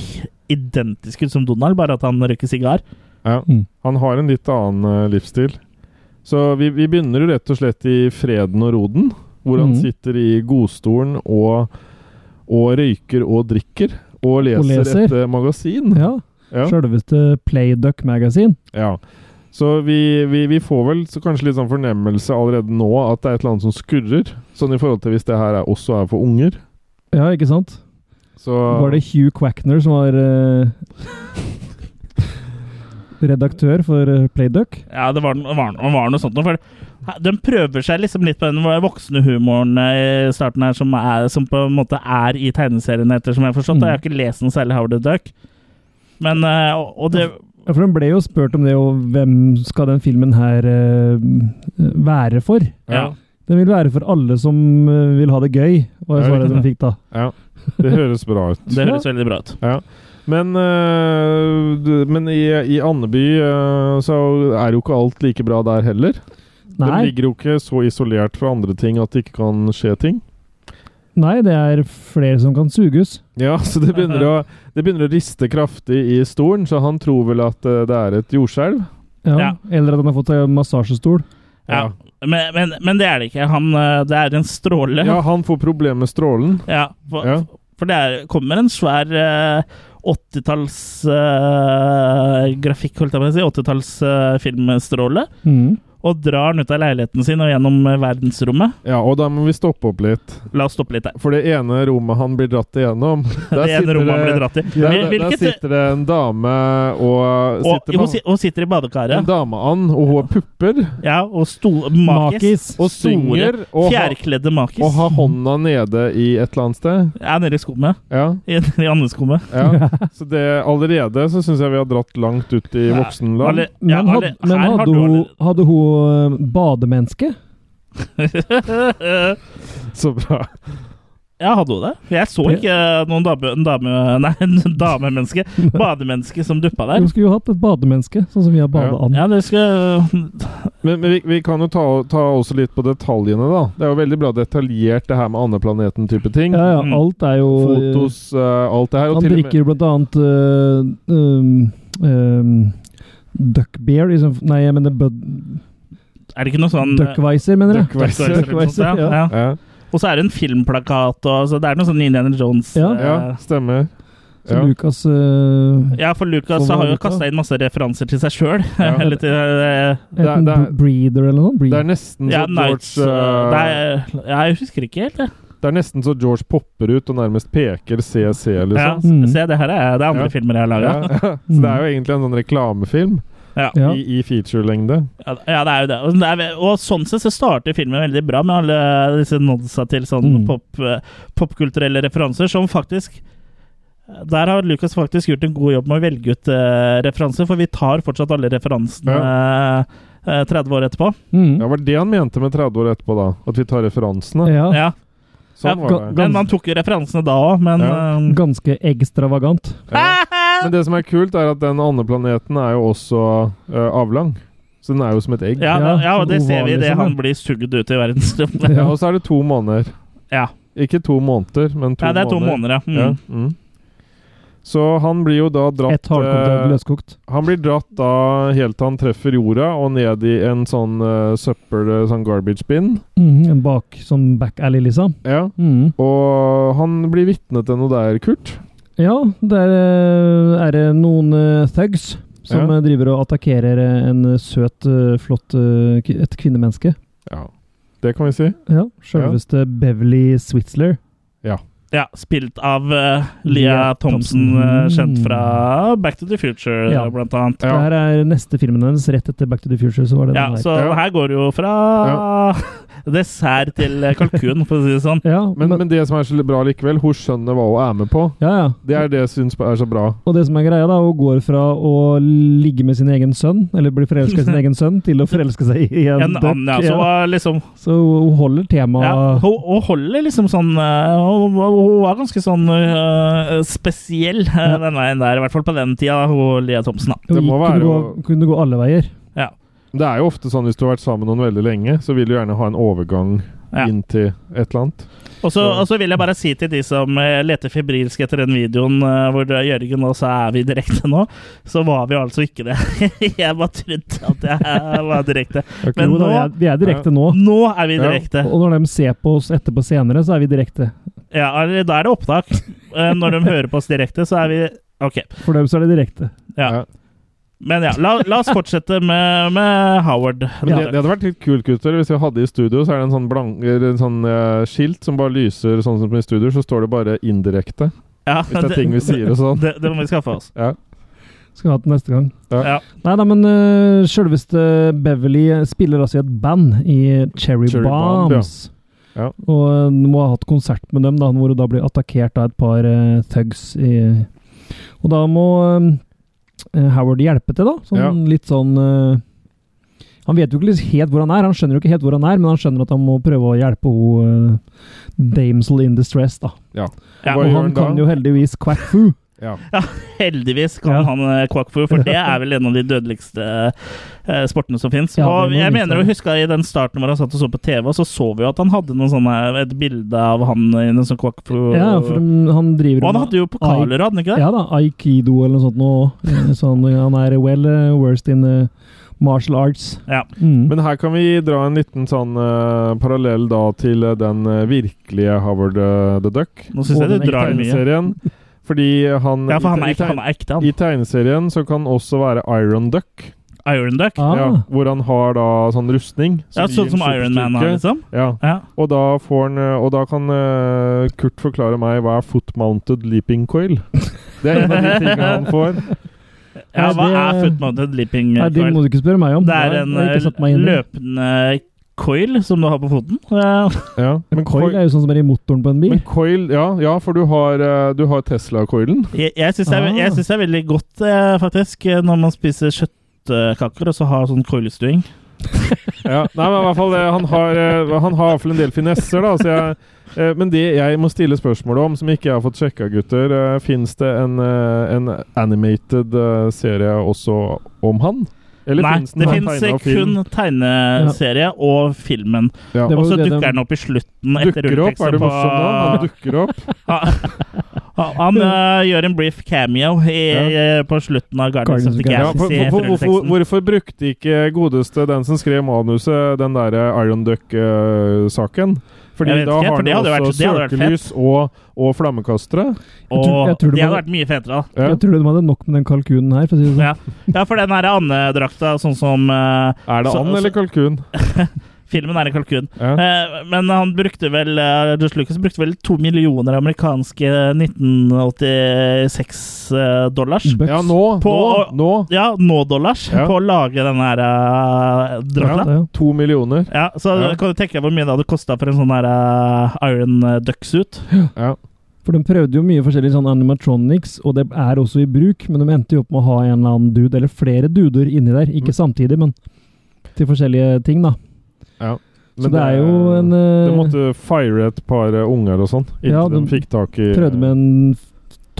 [SPEAKER 1] identisk ut som Donald, bare at han røyker sigar.
[SPEAKER 3] eh, Ja.
[SPEAKER 2] Mm.
[SPEAKER 3] Han har en litt annen eh, livsstil. Så vi, vi begynner jo rett og slett i Freden og Roden, hvor han
[SPEAKER 2] Mhm.
[SPEAKER 3] sitter i godstolen og, og røyker og drikker. Og leser,
[SPEAKER 2] leser.
[SPEAKER 3] et eh, magasin.
[SPEAKER 2] Ja.
[SPEAKER 3] Ja.
[SPEAKER 2] Sjølveste Playduck Magazine.
[SPEAKER 3] Ja. Så vi, vi, vi får vel så kanskje litt sånn fornemmelse allerede nå at det er et eller annet som skurrer. Sånn i forhold til hvis det her er, også er for unger.
[SPEAKER 2] Ja, ikke sant?
[SPEAKER 3] Så
[SPEAKER 2] Var det Hugh Quackner som var eh, redaktør for eh, Playduck?
[SPEAKER 1] Ja, det var, det var, det var noe sånt noe. For det- den prøver seg liksom litt på den voksne humoren eh, i starten her, som, er, som på en måte er i tegneserien, ettersom jeg har forstått. det. Jeg har ikke lest noe særlig Howard the Duck. Men eh, og, og det
[SPEAKER 2] Ja, for den ble jo spurt om det, og hvem skal den filmen her eh, være for?
[SPEAKER 1] Ja.
[SPEAKER 2] Den vil være for alle som eh, vil ha det gøy, var
[SPEAKER 3] Ja,
[SPEAKER 2] svaret
[SPEAKER 3] riktig.
[SPEAKER 2] de fikk da.
[SPEAKER 3] Ja. Det høres bra ut.
[SPEAKER 1] Det høres veldig bra ut.
[SPEAKER 3] Men, øh, du- men i, i Andeby øh, så er jo ikke alt like bra der heller. De
[SPEAKER 2] Nei,
[SPEAKER 3] ligger jo ikke så isolert fra andre ting at det ikke kan skje ting.
[SPEAKER 2] nei, det er flere som kan suges.
[SPEAKER 3] Ja, så det begynner å, det begynner å riste kraftig i stolen, så han tror vel at øh, det er et jordskjelv.
[SPEAKER 2] Ja.
[SPEAKER 1] Ja.
[SPEAKER 2] Eller at han har fått seg massasjestol.
[SPEAKER 1] Ja. Men, men, men det er det ikke. Han, eh, det er en stråle.
[SPEAKER 3] Ja, han får problemer med strålen.
[SPEAKER 1] Ja, for,
[SPEAKER 3] Ja.
[SPEAKER 1] for det er, kommer en svær eh, 80-talls eh, grafikk, holdt jeg på å si. 80-talls eh, filmstråle.
[SPEAKER 2] Mhm.
[SPEAKER 1] Og drar den ut av leiligheten sin og gjennom eh, verdensrommet.
[SPEAKER 3] Ja, og da må vi stoppe opp litt.
[SPEAKER 1] La oss stoppe litt der.
[SPEAKER 3] For det ene rommet han blir dratt igjennom der
[SPEAKER 1] Det ene
[SPEAKER 3] sitter
[SPEAKER 1] rommet han
[SPEAKER 3] det-
[SPEAKER 1] ble dratt i.
[SPEAKER 3] Der,
[SPEAKER 1] Hvil-
[SPEAKER 3] der, der
[SPEAKER 1] Hvilket
[SPEAKER 3] sitter det en dame og
[SPEAKER 1] og,
[SPEAKER 3] sitter
[SPEAKER 1] hun,
[SPEAKER 3] man-
[SPEAKER 1] si- hun sitter i
[SPEAKER 3] En
[SPEAKER 1] badekaret.
[SPEAKER 3] dameand, og hun har pupper.
[SPEAKER 1] Ja, og sto, makis.
[SPEAKER 2] Makis.
[SPEAKER 3] Og
[SPEAKER 1] Store,
[SPEAKER 3] synger. Og har,
[SPEAKER 1] Fjærkledde makis.
[SPEAKER 3] og har hånda nede i et eller annet sted.
[SPEAKER 1] Ja, nede i skummet.
[SPEAKER 3] Ja,
[SPEAKER 1] I, i andeskummet.
[SPEAKER 3] ja. Så det allerede så syns jeg vi har dratt langt ut i
[SPEAKER 1] Ja,
[SPEAKER 3] voksenland.
[SPEAKER 1] Alle-
[SPEAKER 2] Men,
[SPEAKER 1] ja, alle-
[SPEAKER 2] hadde, men
[SPEAKER 1] her har
[SPEAKER 2] hadde,
[SPEAKER 1] du
[SPEAKER 2] hun,
[SPEAKER 1] alle-
[SPEAKER 2] hadde hun eh, bademenneske?
[SPEAKER 3] Så bra.
[SPEAKER 1] Ja, hadde hun det? Jeg så ikke eh, noen dame, en dame Nei, en damemenneske. Bademenneske som duppa der.
[SPEAKER 2] Hun skulle jo hatt et bademenneske, sånn som vi har badeand.
[SPEAKER 1] Ja, det skal
[SPEAKER 3] Men, men vi, vi kan jo ta, ta også litt på detaljene, da. Det er jo veldig bra detaljert, det her med andeplaneten-type ting.
[SPEAKER 2] Ja, ja,
[SPEAKER 1] Mm.
[SPEAKER 2] alt er jo
[SPEAKER 3] Fotos, eh, alt det her. Og
[SPEAKER 2] Han
[SPEAKER 3] til og med
[SPEAKER 2] drikker blant annet uh, um, um, Duck beer liksom. Nei, jeg mener bud,
[SPEAKER 1] Er det ikke noe sånn
[SPEAKER 2] Duckweiser, mener jeg.
[SPEAKER 3] Duckweiser.
[SPEAKER 1] Duckweiser eller noe sånt,
[SPEAKER 2] Duckweiser,
[SPEAKER 1] ja.
[SPEAKER 2] ja.
[SPEAKER 1] Ja.
[SPEAKER 3] ja,
[SPEAKER 1] Og så er det en filmplakat, og så det er noe sånn Indiana Jones
[SPEAKER 2] Ja.
[SPEAKER 1] eh,
[SPEAKER 3] ja, stemmer.
[SPEAKER 2] Så Lucas uh,
[SPEAKER 1] ja, for Lucas
[SPEAKER 2] Sånn
[SPEAKER 1] så
[SPEAKER 2] var
[SPEAKER 1] har jo
[SPEAKER 2] det da.
[SPEAKER 1] kasta inn masse referanser til seg sjøl.
[SPEAKER 3] Ja.
[SPEAKER 1] Eller til eh,
[SPEAKER 3] Det er-
[SPEAKER 2] enten
[SPEAKER 3] det er-
[SPEAKER 2] Breeder eller noe.
[SPEAKER 3] Det er
[SPEAKER 2] Breeder.
[SPEAKER 3] nesten
[SPEAKER 1] ja,
[SPEAKER 3] så
[SPEAKER 1] Nights
[SPEAKER 3] George eh,
[SPEAKER 1] det er, ja, Jeg husker ikke helt, jeg.
[SPEAKER 3] Det er nesten så George popper ut og nærmest peker CC,
[SPEAKER 1] Ja,
[SPEAKER 3] liksom.
[SPEAKER 2] Mm.
[SPEAKER 1] se, det her er, det er andre
[SPEAKER 3] Ja.
[SPEAKER 1] filmer jeg har laga.
[SPEAKER 3] Ja. Så det er jo egentlig en sånn reklamefilm.
[SPEAKER 1] Ja.
[SPEAKER 2] Ja.
[SPEAKER 3] i, i featurelengde.
[SPEAKER 1] Ja, ja, det er jo det. Og, det er, ve- og sånn sett så starter filmen veldig bra med alle disse nodsa til sånn
[SPEAKER 2] Mm.
[SPEAKER 1] pop, eh, popkulturelle referanser, som faktisk Der har Lucas faktisk gjort en god jobb med å velge ut eh, referanser, for vi tar fortsatt alle referansene eh, eh, 30 år etterpå.
[SPEAKER 2] Mm.
[SPEAKER 3] Ja, var det det han mente med 30 år etterpå, da? At vi tar referansene?
[SPEAKER 2] Ja.
[SPEAKER 1] Ja.
[SPEAKER 3] Sånn
[SPEAKER 2] Ja,
[SPEAKER 3] var det.
[SPEAKER 1] Men man tok jo referansene da òg, men
[SPEAKER 3] Ja.
[SPEAKER 1] eh,
[SPEAKER 2] Ganske ekstravagant.
[SPEAKER 3] Ja. Men det som er kult, er at den andeplaneten er jo også eh, avlang. Så den er jo som et egg.
[SPEAKER 1] ja, da, ja, og
[SPEAKER 2] sånn
[SPEAKER 1] det ser vi
[SPEAKER 2] oval,
[SPEAKER 1] idet
[SPEAKER 2] liksom,
[SPEAKER 1] han
[SPEAKER 2] ja.
[SPEAKER 1] blir sugd ut i verdensrommet.
[SPEAKER 3] Ja, og så er det to måneder.
[SPEAKER 1] Ja.
[SPEAKER 3] Ikke to måneder, men to
[SPEAKER 1] ja, det er to måneder, ja. Mm.
[SPEAKER 3] Ja, mm. Så han blir jo da dratt
[SPEAKER 2] Et hardkokt
[SPEAKER 3] eh,
[SPEAKER 2] løskokt.
[SPEAKER 3] Han blir dratt da helt til han treffer jorda og ned i en sånn eh, søppel... eh, Sånn garbage bin.
[SPEAKER 2] Mm, en bak som back alley, liksom.
[SPEAKER 3] Ja.
[SPEAKER 2] Mm.
[SPEAKER 3] Og han blir vitne til noe der, Kurt.
[SPEAKER 2] Ja, der eh, er det noen eh, thugs som
[SPEAKER 3] Ja.
[SPEAKER 2] eh, driver og attakkerer eh, en eh, søt, eh, flott eh, ki- et kvinnemenneske.
[SPEAKER 3] Ja. Det kan vi si.
[SPEAKER 2] Ja, Selveste Beverly Switzler.
[SPEAKER 1] Ja, spilt av eh,
[SPEAKER 2] Leah
[SPEAKER 1] Leah
[SPEAKER 2] Thompson.
[SPEAKER 1] Thompson, eh, kjent fra Back to the Future,
[SPEAKER 2] Ja.
[SPEAKER 1] eh, blant annet.
[SPEAKER 3] Ja.
[SPEAKER 2] Der er neste filmen hennes. Rett etter Back to the Future. så var det
[SPEAKER 1] Ja,
[SPEAKER 2] den der.
[SPEAKER 1] så
[SPEAKER 3] Ja.
[SPEAKER 1] her går det jo fra dessert til eh, kalkun, for å si det sånn.
[SPEAKER 2] ja,
[SPEAKER 3] Men, men det som er så bra likevel, hun skjønner hva hun er med på.
[SPEAKER 2] ja, ja.
[SPEAKER 3] Det er det jeg syns er så bra.
[SPEAKER 2] Og det som er greia, da, hun går fra å ligge med sin egen sønn, eller bli forelska i sin egen sønn, til å forelske seg i en,
[SPEAKER 1] En
[SPEAKER 2] dokk.
[SPEAKER 1] annen, ja, så
[SPEAKER 2] ja.
[SPEAKER 1] var liksom
[SPEAKER 2] Så hun holder temaet
[SPEAKER 1] ja, hun, hun holder liksom sånn eh, Hun, hun var ganske sånn eh, spesiell eh,
[SPEAKER 2] Ja.
[SPEAKER 1] den veien der, i hvert fall på den tida, hun Leah Thompson, da.
[SPEAKER 2] Hun
[SPEAKER 3] Det må
[SPEAKER 2] gikk-
[SPEAKER 3] være
[SPEAKER 2] kunne,
[SPEAKER 3] jo-
[SPEAKER 2] gå, kunne gå alle veier.
[SPEAKER 3] Det er jo ofte sånn hvis du har vært sammen med noen veldig lenge, så vil du gjerne ha en overgang
[SPEAKER 1] Ja.
[SPEAKER 3] inn til et eller annet.
[SPEAKER 1] Og så og så vil jeg bare si til de som eh, leter febrilsk etter den videoen eh, hvor det er Jørgen og så er vi direkte nå, så var vi altså ikke det. Jeg bare trodde at jeg var direkte. Men
[SPEAKER 2] jo, da,
[SPEAKER 1] nå,
[SPEAKER 2] vi, er, vi er direkte nå.
[SPEAKER 1] nå er vi
[SPEAKER 3] Ja.
[SPEAKER 1] direkte.
[SPEAKER 2] Og når de ser på oss etterpå senere, så er vi direkte.
[SPEAKER 1] Ja, eller da er det opptak. Eh, Når de hører på oss direkte, så er vi Ok.
[SPEAKER 2] For dem så er det direkte.
[SPEAKER 1] Ja. Men ja, la, la oss fortsette med, med Howard.
[SPEAKER 3] Men det, det hadde vært litt kult, gutter. Hvis vi hadde i studio, så er det en sånn, blank, eller en sånn eh, skilt som bare lyser sånn som i studio, så står det bare indirekte.
[SPEAKER 1] Ja,
[SPEAKER 3] Hvis det er ting vi sier og sånn.
[SPEAKER 1] Det, det må vi skaffe oss.
[SPEAKER 3] Ja.
[SPEAKER 2] Skal vi ha det neste gang.
[SPEAKER 1] Ja.
[SPEAKER 2] Nei da, men uh, sjølveste Beverly spiller altså i et band i Cherry,
[SPEAKER 3] Cherry Bomb,
[SPEAKER 2] Bombs.
[SPEAKER 3] ja. Ja.
[SPEAKER 2] Og øh, hun må ha hatt konsert med dem, da, hvor hun da blir attakkert av et par øh, thugs. I, og da må øh, Howard hjelpe til, da. Sånn,
[SPEAKER 3] Ja.
[SPEAKER 2] Litt sånn øh, Han vet jo ikke liksom helt hvor han er, han skjønner jo ikke helt hvor han er, men han skjønner at han må prøve å hjelpe hun øh, damsel in distress, da.
[SPEAKER 1] Ja,
[SPEAKER 3] Hva
[SPEAKER 2] Og
[SPEAKER 3] gjør
[SPEAKER 2] han
[SPEAKER 3] han da?
[SPEAKER 2] kan jo heldigvis quack foo.
[SPEAKER 3] Ja.
[SPEAKER 1] Heldigvis kan
[SPEAKER 2] Ja.
[SPEAKER 1] han eh, quackfu, for det er vel en av de dødeligste eh, sportene som fins.
[SPEAKER 2] Ja,
[SPEAKER 1] og
[SPEAKER 2] det må
[SPEAKER 1] jeg
[SPEAKER 2] vi
[SPEAKER 1] mener
[SPEAKER 2] ta.
[SPEAKER 1] å huske i den starten hvor han satt og så på TV, og så så vi jo at han hadde noen sånne, et bilde av han i en sånn quackfu.
[SPEAKER 2] Ja, for um, han driver
[SPEAKER 1] og han
[SPEAKER 2] med-
[SPEAKER 1] hadde jo pokaler, hadde han ikke det?
[SPEAKER 2] Ja da, aikido eller noe sånt nå. Eh, Sånn, han er well eh, versed in eh, martial arts.
[SPEAKER 1] Ja.
[SPEAKER 2] Mm.
[SPEAKER 3] Men her kan vi dra en liten sånn eh, parallell da til eh, den eh, virkelige Howard eh, the Duck.
[SPEAKER 1] Nå syns
[SPEAKER 2] Og
[SPEAKER 1] jeg
[SPEAKER 2] den
[SPEAKER 1] du drar mye.
[SPEAKER 3] Tegneserien. Fordi han,
[SPEAKER 1] Ja, for han
[SPEAKER 3] i,
[SPEAKER 1] er ekte, han.
[SPEAKER 3] teg-
[SPEAKER 1] Er ekte,
[SPEAKER 3] i
[SPEAKER 1] han.
[SPEAKER 3] tegneserien så kan også være Iron Duck.
[SPEAKER 1] Iron Duck.
[SPEAKER 2] ah,
[SPEAKER 3] Ja, hvor han har da sånn rustning.
[SPEAKER 1] Ja,
[SPEAKER 3] gir
[SPEAKER 1] sånn
[SPEAKER 3] en
[SPEAKER 1] som Iron Man
[SPEAKER 3] superstyrke.
[SPEAKER 1] har, liksom.
[SPEAKER 3] Ja,
[SPEAKER 1] Ja.
[SPEAKER 3] Og da, får han, eh, og da kan eh, Kurt forklare meg hva er foot mounted leaping coil. Det er en av de tingene han får.
[SPEAKER 1] Ja,
[SPEAKER 2] Nei,
[SPEAKER 1] hva
[SPEAKER 2] det-
[SPEAKER 1] er footmounted leaping?
[SPEAKER 2] Nei, det
[SPEAKER 1] Carl?
[SPEAKER 2] må du ikke spørre meg om.
[SPEAKER 1] Det er en
[SPEAKER 2] Nei, jeg har ikke satt meg
[SPEAKER 1] eh,
[SPEAKER 2] inn i det.
[SPEAKER 1] løpende coil som du har på foten. Eh,
[SPEAKER 3] Ja, men
[SPEAKER 2] Coil
[SPEAKER 3] coil,
[SPEAKER 2] er jo sånn som er i motoren på en bil.
[SPEAKER 3] men coil ja, ja, for du har, eh, du har Tesla-coilen.
[SPEAKER 1] Jeg, jeg syns det, er-
[SPEAKER 2] Ah.
[SPEAKER 1] jeg synes det er veldig godt, eh, faktisk, eh, når man spiser kjøttkaker og så har sånn coilstuing.
[SPEAKER 3] Ja. Nei, men i hvert fall eh, han har, eh, han har i hvert fall en del finesser, da. Så jeg, eh, men det jeg må stille spørsmål om, som ikke jeg har fått sjekka, gutter Fins det en, eh, en animated eh, serie også om han? Eller
[SPEAKER 1] Nei,
[SPEAKER 3] finnes den
[SPEAKER 1] det
[SPEAKER 3] bare
[SPEAKER 1] fins
[SPEAKER 3] tegnet og film?
[SPEAKER 1] kun tegneserie og filmen.
[SPEAKER 3] Ja.
[SPEAKER 2] Det
[SPEAKER 1] Og
[SPEAKER 2] var jo
[SPEAKER 1] så
[SPEAKER 2] det
[SPEAKER 1] dukker
[SPEAKER 2] de-
[SPEAKER 1] den opp i slutten. Etter
[SPEAKER 3] Dukker opp, er du
[SPEAKER 1] rulleteksten
[SPEAKER 3] morsom da? Han
[SPEAKER 1] på-
[SPEAKER 3] dukker opp.
[SPEAKER 1] Han, han eh, gjør en brief cameo i, eh, på slutten av Guardians of the
[SPEAKER 2] Guardians
[SPEAKER 3] Ja,
[SPEAKER 1] Galaxy.
[SPEAKER 3] for, for, for,
[SPEAKER 1] etter
[SPEAKER 3] hvorfor,
[SPEAKER 1] rulleteksten.
[SPEAKER 3] hvorfor brukte ikke godeste den som skrev manuset, den der eh, Iron Duck-saken? Fordi
[SPEAKER 1] Jeg vet
[SPEAKER 3] da
[SPEAKER 1] ikke,
[SPEAKER 3] har
[SPEAKER 1] for
[SPEAKER 3] den
[SPEAKER 1] det hadde
[SPEAKER 3] også
[SPEAKER 1] vært- det hadde vært
[SPEAKER 3] søkelys og, og flammekastere.
[SPEAKER 2] Jeg tror- jeg
[SPEAKER 1] Og
[SPEAKER 2] tror det
[SPEAKER 1] det hadde
[SPEAKER 2] var-
[SPEAKER 1] vært mye fetere, da.
[SPEAKER 3] Ja.
[SPEAKER 2] Jeg tror de hadde nok med den kalkunen her. For å si det sånn.
[SPEAKER 1] Ja, ja for den her andedrakta, sånn som eh,
[SPEAKER 3] Er det
[SPEAKER 1] Så-
[SPEAKER 3] and eller kalkun?
[SPEAKER 1] Filmen er en kalkun.
[SPEAKER 3] Ja.
[SPEAKER 1] Eh, men han brukte vel eh, George Lucas brukte vel to millioner amerikanske 1986-dollars.
[SPEAKER 2] Bucks.
[SPEAKER 3] Ja, nå! Nå!
[SPEAKER 1] På-
[SPEAKER 3] nå.
[SPEAKER 1] ja, nå-dollars
[SPEAKER 3] Mm. Ja.
[SPEAKER 1] på å lage den her eh,
[SPEAKER 2] Ja,
[SPEAKER 1] Dracula.
[SPEAKER 2] det, ja.
[SPEAKER 3] To millioner.
[SPEAKER 1] Ja, så
[SPEAKER 3] Ja.
[SPEAKER 1] kan du tenke deg hvor mye det hadde kosta for en sånn her eh, Iron Duck-suit.
[SPEAKER 3] Ja.
[SPEAKER 2] For de prøvde jo mye forskjellig sånn animatronics, og det er også i bruk, men de endte jo opp med å ha en eller annen dude, eller flere duder inni der. Ikke samtidig, men til forskjellige ting, da. Så det, er jo en eh,
[SPEAKER 3] Du måtte fire et par eh, unger og sånn, inntil
[SPEAKER 2] Ja,
[SPEAKER 3] de
[SPEAKER 2] de
[SPEAKER 3] fikk tak i
[SPEAKER 2] Prøvde med en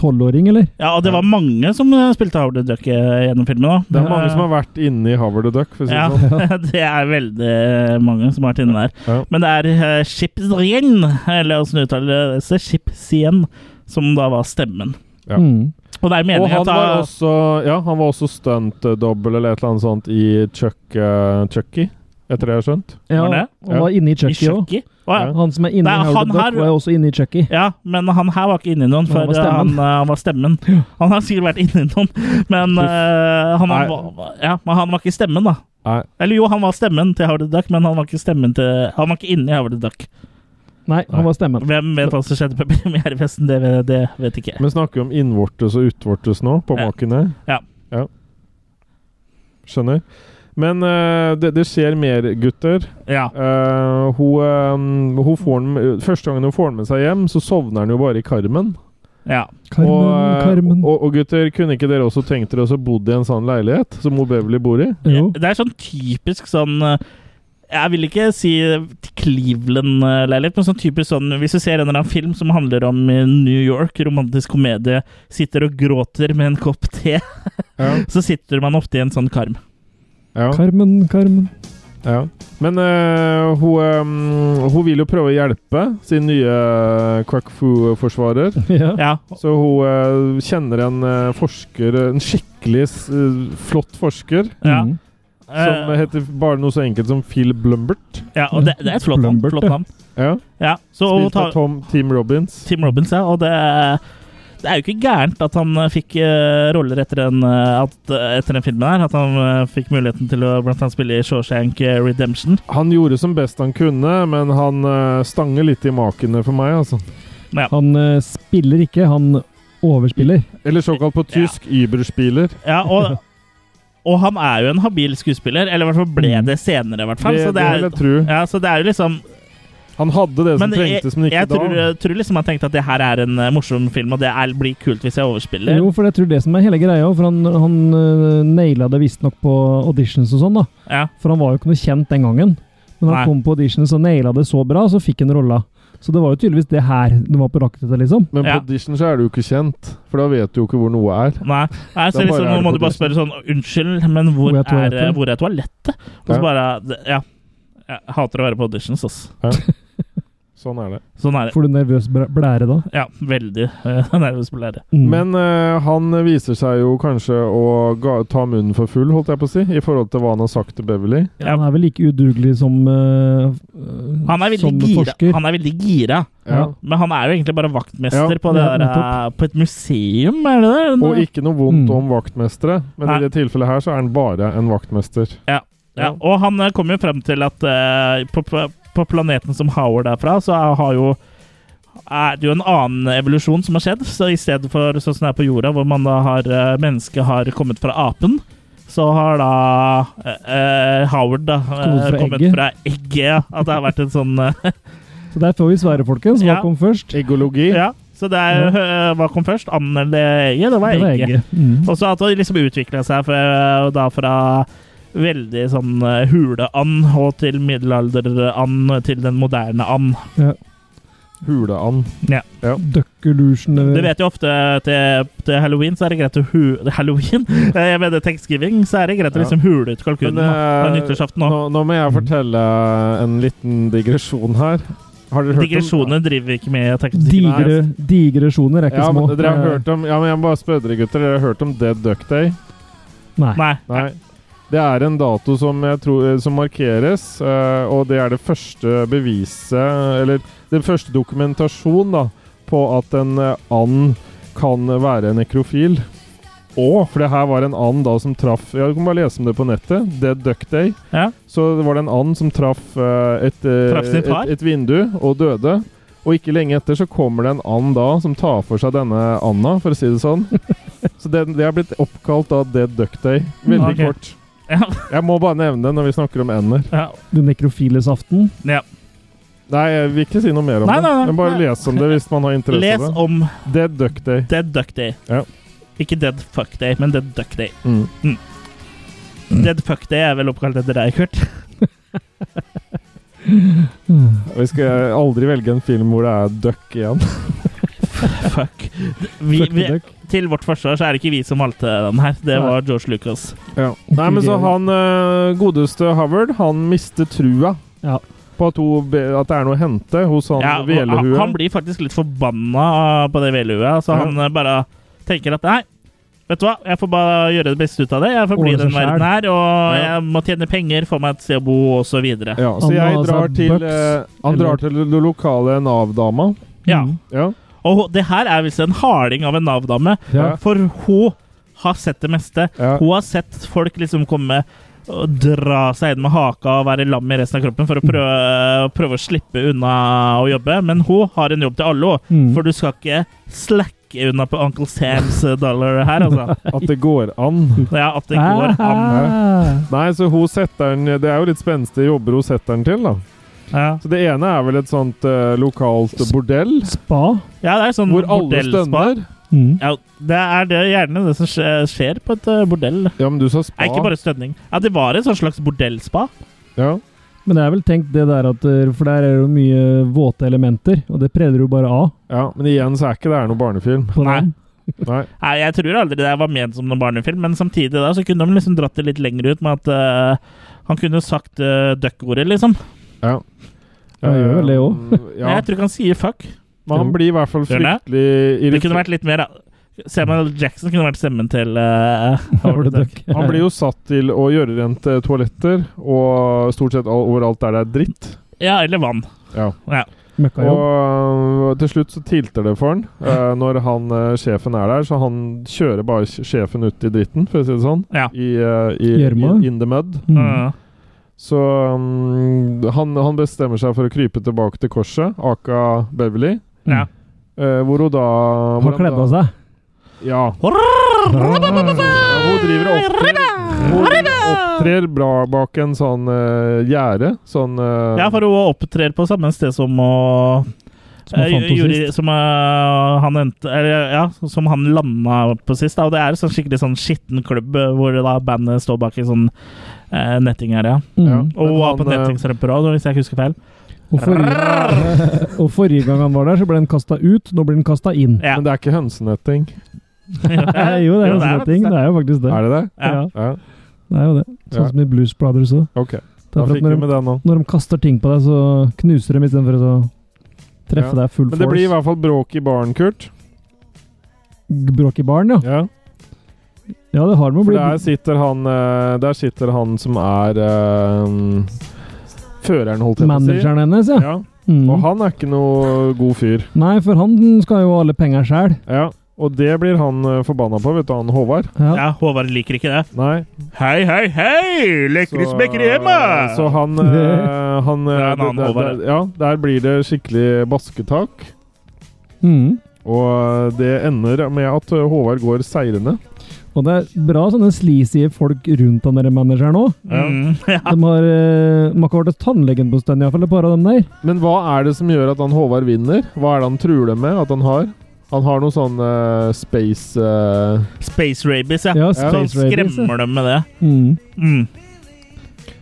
[SPEAKER 2] tolvåring, eller?
[SPEAKER 1] Ja, og det
[SPEAKER 3] Ja.
[SPEAKER 1] var mange som eh, spilte Howard the Duck eh, gjennom filmen. da.
[SPEAKER 3] Det er mange
[SPEAKER 1] Eh,
[SPEAKER 3] som har vært inni Howard the Duck, for å si det
[SPEAKER 1] ja,
[SPEAKER 3] sånn.
[SPEAKER 1] det er veldig mange som har vært inne der.
[SPEAKER 3] Ja.
[SPEAKER 1] Men det er eh, Shipsrien, eller åssen uttaler det seg, Shipsien, som da var stemmen.
[SPEAKER 3] Ja.
[SPEAKER 2] Mm.
[SPEAKER 1] Og det er
[SPEAKER 3] Og
[SPEAKER 1] meningen
[SPEAKER 3] han
[SPEAKER 1] at da,
[SPEAKER 3] var også Ja, han var også stuntdobbel eller et eller annet sånt i Chuck, eh, Chucky, etter det jeg har skjønt.
[SPEAKER 2] Ja,
[SPEAKER 1] Var det?
[SPEAKER 2] han var inne i
[SPEAKER 1] I
[SPEAKER 2] Chucky òg.
[SPEAKER 1] Chucky? Å, ja.
[SPEAKER 3] Ja.
[SPEAKER 2] Han som er inne
[SPEAKER 1] Nei,
[SPEAKER 2] i Howard
[SPEAKER 1] han
[SPEAKER 2] the Duck,
[SPEAKER 1] her-
[SPEAKER 2] var jo også inne i Chucky.
[SPEAKER 1] ja, men han her var ikke inne i noen, for
[SPEAKER 2] Han var
[SPEAKER 1] eh,
[SPEAKER 2] stemmen.
[SPEAKER 1] han, eh, han var stemmen. Han har sikkert vært inne i noen, men eh, han,
[SPEAKER 3] Nei.
[SPEAKER 1] var, ja, men han var ikke stemmen, da.
[SPEAKER 3] Nei.
[SPEAKER 1] Eller jo, han var stemmen til Howard the Duck, men han var ikke stemmen til Han var ikke inne i Howard the Duck.
[SPEAKER 2] Nei,
[SPEAKER 3] Nei.
[SPEAKER 2] han var stemmen.
[SPEAKER 1] Hvem vet hva som skjedde på premierefesten? Det, vet- det vet ikke jeg.
[SPEAKER 3] Men snakker vi om innvortes og utvortes nå, på
[SPEAKER 1] Ja.
[SPEAKER 3] maken her?
[SPEAKER 1] Ja.
[SPEAKER 3] Ja. Skjønner. Men eh, det, det skjer mer, gutter.
[SPEAKER 1] Ja.
[SPEAKER 3] Eh, hun, eh, hun får den, første gangen hun får den med seg hjem, så sovner han jo bare i karmen.
[SPEAKER 1] ja.
[SPEAKER 2] Carmen,
[SPEAKER 3] og, eh,
[SPEAKER 2] Carmen.
[SPEAKER 3] Og, og gutter, kunne ikke dere også tenkt dere å bodd i en sånn leilighet som hun Beverly bor i?
[SPEAKER 2] jo.
[SPEAKER 1] Det er sånn typisk sånn eh, Jeg vil ikke si Cleveland-leilighet, men sånn typisk sånn Hvis du ser en eller annen film som handler om eh, New York, romantisk komedie, sitter og gråter med en kopp te,
[SPEAKER 3] Ja.
[SPEAKER 1] så sitter man ofte i en sånn karm.
[SPEAKER 3] ja.
[SPEAKER 2] Carmen, Carmen.
[SPEAKER 3] Ja. Men eh, hun, eh, hun vil jo prøve å hjelpe sin nye Kwakfu-forsvarer.
[SPEAKER 2] Ja.
[SPEAKER 1] Ja.
[SPEAKER 3] Så hun eh, kjenner en eh, forsker, en skikkelig s- eh, flott forsker,
[SPEAKER 1] ja.
[SPEAKER 2] Mm.
[SPEAKER 3] som
[SPEAKER 1] Eh,
[SPEAKER 3] heter bare noe så enkelt som Phil Blumbert.
[SPEAKER 1] ja og det, det er et flott navn.
[SPEAKER 2] Plumbert,
[SPEAKER 1] Flott
[SPEAKER 2] ja.
[SPEAKER 1] navn.
[SPEAKER 3] Ja.
[SPEAKER 1] Ja. Så hun
[SPEAKER 3] Spilt
[SPEAKER 1] tar-
[SPEAKER 3] av Tom Team Robins.
[SPEAKER 1] Tim Robbins, ja. Og det, det er jo ikke gærent at han eh, fikk eh, roller etter den, eh, at, eh, etter den filmen her. At han eh, fikk muligheten til å blant annet spille i Shawshank eh, Redemption.
[SPEAKER 3] Han gjorde som best han kunne, men han eh, stanger litt i makene for meg, altså.
[SPEAKER 2] Han eh, spiller ikke, han overspiller.
[SPEAKER 3] Eller såkalt på tysk Überspiller.
[SPEAKER 1] Ja, og, og han er jo en habil skuespiller, eller i hvert fall ble
[SPEAKER 2] Mm.
[SPEAKER 1] det senere, i hvert fall.
[SPEAKER 3] Det,
[SPEAKER 1] Så
[SPEAKER 3] det
[SPEAKER 1] det
[SPEAKER 3] vil
[SPEAKER 1] er,
[SPEAKER 3] jeg tro.
[SPEAKER 1] ja, så det er jo liksom
[SPEAKER 3] Han hadde det som
[SPEAKER 1] Men jeg,
[SPEAKER 3] trengtes, men ikke
[SPEAKER 1] jeg
[SPEAKER 3] da.
[SPEAKER 1] tror, tror liksom jeg tenkte at det her er en eh, morsom film, og det er, blir kult hvis jeg overspiller.
[SPEAKER 2] Jo, for jeg tror det som er hele greia, for han, han eh, naila det visstnok på auditions og sånn, da.
[SPEAKER 1] Ja,
[SPEAKER 2] For han var jo ikke noe kjent den gangen. Men han
[SPEAKER 1] Nei.
[SPEAKER 2] kom på auditions og naila det så bra, så fikk han rolla. Så det var jo tydeligvis det her det var på rakket, liksom.
[SPEAKER 3] Men på
[SPEAKER 1] Ja.
[SPEAKER 3] audition så er du jo ikke kjent, for da vet du jo ikke hvor noe er.
[SPEAKER 1] Nei, Nei så
[SPEAKER 3] Da bare
[SPEAKER 1] liksom,
[SPEAKER 3] er
[SPEAKER 1] nå
[SPEAKER 3] det
[SPEAKER 1] må
[SPEAKER 3] på
[SPEAKER 1] du bare spørre sånn Unnskyld, men hvor,
[SPEAKER 2] Hvor er
[SPEAKER 1] er, eh,
[SPEAKER 2] toalettet?»
[SPEAKER 1] hvor er toalettet? Og så
[SPEAKER 3] Ja.
[SPEAKER 1] bare Ja. Jeg hater å være på auditions, ass.
[SPEAKER 3] Sånn er det.
[SPEAKER 1] Sånn er det.
[SPEAKER 2] Får du nervøs blæ- blære da?
[SPEAKER 1] Ja, veldig eh, nervøs på lære.
[SPEAKER 2] Mm.
[SPEAKER 3] Men eh, han viser seg jo kanskje å ga, ta munnen for full, holdt jeg på å si, i forhold til hva han har sagt til Beverly.
[SPEAKER 1] Ja.
[SPEAKER 2] Han er vel like udugelig som eh,
[SPEAKER 1] Han er veldig
[SPEAKER 2] Som
[SPEAKER 1] gira.
[SPEAKER 2] forsker.
[SPEAKER 1] Han er veldig gira.
[SPEAKER 3] Ja.
[SPEAKER 1] Men han er jo egentlig bare vaktmester
[SPEAKER 3] Ja,
[SPEAKER 1] på, det
[SPEAKER 2] ja,
[SPEAKER 1] der, eh, på et museum, er det det?
[SPEAKER 3] Og ikke noe vondt
[SPEAKER 2] Mm.
[SPEAKER 3] om vaktmestere, men
[SPEAKER 1] Nei.
[SPEAKER 3] i det tilfellet her så er han bare en vaktmester.
[SPEAKER 1] ja. Og han eh, kom jo frem til at eh, på, på, på planeten som Howard er fra, så er- har jo er det jo en annen evolusjon som har skjedd. Så I stedet for sånn som det er på jorda, hvor man da har eh, mennesket har kommet fra apen, så har da eh, eh, Howard da, eh,
[SPEAKER 2] Kommet fra
[SPEAKER 1] kommet
[SPEAKER 2] egget.
[SPEAKER 1] fra egget. Ja. At det har vært en sånn eh,
[SPEAKER 2] Så der får vi svære, folkens. Hva
[SPEAKER 1] Ja.
[SPEAKER 2] kom først?
[SPEAKER 3] Egologi.
[SPEAKER 1] Ja, så det er, eh, hva kom først? Anden eller egget? Det var
[SPEAKER 2] Det var
[SPEAKER 1] egget.
[SPEAKER 2] egget. Mm.
[SPEAKER 1] Og så at det liksom utvikla seg fra, eh, da fra veldig sånn eh, huleand og til middelalderand til den moderne and.
[SPEAKER 3] Huleand.
[SPEAKER 2] Duckelusion
[SPEAKER 1] Du
[SPEAKER 2] eller
[SPEAKER 1] vet jo ofte til, til halloween så er det greit å hu... Halloween? Eh, Jeg mener thanksgiving, så er det greit å
[SPEAKER 3] Ja.
[SPEAKER 1] liksom hule ut kalkunen.
[SPEAKER 3] Men,
[SPEAKER 1] da.
[SPEAKER 3] eh,
[SPEAKER 1] Og nyttårsaften
[SPEAKER 3] Nå,
[SPEAKER 1] òg.
[SPEAKER 3] nå må jeg fortelle en liten digresjon her. Har dere hørt om
[SPEAKER 1] Digresjoner driver vi ikke altså. med. takk og lov.
[SPEAKER 2] digre, digresjoner. Er ikke
[SPEAKER 3] ja,
[SPEAKER 2] små.
[SPEAKER 3] men dere har
[SPEAKER 2] Eh,
[SPEAKER 3] hørt om, ja, men jeg må bare spørre dere, gutter. Dere har hørt om Dead Duck Day?
[SPEAKER 2] Nei.
[SPEAKER 1] Nei.
[SPEAKER 3] Nei. Det er en dato som, jeg tror, som markeres, eh, og det er det første beviset Eller den første dokumentasjon da, på at en eh, and kan være nekrofil. Og, for det her var en and da som traff ja, Du kan bare lese om det på nettet. Dead Duck Day.
[SPEAKER 1] Ja.
[SPEAKER 3] Så det var det en and som traff eh, et, eh,
[SPEAKER 1] Traff sin far?
[SPEAKER 3] et, et vindu og døde. Og ikke lenge etter så kommer det en and da som tar for seg denne anda, for å si det sånn. så det, det er blitt oppkalt da Dead Duck Day. Veldig
[SPEAKER 1] Ok.
[SPEAKER 3] kort. Jeg må bare nevne det når vi snakker om ender.
[SPEAKER 1] Ja.
[SPEAKER 2] Den nekrofiles aften.
[SPEAKER 1] ja.
[SPEAKER 3] Nei, jeg vil ikke si noe mer om
[SPEAKER 1] Nei, nei, nei.
[SPEAKER 3] det. Men bare
[SPEAKER 1] Nei.
[SPEAKER 3] les om det hvis man har interesse
[SPEAKER 1] Les
[SPEAKER 3] av det.
[SPEAKER 1] om
[SPEAKER 3] Dead Duck Day.
[SPEAKER 1] Dead Duck Day.
[SPEAKER 3] Ja.
[SPEAKER 1] Ikke Dead Fuck Day, men Dead Duck Day.
[SPEAKER 3] Mm.
[SPEAKER 1] Dead Fuck Day er vel oppkalt etter deg, Kurt?
[SPEAKER 3] Vi skal aldri velge en film hvor det er duck igjen.
[SPEAKER 1] Fuck. Vi,
[SPEAKER 2] Fuck the
[SPEAKER 1] vi,
[SPEAKER 2] duck.
[SPEAKER 1] til vårt forsvar så er det ikke vi som valgte den her. Det
[SPEAKER 3] Nei.
[SPEAKER 1] var George Lucas.
[SPEAKER 3] Nei, men så han eh, godeste Howard, han mister trua
[SPEAKER 2] Ja.
[SPEAKER 3] på at, hun, be- at det er noe å hente hos han
[SPEAKER 1] Ja, og han,
[SPEAKER 3] velehue.
[SPEAKER 1] han blir faktisk litt forbanna på det velhuet, så
[SPEAKER 3] Ja.
[SPEAKER 1] han eh, bare tenker at nei, vet du hva, jeg får bare gjøre det beste ut av det. Jeg får bli i
[SPEAKER 2] Ordne
[SPEAKER 1] den
[SPEAKER 2] seg
[SPEAKER 1] verden her, og
[SPEAKER 3] Ja.
[SPEAKER 1] jeg må tjene penger, få meg et sted å bo, og så videre.
[SPEAKER 3] ja, så
[SPEAKER 2] Han må
[SPEAKER 3] jeg
[SPEAKER 2] ha seg
[SPEAKER 3] drar til,
[SPEAKER 2] bucks,
[SPEAKER 3] eh, han
[SPEAKER 2] eller-
[SPEAKER 3] drar til det lokale Nav-dama.
[SPEAKER 1] Ja.
[SPEAKER 2] Mm.
[SPEAKER 3] Ja.
[SPEAKER 1] Og hun- det her er visst en harding av en Nav-dame,
[SPEAKER 3] Ja.
[SPEAKER 1] for hun har sett det meste.
[SPEAKER 3] Ja.
[SPEAKER 1] Hun har sett folk liksom komme og dra seg inn med haka og være lam i resten av kroppen for å prøve,
[SPEAKER 3] Mm.
[SPEAKER 1] prøve å slippe unna å jobbe, men hun har en jobb til alle, hun.
[SPEAKER 2] Mm.
[SPEAKER 1] For du skal ikke slacke unna på Uncle Sams eh, dollar her, altså.
[SPEAKER 3] At det går an.
[SPEAKER 1] Ja, at det går an.
[SPEAKER 2] Ah.
[SPEAKER 3] Nei, så hun setter den Det er jo litt spenstige jobber hun setter den til, da.
[SPEAKER 1] Ja,
[SPEAKER 3] Så det ene er vel et sånt eh, lokalt bordell
[SPEAKER 2] Spa.
[SPEAKER 1] ja det er sånn
[SPEAKER 3] hvor alle
[SPEAKER 1] bordellspa.
[SPEAKER 3] stønner.
[SPEAKER 2] Mm.
[SPEAKER 1] Ja, det er det gjerne det som skje- skjer på et eh, bordell.
[SPEAKER 3] Ja, men du sa
[SPEAKER 1] Nei,
[SPEAKER 3] spa.
[SPEAKER 1] ikke bare stønning. Ja, det var et sånn slags bordellspa.
[SPEAKER 3] ja.
[SPEAKER 2] Men det er vel tenkt det der at eh, For der er det jo mye våte elementer, og det preller jo bare av.
[SPEAKER 3] ja, men igjen så er ikke det her noen barnefilm.
[SPEAKER 2] På
[SPEAKER 1] Nei.
[SPEAKER 2] den.
[SPEAKER 3] Nei.
[SPEAKER 1] Nei, jeg tror aldri det var ment som noen barnefilm, men samtidig da så kunne de liksom dratt det litt lenger ut med at eh, han kunne sagt uh, duck-ordet, liksom.
[SPEAKER 2] Ja, gjør vel det
[SPEAKER 3] Eh,
[SPEAKER 1] Men
[SPEAKER 3] Ja.
[SPEAKER 1] jeg tror ikke han sier fuck.
[SPEAKER 3] Men han blir i hvert fall
[SPEAKER 1] Gjør han det?
[SPEAKER 3] fryktelig
[SPEAKER 1] Det
[SPEAKER 3] irritert.
[SPEAKER 1] kunne vært litt mer da. Samuel Jackson kunne vært stemmen til eh,
[SPEAKER 2] Var det
[SPEAKER 1] Howard the Duck.
[SPEAKER 2] duck?
[SPEAKER 3] Han blir jo satt til å gjøre rent eh, toaletter, og stort sett all- overalt der det er dritt.
[SPEAKER 1] Ja, eller vann.
[SPEAKER 3] Ja.
[SPEAKER 1] Ja.
[SPEAKER 2] Møkkajobb.
[SPEAKER 3] Og øh, til slutt så tilter det for han øh, når han, øh, sjefen er der, så han kjører bare sj- sjefen ut i dritten, for å si det sånn.
[SPEAKER 1] Ja.
[SPEAKER 3] I, øh, i, i
[SPEAKER 2] Gjørma.
[SPEAKER 3] in the mud.
[SPEAKER 2] Mm.
[SPEAKER 3] Ah.
[SPEAKER 1] Ja.
[SPEAKER 3] Så mm, han, han bestemmer seg for å krype tilbake til korset, aka Beverly.
[SPEAKER 1] Ja.
[SPEAKER 3] øh, hvor hun da hvor
[SPEAKER 2] Har kledd av
[SPEAKER 3] da-
[SPEAKER 2] seg.
[SPEAKER 3] Ja. Hun driver og opptrer, hun opptrer bra bak en sånn øh, gjerde. Sånn øh,
[SPEAKER 1] Ja, for hun opptrer på samme sted som å
[SPEAKER 2] Som han
[SPEAKER 1] Eh,
[SPEAKER 2] fant henne
[SPEAKER 1] gjorde-
[SPEAKER 2] sist.
[SPEAKER 1] som, eh, han endte, eller, ja, som han landa på sist. Da. Og det er en sånn skikkelig sånn skitten klubb eh, hvor da bandet står bak i sånn eh, netting her, ja.
[SPEAKER 3] ja.
[SPEAKER 2] Mm.
[SPEAKER 1] Og
[SPEAKER 3] Men
[SPEAKER 1] hun var på
[SPEAKER 3] han, øh,
[SPEAKER 1] nettingsrømper òg, hvis jeg ikke husker feil.
[SPEAKER 2] Og, forrige, og forrige gang han var der, så ble den kasta ut. Nå blir den kasta inn.
[SPEAKER 1] Ja.
[SPEAKER 3] Men det er ikke hønsenetting.
[SPEAKER 2] Eh, jo, det er jo en sånn ting. Det er jo faktisk det.
[SPEAKER 3] Er det det?
[SPEAKER 1] Ja.
[SPEAKER 2] Ja,
[SPEAKER 3] Ja.
[SPEAKER 2] det er jo det.
[SPEAKER 3] Ja.
[SPEAKER 2] Sånn som i Blues Brothers òg.
[SPEAKER 3] Ok, da fikk vi
[SPEAKER 2] Når, de-
[SPEAKER 3] med det nå.
[SPEAKER 2] når de kaster ting på deg, så knuser de istedenfor å treffe
[SPEAKER 3] Ja.
[SPEAKER 2] deg full
[SPEAKER 3] Men det blir i
[SPEAKER 2] force.
[SPEAKER 3] hvert fall bråk i baren, Kurt.
[SPEAKER 2] Bråk i baren, ja.
[SPEAKER 3] Ja.
[SPEAKER 2] Ja, det har de jo
[SPEAKER 3] For
[SPEAKER 2] blitt.
[SPEAKER 3] der sitter han eh, Der sitter han som er eh, Føreren, holdt jeg på å si.
[SPEAKER 2] Manageren hennes, ja.
[SPEAKER 3] Ja.
[SPEAKER 2] Mm.
[SPEAKER 3] Og han er ikke noe god fyr.
[SPEAKER 2] Nei, for han skal jo ha alle penger sjæl.
[SPEAKER 3] Ja. Og det blir han eh, forbanna på, vet du, han Håvard.
[SPEAKER 2] Ja.
[SPEAKER 1] Ja, Håvard liker ikke det.
[SPEAKER 3] Nei. eh,
[SPEAKER 1] Hei, hei, hei! Lekrisbekker hjemme!
[SPEAKER 3] så han, eh, han eh,
[SPEAKER 1] Det er en annen
[SPEAKER 3] det- det-
[SPEAKER 1] Håvard,
[SPEAKER 3] det- Ja, der blir det skikkelig basketak.
[SPEAKER 2] Mm.
[SPEAKER 3] Og eh, det ender med at eh, Håvard går seirende.
[SPEAKER 2] Og det er bra sånne sleazy folk rundt han der manageren òg.
[SPEAKER 1] Mm, ja.
[SPEAKER 2] De har, eh, de har ikke vært hos tannlegen på en stund, iallfall et par av dem der.
[SPEAKER 3] Men hva er det som gjør at han Håvard vinner? Hva er det han truer dem med at han har? Han har noe sånn eh, space eh,
[SPEAKER 1] Space rabies, ja.
[SPEAKER 2] Ja,
[SPEAKER 1] Så han
[SPEAKER 2] space rabies, ja.
[SPEAKER 1] skremmer dem med det.
[SPEAKER 2] Mm.
[SPEAKER 1] Mm.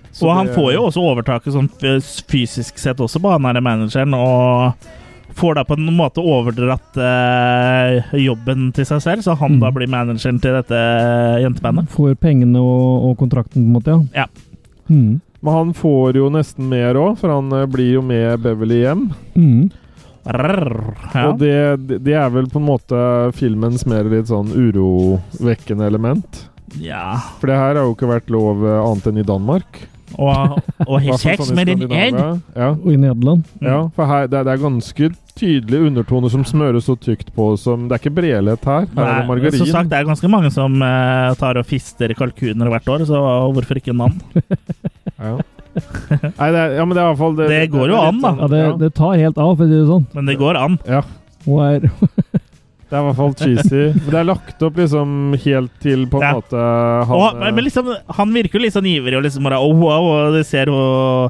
[SPEAKER 3] så
[SPEAKER 1] og han
[SPEAKER 3] det-
[SPEAKER 1] får jo også overtaket sånn fys- fysisk sett også på han her manageren, og får da på en måte overdratt eh, jobben til seg selv, så han
[SPEAKER 2] Mm.
[SPEAKER 1] da blir manageren til dette eh, jentebandet.
[SPEAKER 2] Får pengene og, og kontrakten, på en måte,
[SPEAKER 1] Ja.
[SPEAKER 2] ja. Mm.
[SPEAKER 3] Men han får jo nesten mer òg, for han eh, blir jo med Beverly hjem.
[SPEAKER 2] Mm.
[SPEAKER 1] Rrr, ja.
[SPEAKER 3] Og det, det er vel på en måte filmens mer litt sånn urovekkende element.
[SPEAKER 1] ja.
[SPEAKER 3] For det her har jo ikke vært lov eh, annet enn i Danmark.
[SPEAKER 1] og, og har
[SPEAKER 3] Hva for
[SPEAKER 1] sex
[SPEAKER 3] sånn i
[SPEAKER 1] med din egg.
[SPEAKER 3] Skandinavia? Ja.
[SPEAKER 2] Og i Nederland.
[SPEAKER 3] Ja, for her, det, er- det er ganske tydelige undertoner som smøres så tykt på som Det er ikke brelett her. Her er det
[SPEAKER 1] Nei,
[SPEAKER 3] margarin.
[SPEAKER 1] Som sagt, det er ganske mange som eh, tar og fister kalkuner hvert år, så hvorfor ikke en mann?
[SPEAKER 3] ja. Nei, det er, ja, men det er i hvert fall
[SPEAKER 1] Det går jo
[SPEAKER 3] er litt
[SPEAKER 1] an, da.
[SPEAKER 3] sånn-
[SPEAKER 2] Ja, det,
[SPEAKER 3] ja.
[SPEAKER 2] det tar helt av, for å si det sånn.
[SPEAKER 1] Men det går an.
[SPEAKER 3] Ja,
[SPEAKER 2] Og er,
[SPEAKER 3] det er i hvert fall cheesy. Men det er lagt opp liksom helt til på en
[SPEAKER 1] Ja.
[SPEAKER 3] måte han, eh,
[SPEAKER 1] Og, han- men liksom, han virker jo litt sånn ivrig og liksom bare oh, wow, og du ser jo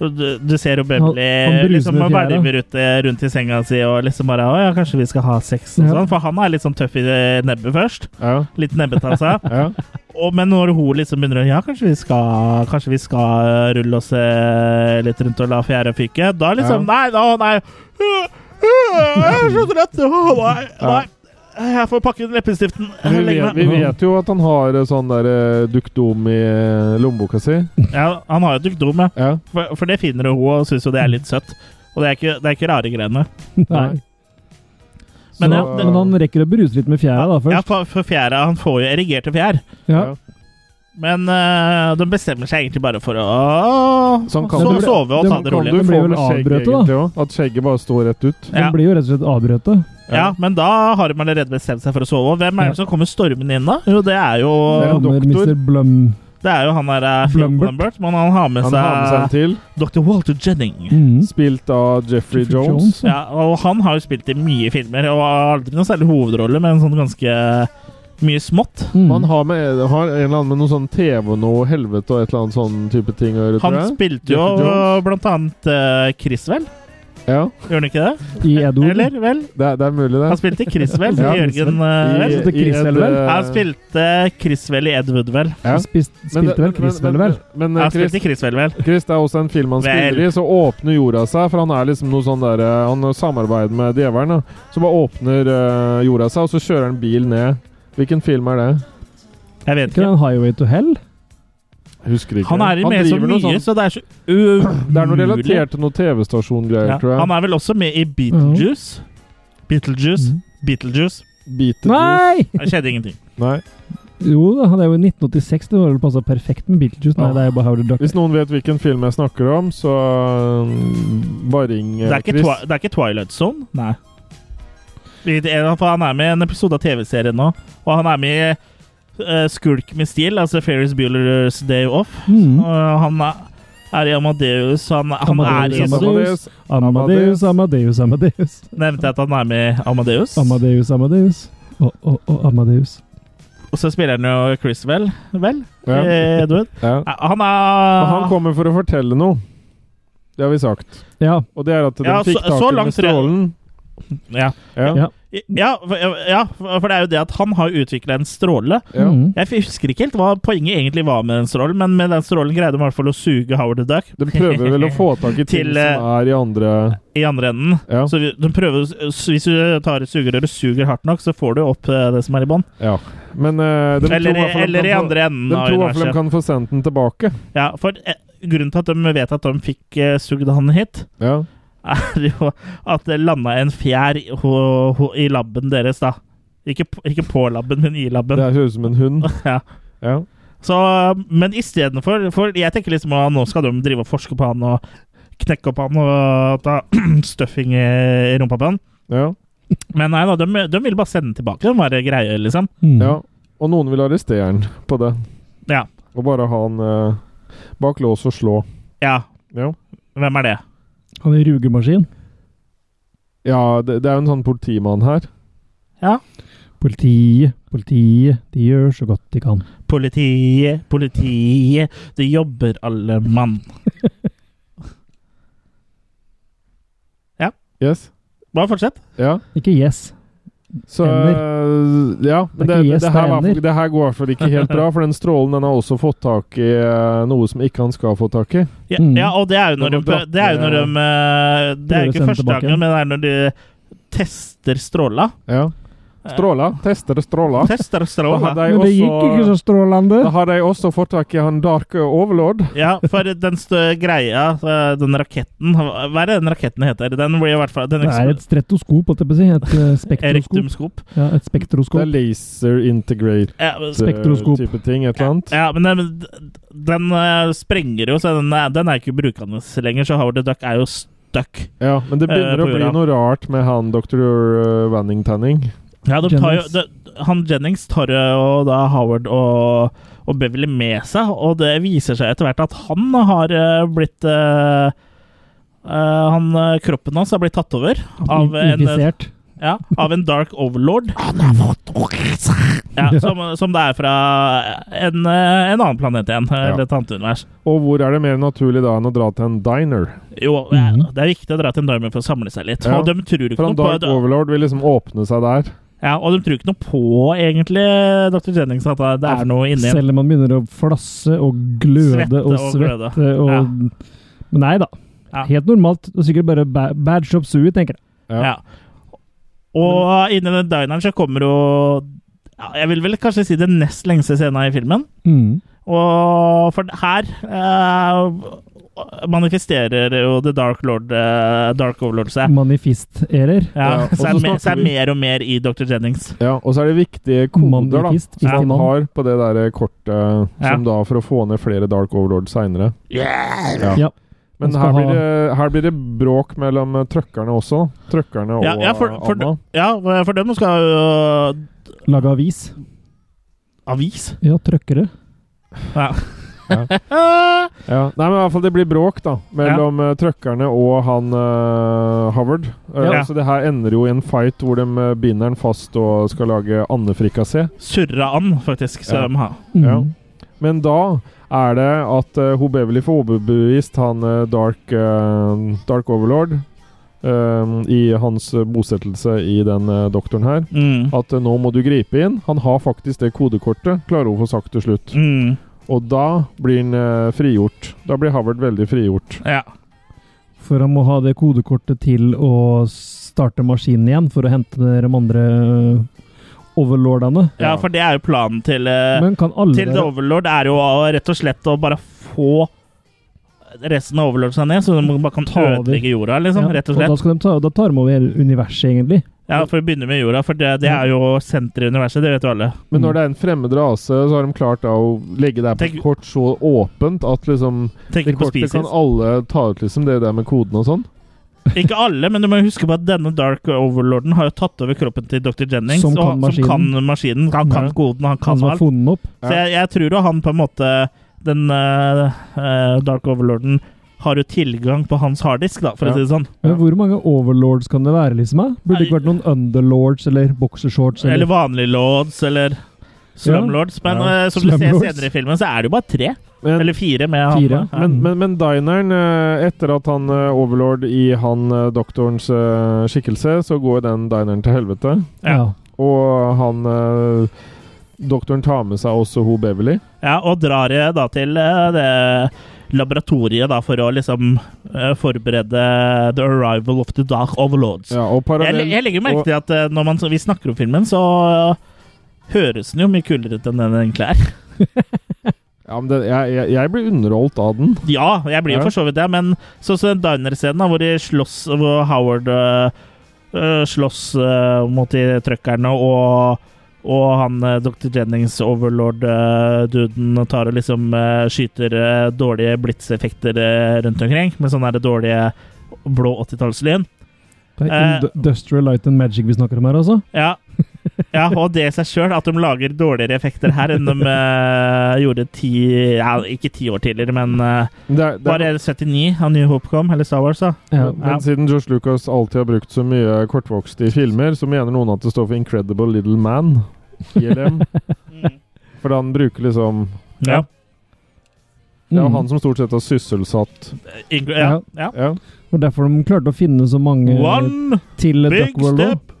[SPEAKER 1] du, du ser jo
[SPEAKER 2] Han- han
[SPEAKER 1] Bømli
[SPEAKER 2] bruser
[SPEAKER 1] liksom
[SPEAKER 2] med fjæra.
[SPEAKER 1] verver ute eh, rundt i senga si og liksom bare Å ja, kanskje vi skal ha sex og
[SPEAKER 2] Ja.
[SPEAKER 1] sånn. For han er litt sånn tøff i det nebbet først.
[SPEAKER 3] ja,
[SPEAKER 1] Litt nebbet av seg.
[SPEAKER 3] ja.
[SPEAKER 1] Og, men når hun liksom begynner å Ja, kanskje vi skal, kanskje vi skal eh, rulle oss eh, litt rundt og la fjæra fyke. Da liksom Nei, da, nei. Øh, øh, Jeg er så trøtt. Åh, Nei.
[SPEAKER 3] Ja.
[SPEAKER 1] nei. Jeg får pakke ut leppestiften.
[SPEAKER 3] Men Vi,
[SPEAKER 1] Legge
[SPEAKER 3] vet,
[SPEAKER 1] meg.
[SPEAKER 3] vi vet jo at han har eh, sånn der eh, dukdom i eh, lommeboka si.
[SPEAKER 1] Ja, han har jo dukdom, ja.
[SPEAKER 3] Ja.
[SPEAKER 1] For, for det finner hun, og syns jo det er litt søtt. Og det er ikke, det er ikke rare greiene.
[SPEAKER 2] nei.
[SPEAKER 3] Så- eh,
[SPEAKER 2] Men, han- men han rekker å bruse litt med fjæra da
[SPEAKER 1] Ja,
[SPEAKER 2] først.
[SPEAKER 1] for, for fjæra Han får jo erigerte fjær.
[SPEAKER 2] Ja.
[SPEAKER 3] ja.
[SPEAKER 1] Men øh, de bestemmer seg egentlig bare for å
[SPEAKER 3] Så han Sånn kan-
[SPEAKER 1] so-
[SPEAKER 3] Det ble-
[SPEAKER 1] sove og
[SPEAKER 2] det
[SPEAKER 1] ta det
[SPEAKER 3] Kan
[SPEAKER 1] rolig.
[SPEAKER 3] du
[SPEAKER 2] Det
[SPEAKER 3] få
[SPEAKER 2] blir vel
[SPEAKER 3] med skjegg
[SPEAKER 2] avbrøtet, da.
[SPEAKER 3] egentlig òg? At skjegget bare står rett ut?
[SPEAKER 2] Den
[SPEAKER 1] Ja.
[SPEAKER 2] blir jo rett og slett avbrøtet.
[SPEAKER 1] Ja, men da har de allerede bestemt seg for å sove. Og hvem er det som kommer stormende inn, da? Jo, det er jo,
[SPEAKER 3] Det er jo
[SPEAKER 2] Kommer
[SPEAKER 3] doktor.
[SPEAKER 2] Mr. Blum.
[SPEAKER 1] det er jo han der eh, Phil
[SPEAKER 2] Blumbert.
[SPEAKER 1] Blumbert, men han har med
[SPEAKER 3] Han har med seg en
[SPEAKER 1] seg
[SPEAKER 3] til,
[SPEAKER 1] Dr. Walter Jennings.
[SPEAKER 2] Mhm.
[SPEAKER 3] spilt av Jeffrey
[SPEAKER 2] Jeffrey
[SPEAKER 3] Jones.
[SPEAKER 2] ja.
[SPEAKER 1] Ja, og han har jo spilt i mye filmer, og har aldri noen særlig hovedrolle, men sånn ganske mye smått.
[SPEAKER 2] Mhm.
[SPEAKER 3] Han har, med, eh, har en eller annen med noe sånn TV og noe helvete og et eller annet sånn type ting å gjøre,
[SPEAKER 1] Han
[SPEAKER 3] tror jeg.
[SPEAKER 1] spilte jo
[SPEAKER 3] Jeffrey Jones.
[SPEAKER 1] blant annet eh, Criswell,
[SPEAKER 3] Ja,
[SPEAKER 1] gjør han ikke det?
[SPEAKER 2] I Edward.
[SPEAKER 1] Eller, vel?
[SPEAKER 3] det, er- det er mulig, det.
[SPEAKER 1] Han spilte Criswell
[SPEAKER 3] Ja,
[SPEAKER 1] i Jørgen eh,
[SPEAKER 3] I-
[SPEAKER 1] Vel.
[SPEAKER 2] spilte
[SPEAKER 3] i
[SPEAKER 2] Chris
[SPEAKER 3] et,
[SPEAKER 2] Elvel.
[SPEAKER 3] eh,
[SPEAKER 1] Han spilte Criswell i Ed Wood, vel?
[SPEAKER 3] Ja.
[SPEAKER 2] Han spist,
[SPEAKER 3] men det-
[SPEAKER 2] spilte vel Chris
[SPEAKER 3] men-
[SPEAKER 2] vel, vel?
[SPEAKER 3] Men, men
[SPEAKER 1] Han
[SPEAKER 3] Chris,
[SPEAKER 1] spilte Criswell, vel?
[SPEAKER 3] Chris, det er også en film han
[SPEAKER 1] Vel.
[SPEAKER 3] spiller i, så åpner jorda seg. For han er liksom noe sånn der eh, Han samarbeider med djevelen, da. Så bare åpner eh, jorda seg, og så kjører han bil ned. Hvilken film er det?
[SPEAKER 1] Jeg vet
[SPEAKER 2] Ikke
[SPEAKER 1] ikke.
[SPEAKER 2] den Highway to Hell?
[SPEAKER 3] Husker ikke.
[SPEAKER 1] Han er i med så
[SPEAKER 3] driver noe
[SPEAKER 1] mye,
[SPEAKER 3] sånn-
[SPEAKER 1] så det er så
[SPEAKER 3] Det er noe
[SPEAKER 1] umulig.
[SPEAKER 3] relatert til noe TV-stasjongreier,
[SPEAKER 1] Ja.
[SPEAKER 3] tror jeg. Mhm.
[SPEAKER 1] Han er vel også med i Beetlejuice. Beetlejuice. Beetlejuice.
[SPEAKER 3] Beat the
[SPEAKER 2] Mm. Nei!
[SPEAKER 1] Det skjedde ingenting.
[SPEAKER 3] Juice. Nei.
[SPEAKER 2] Jo da, han er jo i 1986. Det var vel passa perfekt med Beetlejuice. Nei, det er jo bare Howard Duck.
[SPEAKER 3] Ah. Hvis noen vet hvilken film jeg snakker om, så um, bare ring eh,
[SPEAKER 1] Det er ikke,
[SPEAKER 3] Chris.
[SPEAKER 1] twi det er ikke Twilight Zone. Nei. Vi- det er- For han er med i en episode av TV-serien nå, og han er med i eh, Skulk med stil, altså Ferris Bueller's Day Off. Og
[SPEAKER 2] Mhm.
[SPEAKER 3] Ah.
[SPEAKER 1] han er, er i Amadeus. Han, han er i
[SPEAKER 2] Amadeus,
[SPEAKER 1] så
[SPEAKER 3] Amadeus.
[SPEAKER 2] Amadeus, Amadeus, Amadeus.
[SPEAKER 1] Nevnte jeg at han er med i Amadeus.
[SPEAKER 2] Amadeus, Amadeus. Å, å, å, Amadeus.
[SPEAKER 1] Og så spiller han jo Chris vel, vel?
[SPEAKER 3] Ja.
[SPEAKER 1] Eh, Edward.
[SPEAKER 3] Ja.
[SPEAKER 1] Nei, Han
[SPEAKER 3] Og han
[SPEAKER 1] er
[SPEAKER 3] kommer for å fortelle noe. Det har vi sagt.
[SPEAKER 2] Ja.
[SPEAKER 3] Og det er at de
[SPEAKER 1] Ja,
[SPEAKER 3] fikk
[SPEAKER 1] så-
[SPEAKER 3] tak
[SPEAKER 1] så
[SPEAKER 3] i den
[SPEAKER 1] langt tror jeg-
[SPEAKER 3] strålen.
[SPEAKER 1] Ja.
[SPEAKER 3] Ja.
[SPEAKER 2] Ja.
[SPEAKER 1] Ja, for- ja, for det er jo det at han har utvikla en stråle.
[SPEAKER 3] Ja.
[SPEAKER 2] Mhm.
[SPEAKER 1] Jeg husker ikke helt hva poenget egentlig var med den strålen, men med den strålen greide de i hvert fall å suge Howard the Duck
[SPEAKER 3] De prøver vel å få tak i ting
[SPEAKER 1] Til, eh,
[SPEAKER 3] som er i andre
[SPEAKER 1] i andre enden.
[SPEAKER 3] Ja.
[SPEAKER 1] Så vi- de prøver, å- så hvis du tar et sugerør og suger hardt nok, så får du opp eh, det som er i bånn.
[SPEAKER 3] ja. Men eh, de
[SPEAKER 1] Eller,
[SPEAKER 3] tror i hvert fall de
[SPEAKER 1] eller
[SPEAKER 3] kan
[SPEAKER 1] i
[SPEAKER 3] få-
[SPEAKER 1] andre enden
[SPEAKER 3] De
[SPEAKER 1] av
[SPEAKER 3] tror i hvert fall de
[SPEAKER 1] universet.
[SPEAKER 3] kan få sendt den tilbake.
[SPEAKER 1] Ja, for eh, grunnen til at de vet at de fikk eh, sugd han hit,
[SPEAKER 3] Ja.
[SPEAKER 1] er jo at det landa en fjær i- ho- ho- i labben deres, da. Ikke, p- ikke på labben, men i labben.
[SPEAKER 3] Det høres ut som en hund.
[SPEAKER 1] Ja.
[SPEAKER 3] Ja.
[SPEAKER 1] Så, men istedenfor for Jeg tenker liksom at nå skal de drive og forske på han og knekke opp han og ta stuffing i i rumpa på han.
[SPEAKER 3] Ja.
[SPEAKER 1] Men nei da, de, de vil bare sende den tilbake. De var greie, liksom.
[SPEAKER 2] Mhm.
[SPEAKER 3] ja. Og noen vil arrestere han på det.
[SPEAKER 1] Ja.
[SPEAKER 3] Og bare ha han eh, bak lås og slå.
[SPEAKER 1] Ja,
[SPEAKER 3] Ja.
[SPEAKER 1] hvem er det?
[SPEAKER 2] Han er rugemaskin.
[SPEAKER 3] Ja, det, det er jo en sånn politimann her.
[SPEAKER 2] Politiet, politiet, de gjør så godt de kan.
[SPEAKER 1] Politiet, politiet, det jobber alle mann.
[SPEAKER 3] Yes.
[SPEAKER 1] Bare fortsett.
[SPEAKER 3] Ja.
[SPEAKER 2] Ikke yes.
[SPEAKER 3] Så øh, Ja. Men
[SPEAKER 2] Det er
[SPEAKER 3] det,
[SPEAKER 2] ikke
[SPEAKER 3] det,
[SPEAKER 2] yes, det
[SPEAKER 3] her
[SPEAKER 2] er
[SPEAKER 3] var,
[SPEAKER 2] ender.
[SPEAKER 3] det her går i hvert fall ikke helt bra, for den strålen den har også fått tak i øh, noe som ikke han skal få tak i.
[SPEAKER 1] Ja,
[SPEAKER 2] Mm.
[SPEAKER 1] ja og det er jo når de,
[SPEAKER 3] De må dra-
[SPEAKER 1] det er jo når de eh, Det er jo
[SPEAKER 2] Prøve å sende
[SPEAKER 1] ikke første
[SPEAKER 2] tilbake.
[SPEAKER 1] gangen, men det er når de tester stråla. Eh,
[SPEAKER 3] Ja. Stråla. Tester stråla.
[SPEAKER 1] Tester
[SPEAKER 3] Da har
[SPEAKER 1] stråla.
[SPEAKER 3] de
[SPEAKER 2] Men det gikk ikke så
[SPEAKER 3] også,
[SPEAKER 2] strålende.
[SPEAKER 3] da har de også fått tak i han Dark Overlord.
[SPEAKER 1] Ja, for den stø greia, eh, den raketten Hva er det den raketten heter? Den blir i hvert fall den
[SPEAKER 2] Det er et stretoskop, holdt jeg på å si. Et eh, spektroskop.
[SPEAKER 1] rektumskop.
[SPEAKER 2] Ja, et
[SPEAKER 3] Det er
[SPEAKER 2] spektroskop.
[SPEAKER 3] laser integrate eh,
[SPEAKER 1] Ja, men-
[SPEAKER 2] Spektroskop.
[SPEAKER 3] type ting, et eller annet.
[SPEAKER 1] Ja, men den, den eh, sprenger jo, så den, er- den er ikke brukende lenger. Så Howard the Duck er jo stuck.
[SPEAKER 3] Ja, men det begynner
[SPEAKER 1] Eh,
[SPEAKER 3] å
[SPEAKER 1] på
[SPEAKER 3] bli
[SPEAKER 1] jorda.
[SPEAKER 3] noe rart med han dr. Vanning Tanning.
[SPEAKER 1] Ja, de tar jo,
[SPEAKER 2] Jennings.
[SPEAKER 1] de, han Jennings tar jo da Howard og, og Beverly med seg, og det viser seg etter hvert at han har eh, blitt eh, eh, han, eh, Kroppen hans har blitt tatt over av en,
[SPEAKER 2] Infisert.
[SPEAKER 1] ja, av en dark overlord. Han har fått ja, som, som det er fra en, eh, en annen planet igjen,
[SPEAKER 3] Ja.
[SPEAKER 1] eller et annet univers.
[SPEAKER 3] Og hvor er det mer naturlig da enn å dra til en diner?
[SPEAKER 1] Jo, eh, det er viktig å dra til en darmer for å samle seg litt.
[SPEAKER 3] Ja.
[SPEAKER 1] Og de tror ikke
[SPEAKER 3] For
[SPEAKER 1] noe
[SPEAKER 3] han
[SPEAKER 1] på
[SPEAKER 3] Dark Overlord vil liksom åpne seg der.
[SPEAKER 1] ja, Og de tror ikke noe på, egentlig, dr. Jennings, at det er noe inni
[SPEAKER 2] Selv om man begynner å flasse og gløde
[SPEAKER 1] Svette
[SPEAKER 2] og
[SPEAKER 1] og gløde.
[SPEAKER 2] svette og
[SPEAKER 1] Ja.
[SPEAKER 2] Men nei da.
[SPEAKER 1] Ja.
[SPEAKER 2] Helt normalt. Og sikkert bare ba bad shop sui, tenker jeg.
[SPEAKER 1] Ja. Og inni den dineren så kommer jo ja, Jeg vil vel kanskje si den nest lengste scenen i filmen.
[SPEAKER 2] Mm.
[SPEAKER 1] Og for her eh, manifesterer jo The Dark Lord eh, Dark Overlord seg.
[SPEAKER 2] Manifesterer.
[SPEAKER 1] Ja,
[SPEAKER 3] Ja, og så
[SPEAKER 1] seg, me,
[SPEAKER 3] snakker
[SPEAKER 1] seg
[SPEAKER 3] vi-
[SPEAKER 1] mer og mer i Dr. Jennings.
[SPEAKER 3] Ja, Og så er det viktige koder da,
[SPEAKER 2] Manifest,
[SPEAKER 3] som
[SPEAKER 2] ikke
[SPEAKER 3] han
[SPEAKER 2] mann.
[SPEAKER 3] har på det der kortet, eh,
[SPEAKER 1] Ja.
[SPEAKER 3] som da for å få ned flere Dark Overlord seinere. Ja.
[SPEAKER 2] Ja.
[SPEAKER 3] Men
[SPEAKER 2] Han skal
[SPEAKER 3] her blir,
[SPEAKER 2] ha-
[SPEAKER 3] det, her blir det bråk mellom eh, trøkkerne også. Trøkkerne og
[SPEAKER 1] Ja, ja, for, for,
[SPEAKER 3] Anna.
[SPEAKER 1] ja, for dem skal jo
[SPEAKER 2] Lage avis.
[SPEAKER 1] Avis?
[SPEAKER 2] Ja, trøkkere.
[SPEAKER 1] Ja.
[SPEAKER 3] Ja.
[SPEAKER 1] eh,
[SPEAKER 3] Ja. Nei, men i hvert fall det blir bråk da mellom eh, trøkkerne og han eh, Howard. Eh,
[SPEAKER 1] Ja.
[SPEAKER 3] Så det her ender jo i en fight hvor de eh, binder han fast og skal lage andefrikassé.
[SPEAKER 1] Surra an, faktisk, skal
[SPEAKER 3] Ja.
[SPEAKER 1] de ha.
[SPEAKER 2] Mm.
[SPEAKER 3] Ja. Men da er det at uh, hun Beverly får overbevist han eh, Dark, eh, Dark Overlord eh, i hans eh, bosettelse i den eh, doktoren her.
[SPEAKER 1] Mm.
[SPEAKER 3] At eh, nå må du gripe inn. Han har faktisk det kodekortet, klarer hun å få sagt til slutt.
[SPEAKER 1] Mm.
[SPEAKER 3] Og da blir han eh, frigjort. Da blir Havert veldig frigjort.
[SPEAKER 1] Ja.
[SPEAKER 2] For han må ha det kodekortet til å starte maskinen igjen for å hente de andre øh, overlordene.
[SPEAKER 1] ja, for det er jo planen til eh,
[SPEAKER 2] Men kan alle
[SPEAKER 1] Til The Overlord er jo å- rett og slett å bare få resten av Overlord seg ned, så de bare kan
[SPEAKER 2] Ta over.
[SPEAKER 1] ødelegge jorda, liksom.
[SPEAKER 2] Ja,
[SPEAKER 1] Rett og
[SPEAKER 2] da,
[SPEAKER 1] slett.
[SPEAKER 2] skal de ta, da tar de over hele universet, egentlig.
[SPEAKER 1] Ja, For å begynne med jorda, for det, det er jo senteret i universet, det vet jo alle.
[SPEAKER 3] Men når det er en fremmed rase, så har de klart da å legge det her
[SPEAKER 1] Mm.
[SPEAKER 3] på
[SPEAKER 1] Tenk-
[SPEAKER 3] et kort så åpent at liksom
[SPEAKER 1] Tenk
[SPEAKER 3] Det
[SPEAKER 1] ikke på
[SPEAKER 3] kortet
[SPEAKER 1] spises.
[SPEAKER 3] kan alle ta ut, liksom. Det der med koden og sånn.
[SPEAKER 1] Ikke alle, men du må huske på at denne Dark Overlorden har jo tatt over kroppen til Dr. Jennings,
[SPEAKER 2] Som
[SPEAKER 1] og,
[SPEAKER 2] kan
[SPEAKER 1] som kan maskinen. Han kan
[SPEAKER 2] Ja.
[SPEAKER 1] koden, han
[SPEAKER 2] Han
[SPEAKER 1] kan
[SPEAKER 2] som har
[SPEAKER 1] alt.
[SPEAKER 2] funnet den opp.
[SPEAKER 1] Så jeg, jeg tror jo han på en måte Den eh, eh, Dark Overlorden har jo tilgang på hans harddisk, da, for
[SPEAKER 3] Ja.
[SPEAKER 1] å si det sånn.
[SPEAKER 2] Men hvor mange overlords kan det være, liksom? eh? Burde det ikke vært noen underlords eller boxershorts?
[SPEAKER 1] Eller
[SPEAKER 2] Eller,
[SPEAKER 1] vanlige lords, eller slumlords. Men
[SPEAKER 3] Ja.
[SPEAKER 1] eh, som du ser
[SPEAKER 2] Slumlords.
[SPEAKER 1] senere i filmen, så er det jo bare tre.
[SPEAKER 3] Men
[SPEAKER 1] Eller fire med
[SPEAKER 2] Fire.
[SPEAKER 1] han.
[SPEAKER 3] Men, men, men dineren, eh, etter at han eh, overlord i han eh, doktorens eh, skikkelse, så går den dineren til helvete.
[SPEAKER 1] Ja.
[SPEAKER 2] ja.
[SPEAKER 3] Og han eh, Doktoren tar med seg også hun Beverly.
[SPEAKER 1] Ja, og drar eh, da til eh, det laboratoriet da, for å liksom eh, forberede the arrival of the dark overlords.
[SPEAKER 3] Ja,
[SPEAKER 1] jeg,
[SPEAKER 3] og parallell,
[SPEAKER 1] le- jeg legger merke
[SPEAKER 3] og,
[SPEAKER 1] til at eh, når man, vi snakker om filmen, så eh, høres den jo mye kulere ut enn den egentlig er.
[SPEAKER 3] ja, men det, jeg, jeg, jeg blir underholdt av den.
[SPEAKER 1] Ja, jeg blir jo
[SPEAKER 3] Ja.
[SPEAKER 1] for så vidt det, men sånn som den diner-scenen da, hvor de slåss, hvor Howard øh, øh, slåss øh, mot de trøkkerne, og, og han øh, Dr. Jennings, overlord-duden, tar og liksom øh, skyter øh, dårlige blitseffekter øh, rundt omkring, med sånne der dårlige blå 80-tallslyn.
[SPEAKER 2] Det er
[SPEAKER 1] Eh,
[SPEAKER 2] indu- Industrial Light and Magic vi snakker om her, altså.
[SPEAKER 1] Ja. ja, og det i seg sjøl, at de lager dårligere effekter her enn de øh, gjorde ti ja, Ikke ti år tidligere, men øh,
[SPEAKER 3] Men Det, er- det,
[SPEAKER 1] bare
[SPEAKER 3] er-
[SPEAKER 1] 79 av New Hope kom, eller Star Wars, da.
[SPEAKER 2] Ja.
[SPEAKER 3] men siden Josh Lucas alltid har brukt så mye kortvokste i filmer, så mener noen at det står for Incredible Little Man. ILM. For han bruker liksom
[SPEAKER 1] Ja.
[SPEAKER 3] Det er jo
[SPEAKER 2] Mm.
[SPEAKER 3] han som stort sett har sysselsatt
[SPEAKER 1] Ingr- ja. ja.
[SPEAKER 3] ja.
[SPEAKER 2] Og derfor de klarte å finne så mange
[SPEAKER 1] One
[SPEAKER 2] til
[SPEAKER 1] big
[SPEAKER 2] Duckworld.
[SPEAKER 1] step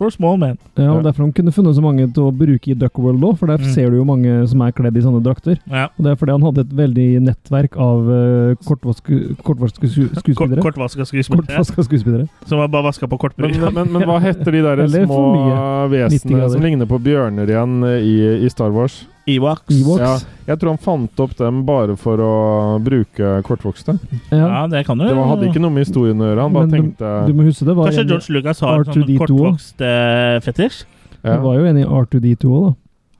[SPEAKER 1] For small man.
[SPEAKER 2] Ja, og
[SPEAKER 3] Ja.
[SPEAKER 2] Derfor de kunne funnet så mange til å bruke i Duckworld òg, for der
[SPEAKER 1] Mm.
[SPEAKER 2] ser du jo mange som er kledd i sånne drakter.
[SPEAKER 1] Ja.
[SPEAKER 2] Og Det er fordi han hadde et veldig nettverk av uh, kortvaska sku,
[SPEAKER 1] Kort,
[SPEAKER 2] skuespillere.
[SPEAKER 1] kortvaska skuespillere
[SPEAKER 2] Kortvaska skuespillere.
[SPEAKER 1] som var bare vaska på kortbryn.
[SPEAKER 3] Men, men, men hva heter de der
[SPEAKER 2] Eller for
[SPEAKER 3] små
[SPEAKER 2] 90
[SPEAKER 3] vesenene
[SPEAKER 2] grader.
[SPEAKER 3] som ligner på bjørner igjen i, i Star Wars?
[SPEAKER 1] Ewoks.
[SPEAKER 2] Ewoks. Ja.
[SPEAKER 3] Ja, jeg tror han fant opp dem bare for å bruke kortvokste.
[SPEAKER 1] Ja, det kan du.
[SPEAKER 3] Det var, hadde ikke noe med historien å gjøre. Han bare
[SPEAKER 2] Men
[SPEAKER 3] tenkte
[SPEAKER 2] Du må huske det var,
[SPEAKER 1] Kanskje
[SPEAKER 2] en,
[SPEAKER 1] George Lucas har en sånn
[SPEAKER 2] R2D2.
[SPEAKER 1] kortvokst eh, fetisj?
[SPEAKER 2] det
[SPEAKER 3] ja,
[SPEAKER 2] var jo en i R2D2 òg,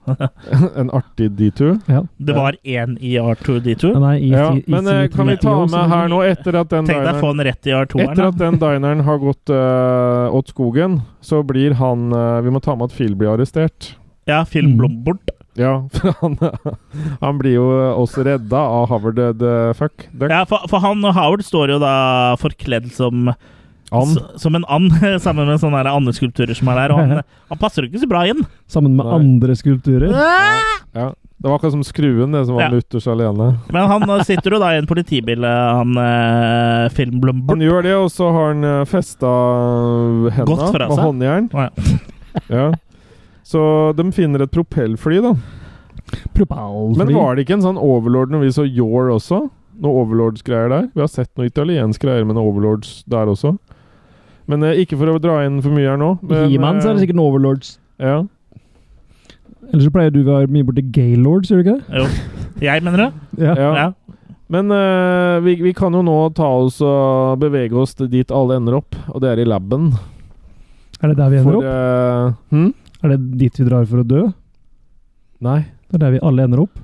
[SPEAKER 2] da.
[SPEAKER 3] En artig D2.
[SPEAKER 2] Ja.
[SPEAKER 1] Det var én i R2D2.
[SPEAKER 2] Nei, i,
[SPEAKER 3] Ja,
[SPEAKER 2] i, i,
[SPEAKER 3] men eh, kan vi ta med her nå, etter at den
[SPEAKER 1] Tenk deg å
[SPEAKER 3] dineren
[SPEAKER 1] få den rett i
[SPEAKER 3] etter
[SPEAKER 1] R2-eren.
[SPEAKER 3] at den dineren har gått eh, åt skogen, så blir han eh, Vi må ta med at Phil blir arrestert.
[SPEAKER 1] Ja, Phil
[SPEAKER 2] Mm.
[SPEAKER 1] Blombort.
[SPEAKER 3] Ja, for han, han blir jo også redda av Howard eh, the Fuck. Duck.
[SPEAKER 1] Ja, for, for han og Howard står jo da forkledd som
[SPEAKER 3] Han
[SPEAKER 1] s- Som en and, sammen med sånne der andeskulpturer som er der. Og han, han passer jo ikke så bra inn. Ah!
[SPEAKER 2] Sammen med
[SPEAKER 3] Nei.
[SPEAKER 2] andre skulpturer.
[SPEAKER 3] Ja. Det var akkurat som skruen, det som var
[SPEAKER 1] Ja.
[SPEAKER 3] mutters alene.
[SPEAKER 1] Men han eh, sitter jo da i en politibil, eh, han eh, Phil
[SPEAKER 3] Han
[SPEAKER 1] Blombort.
[SPEAKER 3] gjør det, og så har han eh, festa henda
[SPEAKER 1] Godt fra
[SPEAKER 3] med
[SPEAKER 1] seg.
[SPEAKER 3] håndjern.
[SPEAKER 1] Å, ja.
[SPEAKER 3] Ja. Så de finner et propellfly, da.
[SPEAKER 2] Propellfly.
[SPEAKER 3] Men var det ikke en sånn overlord når vi så Yore også? Noe overlords-greier der? Vi har sett noe italiensk greier med noe overlords der også. Men eh, ikke for å dra inn for mye her nå.
[SPEAKER 2] I
[SPEAKER 3] Men,
[SPEAKER 2] He-Man, så er det sikkert en Overlords.
[SPEAKER 3] eh, ja.
[SPEAKER 2] Eller så pleier du å være mye borti Gaylords, gjør du ikke det?
[SPEAKER 1] Jo. Jeg mener det.
[SPEAKER 3] Ja.
[SPEAKER 1] Ja.
[SPEAKER 3] Men eh, vi, vi kan jo nå ta oss og bevege oss til dit alle ender opp, og det er i laben.
[SPEAKER 2] Er det der vi ender
[SPEAKER 3] For
[SPEAKER 2] opp?
[SPEAKER 3] eh, hm?
[SPEAKER 2] Er det dit vi drar for å dø?
[SPEAKER 3] Nei.
[SPEAKER 2] Det er der vi alle ender opp?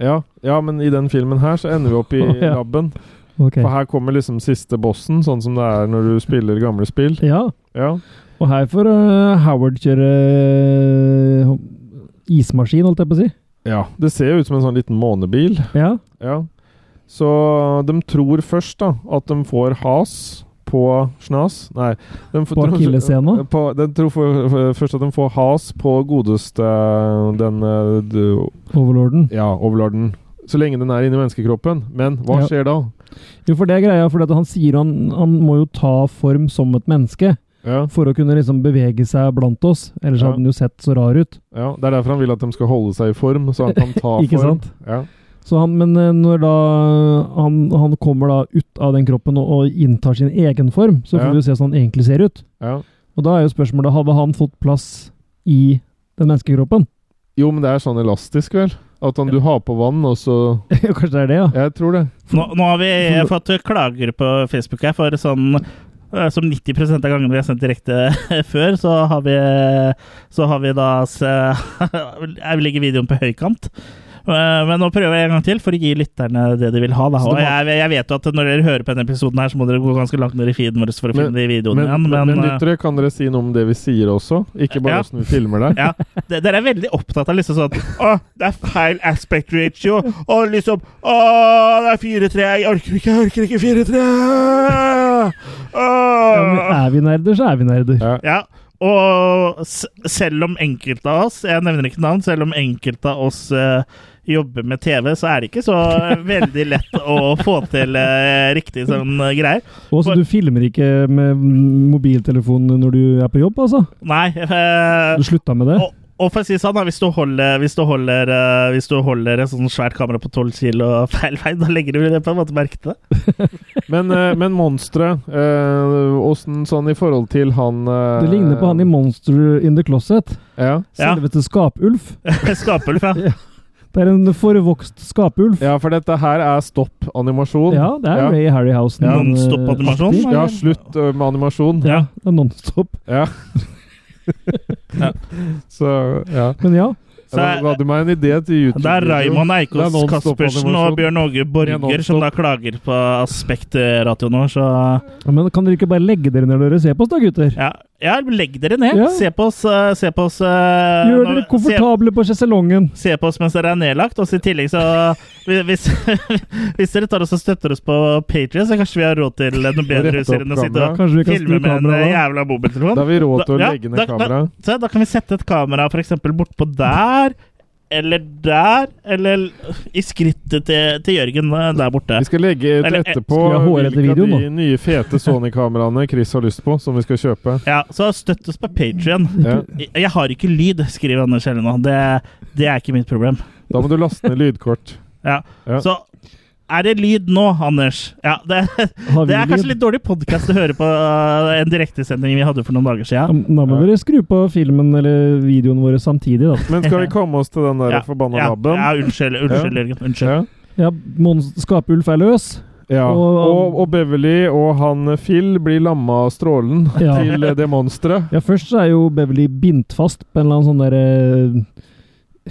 [SPEAKER 3] Ja, ja, men i den filmen her så ender vi opp i
[SPEAKER 2] Ja.
[SPEAKER 3] laben.
[SPEAKER 2] Ok.
[SPEAKER 3] For her kommer liksom siste bossen, sånn som det er når du spiller gamle spill.
[SPEAKER 2] Ja.
[SPEAKER 3] Ja,
[SPEAKER 2] Og her får øh, Howard kjøre øh, ismaskin, holdt jeg på å si.
[SPEAKER 3] ja. Det ser jo ut som en sånn liten månebil.
[SPEAKER 2] Ja.
[SPEAKER 3] Ja. Så de tror først da at de får has på snas. Nei. De, får-
[SPEAKER 2] På akilleshæla?
[SPEAKER 3] På- De tror for, for, først at de får has på godeste den eh, du-
[SPEAKER 2] Overlorden.
[SPEAKER 3] Ja, overlorden. Så lenge den er inni menneskekroppen. Men hva
[SPEAKER 2] Ja.
[SPEAKER 3] skjer da?
[SPEAKER 2] Jo, for det er greia, for at han sier han, han må jo ta form som et menneske
[SPEAKER 3] Ja,
[SPEAKER 2] for å kunne liksom bevege seg blant oss. Ellers
[SPEAKER 3] Ja.
[SPEAKER 2] hadde han jo sett så rar ut.
[SPEAKER 3] ja, Det er derfor han vil at de skal holde seg i form, så han kan ta
[SPEAKER 2] Ikke
[SPEAKER 3] form.
[SPEAKER 2] sant?
[SPEAKER 3] Ja.
[SPEAKER 2] Så han, men øh, når da han, han kommer da ut av den kroppen og, og inntar sin egen form, så får
[SPEAKER 3] Ja.
[SPEAKER 2] vi jo se hvordan han egentlig ser ut.
[SPEAKER 3] Ja.
[SPEAKER 2] Og da er jo spørsmålet, hadde han fått plass i den menneskekroppen?
[SPEAKER 3] Jo, men det er sånn elastisk, vel? At han, du har på vann, og så
[SPEAKER 2] Kanskje det er det, ja.
[SPEAKER 3] Jeg tror det.
[SPEAKER 1] Nå, nå har vi eh, fått klager på Facebook her for sånn eh, som 90 av gangene vi har sendt direkte eh, før, så har vi, eh, så har vi da se, Jeg legger videoen på høykant. Eh, Men nå prøver jeg en gang til for å gi lytterne det de vil ha. Da.
[SPEAKER 3] Så
[SPEAKER 1] Og
[SPEAKER 3] det var-
[SPEAKER 1] jeg, jeg vet jo at når dere hører på denne episoden, her, så må dere gå ganske langt ned i feeden vår for å
[SPEAKER 3] Men-
[SPEAKER 1] finne de videoene
[SPEAKER 3] Men, men,
[SPEAKER 1] igjen. Men, eh,
[SPEAKER 3] lyttere, kan dere si noe om det vi sier også? Ikke bare
[SPEAKER 1] Ja.
[SPEAKER 3] åssen vi filmer der?
[SPEAKER 1] Ja, de- Dere er veldig opptatt av liksom sånn Å, det er feil aspect ratio. Og liksom Å, det er 4-3. Jeg orker ikke, jeg orker ikke 4-3.
[SPEAKER 2] Ja, men
[SPEAKER 1] Å.
[SPEAKER 2] Er vi nerder, så er vi nerder.
[SPEAKER 3] Ja.
[SPEAKER 1] Ja. Og s selv om enkelte av oss Jeg nevner ikke navn. Selv om enkelte av oss eh, jobber med TV, så er det ikke så veldig lett å få til eh, riktig sånn eh, greier.
[SPEAKER 2] Og så du filmer ikke med mm, mobiltelefon når du er på jobb, altså?
[SPEAKER 1] Nei. eh,
[SPEAKER 2] Du slutta med det?
[SPEAKER 1] Og, og for å si det sånn, da, hvis du holder, hvis du holder, eh, hvis du holder et sånn svært kamera på 12 kilo feil vei, da legger du det på en måte merke til det.
[SPEAKER 3] Men, eh, men monsteret Åssen sånn i forhold til han eh,
[SPEAKER 2] Det ligner på han i Monster in the Closet.
[SPEAKER 3] ja.
[SPEAKER 1] Ja.
[SPEAKER 2] Selveste skapulf.
[SPEAKER 1] Skapulf, ja.
[SPEAKER 2] Det er en forvokst skapulf.
[SPEAKER 3] ja, for dette her er stopp animasjon.
[SPEAKER 2] Ja, det er
[SPEAKER 3] Ja.
[SPEAKER 2] Ray Harryhausen.
[SPEAKER 1] Ja, nonstop
[SPEAKER 2] eh,
[SPEAKER 1] animasjon.
[SPEAKER 2] aktig.
[SPEAKER 3] Ja, slutt eh, med animasjon.
[SPEAKER 1] ja.
[SPEAKER 2] Det er nonstop.
[SPEAKER 3] Ja. Så ja.
[SPEAKER 2] Men ja.
[SPEAKER 1] Så
[SPEAKER 3] ja
[SPEAKER 1] er-
[SPEAKER 3] du ga du meg en idé til YouTube.
[SPEAKER 1] Det er Raymond
[SPEAKER 3] Det er
[SPEAKER 1] Eikås
[SPEAKER 3] nonstop
[SPEAKER 1] Caspersen
[SPEAKER 3] animasjon.
[SPEAKER 1] og Bjørn Åge
[SPEAKER 3] Det er
[SPEAKER 1] Borger
[SPEAKER 3] nonstop.
[SPEAKER 1] som da klager på aspektratio nå, så
[SPEAKER 2] ja, Men kan dere ikke bare legge dere ned og dere se på oss, da, gutter?
[SPEAKER 1] ja. ja, legg dere ned.
[SPEAKER 2] Ja.
[SPEAKER 1] Se på oss, eh, se på oss eh,
[SPEAKER 2] Gjør
[SPEAKER 1] når-
[SPEAKER 2] dere komfortable på sjeselongen.
[SPEAKER 1] se på oss mens dere er nedlagt. Og så i tillegg, så hvis, hvis dere tar oss og støtter oss på Patrion, så kanskje vi har råd til noe bedre
[SPEAKER 3] Rette opp
[SPEAKER 1] utstyr enn å sitte
[SPEAKER 3] kameraet.
[SPEAKER 1] og
[SPEAKER 2] Kanskje vi kan
[SPEAKER 1] filme
[SPEAKER 2] snu
[SPEAKER 1] med en eh,
[SPEAKER 2] kameraet? da?
[SPEAKER 1] jævla mobiltelefon.
[SPEAKER 3] Da har vi råd til å
[SPEAKER 1] ja,
[SPEAKER 3] legge ned
[SPEAKER 1] da, da,
[SPEAKER 3] kameraet.
[SPEAKER 1] se, da kan vi sette et kamera for eksempel bortpå der, eller der, eller i skrittet til, til Jørgen eh, der borte.
[SPEAKER 3] Vi skal legge ut
[SPEAKER 1] Eller, eh,
[SPEAKER 3] etterpå
[SPEAKER 2] skal vi ha håret etter
[SPEAKER 3] hvilke av
[SPEAKER 2] videoen,
[SPEAKER 3] de nye fete Sony-kameraene Chris har lyst på, som vi skal kjøpe.
[SPEAKER 1] Ja, så støtt oss på Patrion.
[SPEAKER 3] Ja.
[SPEAKER 1] Jeg, jeg har ikke lyd, skriver Anders Helle nå. Det, det er ikke mitt problem.
[SPEAKER 3] Da må du laste ned lydkort.
[SPEAKER 1] Ja.
[SPEAKER 3] Ja.
[SPEAKER 1] Så er det lyd nå, Anders? Ja, det,
[SPEAKER 2] Har vi
[SPEAKER 1] det er
[SPEAKER 2] lyd?
[SPEAKER 1] kanskje litt dårlig podkast å høre på øh, en direktesending vi hadde for noen dager
[SPEAKER 2] Ja,
[SPEAKER 1] siden.
[SPEAKER 2] men Da må dere skru på filmen eller videoen vår samtidig, da.
[SPEAKER 3] Men skal vi komme oss til den der forbanna
[SPEAKER 1] ja,
[SPEAKER 3] labben?
[SPEAKER 1] ja, unnskyld, unnskyld
[SPEAKER 3] Ja.
[SPEAKER 1] Jørgen. Unnskyld.
[SPEAKER 2] Ja, Mons Skapulf er løs.
[SPEAKER 3] Ja.
[SPEAKER 2] Og- um,
[SPEAKER 3] Og, og Beverly og han Phil blir lamma av strålen
[SPEAKER 2] Ja.
[SPEAKER 3] til eh, det monsteret.
[SPEAKER 2] Ja, først så er jo Beverly bindt fast på en eller annen sånn derre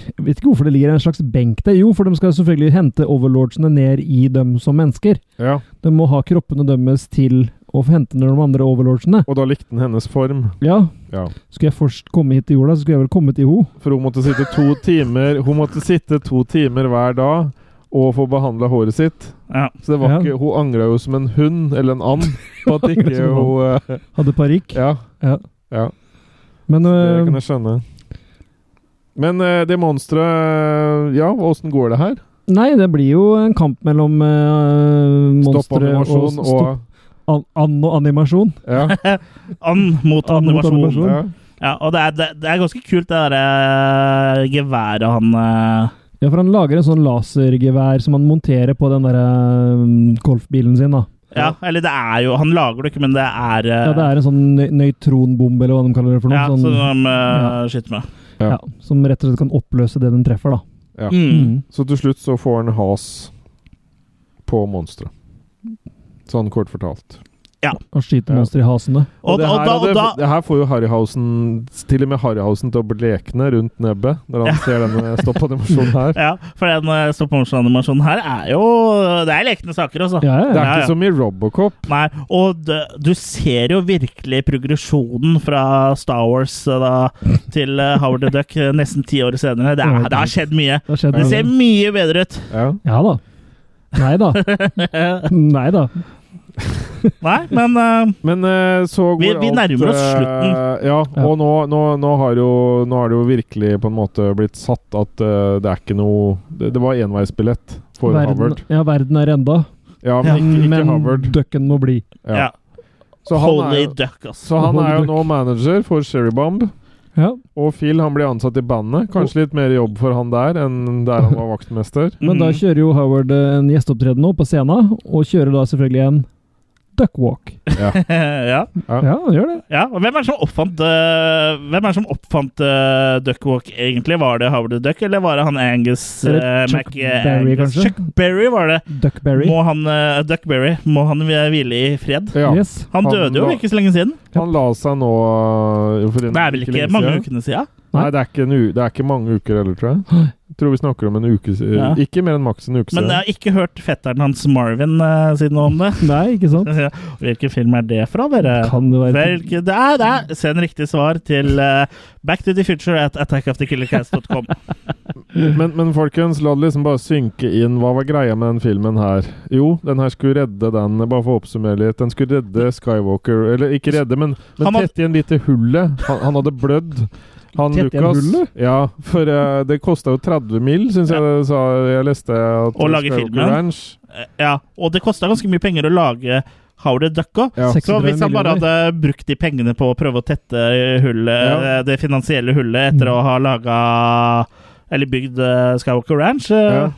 [SPEAKER 2] Jeg vet ikke hvorfor det ligger en slags benk der. Jo, for de skal selvfølgelig hente overlordsene ned i dem som mennesker.
[SPEAKER 3] Ja.
[SPEAKER 2] De må ha kroppene deres til å hente ned de andre overlordsene.
[SPEAKER 3] Og da likte han hennes form.
[SPEAKER 2] Ja,
[SPEAKER 3] Ja.
[SPEAKER 2] skulle jeg først komme hit til jorda, så skulle jeg vel komme til ho.
[SPEAKER 3] For hun måtte sitte to timer Hun måtte sitte to timer hver dag og få behandla håret sitt.
[SPEAKER 1] Ja.
[SPEAKER 3] Så det var
[SPEAKER 2] Ja.
[SPEAKER 3] ikke, hun angra jo som en hund, eller en and, på at
[SPEAKER 2] Angret
[SPEAKER 3] ikke
[SPEAKER 2] som en
[SPEAKER 3] hun eh,
[SPEAKER 2] Hadde parykk.
[SPEAKER 3] Ja.
[SPEAKER 2] Ja.
[SPEAKER 3] ja.
[SPEAKER 2] Men
[SPEAKER 3] Det kan
[SPEAKER 2] øh,
[SPEAKER 3] jeg skjønne. Men eh, det monsteret eh, Ja, åssen går det her?
[SPEAKER 2] Nei, det blir jo en kamp mellom øh, monstre
[SPEAKER 3] Stoppanimasjon og,
[SPEAKER 2] stopp- an, an og animasjon.
[SPEAKER 3] ja,
[SPEAKER 1] And mot
[SPEAKER 2] And mot
[SPEAKER 1] animasjon.
[SPEAKER 2] animasjon.
[SPEAKER 3] ja.
[SPEAKER 1] Ja, og det er, det, det er ganske kult, det derre geværet han øh,
[SPEAKER 2] Ja, for han lager en sånn lasergevær som han monterer på den derre øh, golfbilen sin, da.
[SPEAKER 1] ja, eller det er jo Han lager det ikke, men det er øh,
[SPEAKER 2] Ja, det er en sånn nø- nøytronbombe, eller hva de kaller det for noe.
[SPEAKER 1] ja,
[SPEAKER 2] sånn,
[SPEAKER 1] som de øh, skyter med.
[SPEAKER 2] ja, som rett og slett kan oppløse det den treffer, da.
[SPEAKER 3] Ja.
[SPEAKER 1] Mm.
[SPEAKER 3] Så til slutt så får han has på monsteret. Sånn kort fortalt.
[SPEAKER 2] Og skyter
[SPEAKER 3] Ja.
[SPEAKER 2] monstre i hasene.
[SPEAKER 1] Og,
[SPEAKER 3] det
[SPEAKER 1] da-
[SPEAKER 3] her,
[SPEAKER 1] og, da, og
[SPEAKER 3] det,
[SPEAKER 1] da
[SPEAKER 3] det her får jo Harryhausen Til og med Harryhausen til å blekne rundt nebbet når han ser denne stoppanimasjonen her.
[SPEAKER 1] Ja, for den eh, stop-motion-animasjonen her er jo Det er lekne saker, altså.
[SPEAKER 2] Ja, ja,
[SPEAKER 3] Det
[SPEAKER 2] ja.
[SPEAKER 3] er
[SPEAKER 1] Ja, ja.
[SPEAKER 3] ikke som i Robocop.
[SPEAKER 1] Nei, og d- du ser jo virkelig progresjonen fra Star Wars eh, da, til eh, Howard the Duck eh, nesten ti år senere. Det, er, det har skjedd mye.
[SPEAKER 2] Det har skjedd
[SPEAKER 1] Det
[SPEAKER 2] noe.
[SPEAKER 1] ser mye bedre ut.
[SPEAKER 3] Ja.
[SPEAKER 2] Ja da. Nei da. Nei da.
[SPEAKER 1] Nei, men eh,
[SPEAKER 3] Men eh, så går
[SPEAKER 1] Vi- vi
[SPEAKER 3] alt,
[SPEAKER 1] nærmer oss
[SPEAKER 3] eh,
[SPEAKER 1] slutten.
[SPEAKER 3] ja,
[SPEAKER 2] Ja.
[SPEAKER 3] og nå, nå, nå, har jo, nå har det jo virkelig på en måte blitt satt at eh, det er ikke noe Det, det var enveisbillett for
[SPEAKER 2] Verden,
[SPEAKER 3] Harvard.
[SPEAKER 2] ja, verden er enda,
[SPEAKER 3] Ja, men ikke, ikke
[SPEAKER 2] men
[SPEAKER 3] Harvard.
[SPEAKER 2] ducken må bli.
[SPEAKER 3] Ja.
[SPEAKER 1] ja.
[SPEAKER 3] Så han er,
[SPEAKER 1] Holy
[SPEAKER 3] jo-
[SPEAKER 1] Duck, altså.
[SPEAKER 3] så han
[SPEAKER 2] Holy
[SPEAKER 3] er jo
[SPEAKER 2] duck.
[SPEAKER 3] nå manager for Sherry Bomb.
[SPEAKER 2] Ja.
[SPEAKER 3] Og Phil han blir ansatt i bandet. Kanskje litt mer jobb for han der enn der han var vaktmester.
[SPEAKER 2] Men
[SPEAKER 1] Mm.
[SPEAKER 2] da kjører jo Howard eh, en gjesteopptreden nå på scenen, og kjører da selvfølgelig en duck walk.
[SPEAKER 1] ja.
[SPEAKER 2] Ja, han gjør det.
[SPEAKER 1] ja. Og hvem er det som oppfant eh, Hvem er det som oppfant eh, Duck Walk, egentlig? Var det Howard the Duck, eller var det han Angus
[SPEAKER 2] Eller
[SPEAKER 1] eh,
[SPEAKER 2] Chuck
[SPEAKER 1] Mac- Angus-
[SPEAKER 2] Berry, kanskje?
[SPEAKER 1] Chuck Berry var det.
[SPEAKER 2] Duckberry.
[SPEAKER 1] Må han, eh, Duckberry, må han hvile i fred?
[SPEAKER 3] Ja.
[SPEAKER 2] Yes.
[SPEAKER 1] Han
[SPEAKER 3] Han
[SPEAKER 1] døde jo
[SPEAKER 3] la-
[SPEAKER 1] ikke så lenge siden.
[SPEAKER 3] Han la seg nå øh, for en-
[SPEAKER 1] Det er vel ikke
[SPEAKER 3] lenge
[SPEAKER 1] mange
[SPEAKER 3] siden.
[SPEAKER 1] ukene siden?
[SPEAKER 3] Nei, det er, ikke en u det er ikke mange uker heller, tror jeg. Jeg tror vi snakker om en uke si-
[SPEAKER 1] Ja.
[SPEAKER 3] Ikke mer enn maks en uke
[SPEAKER 1] Men
[SPEAKER 3] siden.
[SPEAKER 1] jeg har ikke hørt fetteren hans Marvin eh, si noe om det.
[SPEAKER 2] Nei, ikke sant?
[SPEAKER 1] Hvilken film er det fra, dere?
[SPEAKER 2] Kan det være
[SPEAKER 1] Hvilke, det er, det er. Send riktig svar til eh, back to the future at attackofthekillercast.com. Mm.
[SPEAKER 3] Men, men folkens, la det liksom bare synke inn. Hva var greia med den filmen her? Jo, den her skulle redde den Bare for å oppsummere litt. Den skulle redde Skywalker Eller ikke redde, men,
[SPEAKER 1] Han
[SPEAKER 3] men
[SPEAKER 1] had-
[SPEAKER 3] tette igjen litt i hullet. Han, han hadde blødd. Han
[SPEAKER 2] Tette igjen
[SPEAKER 3] Lucas
[SPEAKER 2] hullet?
[SPEAKER 3] Ja, for eh, det kosta jo 30 mill., syns jeg det sa jeg leste. At
[SPEAKER 1] Å lage
[SPEAKER 3] Skywalker
[SPEAKER 1] filmen?
[SPEAKER 3] Ranch.
[SPEAKER 1] Eh, ja, og det kosta ganske mye penger å lage Howard the Duck òg.
[SPEAKER 3] Ja.
[SPEAKER 1] Så hvis han bare hadde brukt de pengene på å prøve å tette hullet,
[SPEAKER 3] Ja. Mm.
[SPEAKER 1] eh, det finansielle hullet etter å ha laga Eller bygd eh, Skywalker Ranch eh,
[SPEAKER 3] Ja.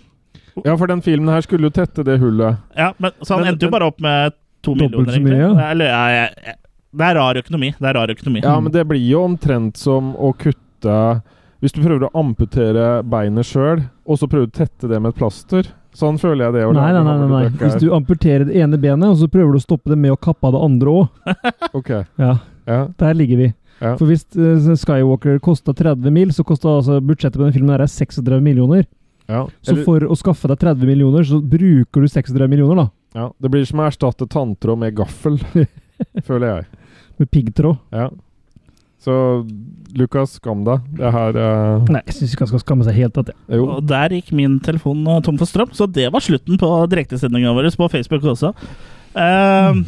[SPEAKER 3] ja, for den filmen her skulle jo tette det hullet.
[SPEAKER 1] Ja, men, så han
[SPEAKER 3] Men-
[SPEAKER 1] endte jo
[SPEAKER 3] men-
[SPEAKER 1] bare opp med to
[SPEAKER 2] Dobbelt
[SPEAKER 1] millioner,
[SPEAKER 2] så mye,
[SPEAKER 1] egentlig.
[SPEAKER 2] ja.
[SPEAKER 1] Eller, ja, ja, ja. Det er rar økonomi. Det er rar økonomi.
[SPEAKER 2] Mm.
[SPEAKER 3] Ja, men det blir jo omtrent som å kutte Hvis du prøver å amputere beinet sjøl, og så prøver du å tette det med et plaster. Sånn føler jeg det. å
[SPEAKER 2] Nei, nei,
[SPEAKER 3] lage
[SPEAKER 2] nei. nei, nei.
[SPEAKER 3] Howard the
[SPEAKER 2] Hvis
[SPEAKER 3] Duck
[SPEAKER 2] du amputerer det ene benet, og så prøver du å stoppe det med å kappe av det andre òg.
[SPEAKER 3] er. Ok,
[SPEAKER 2] Ja,
[SPEAKER 3] ja.
[SPEAKER 2] der ligger vi.
[SPEAKER 3] Ja.
[SPEAKER 2] For hvis eh, Skywalker kosta 30 mil, så kosta altså budsjettet på den filmen her er 36 millioner.
[SPEAKER 3] Ja.
[SPEAKER 2] Så
[SPEAKER 3] Eller,
[SPEAKER 2] for å skaffe deg 30 millioner, så bruker du 36 millioner, da.
[SPEAKER 3] ja. Det blir som å erstatte tanntråd med gaffel, føler jeg.
[SPEAKER 2] Med piggtråd.
[SPEAKER 3] Ja. Så Lukas, skam deg. Det her eh,
[SPEAKER 2] Nei, jeg syns ikke han skal skamme seg helt. At det.
[SPEAKER 3] Jo.
[SPEAKER 1] Og der gikk min telefon eh, tom for strøm, så det var slutten på direktesendinga vår på Facebook også. Eh,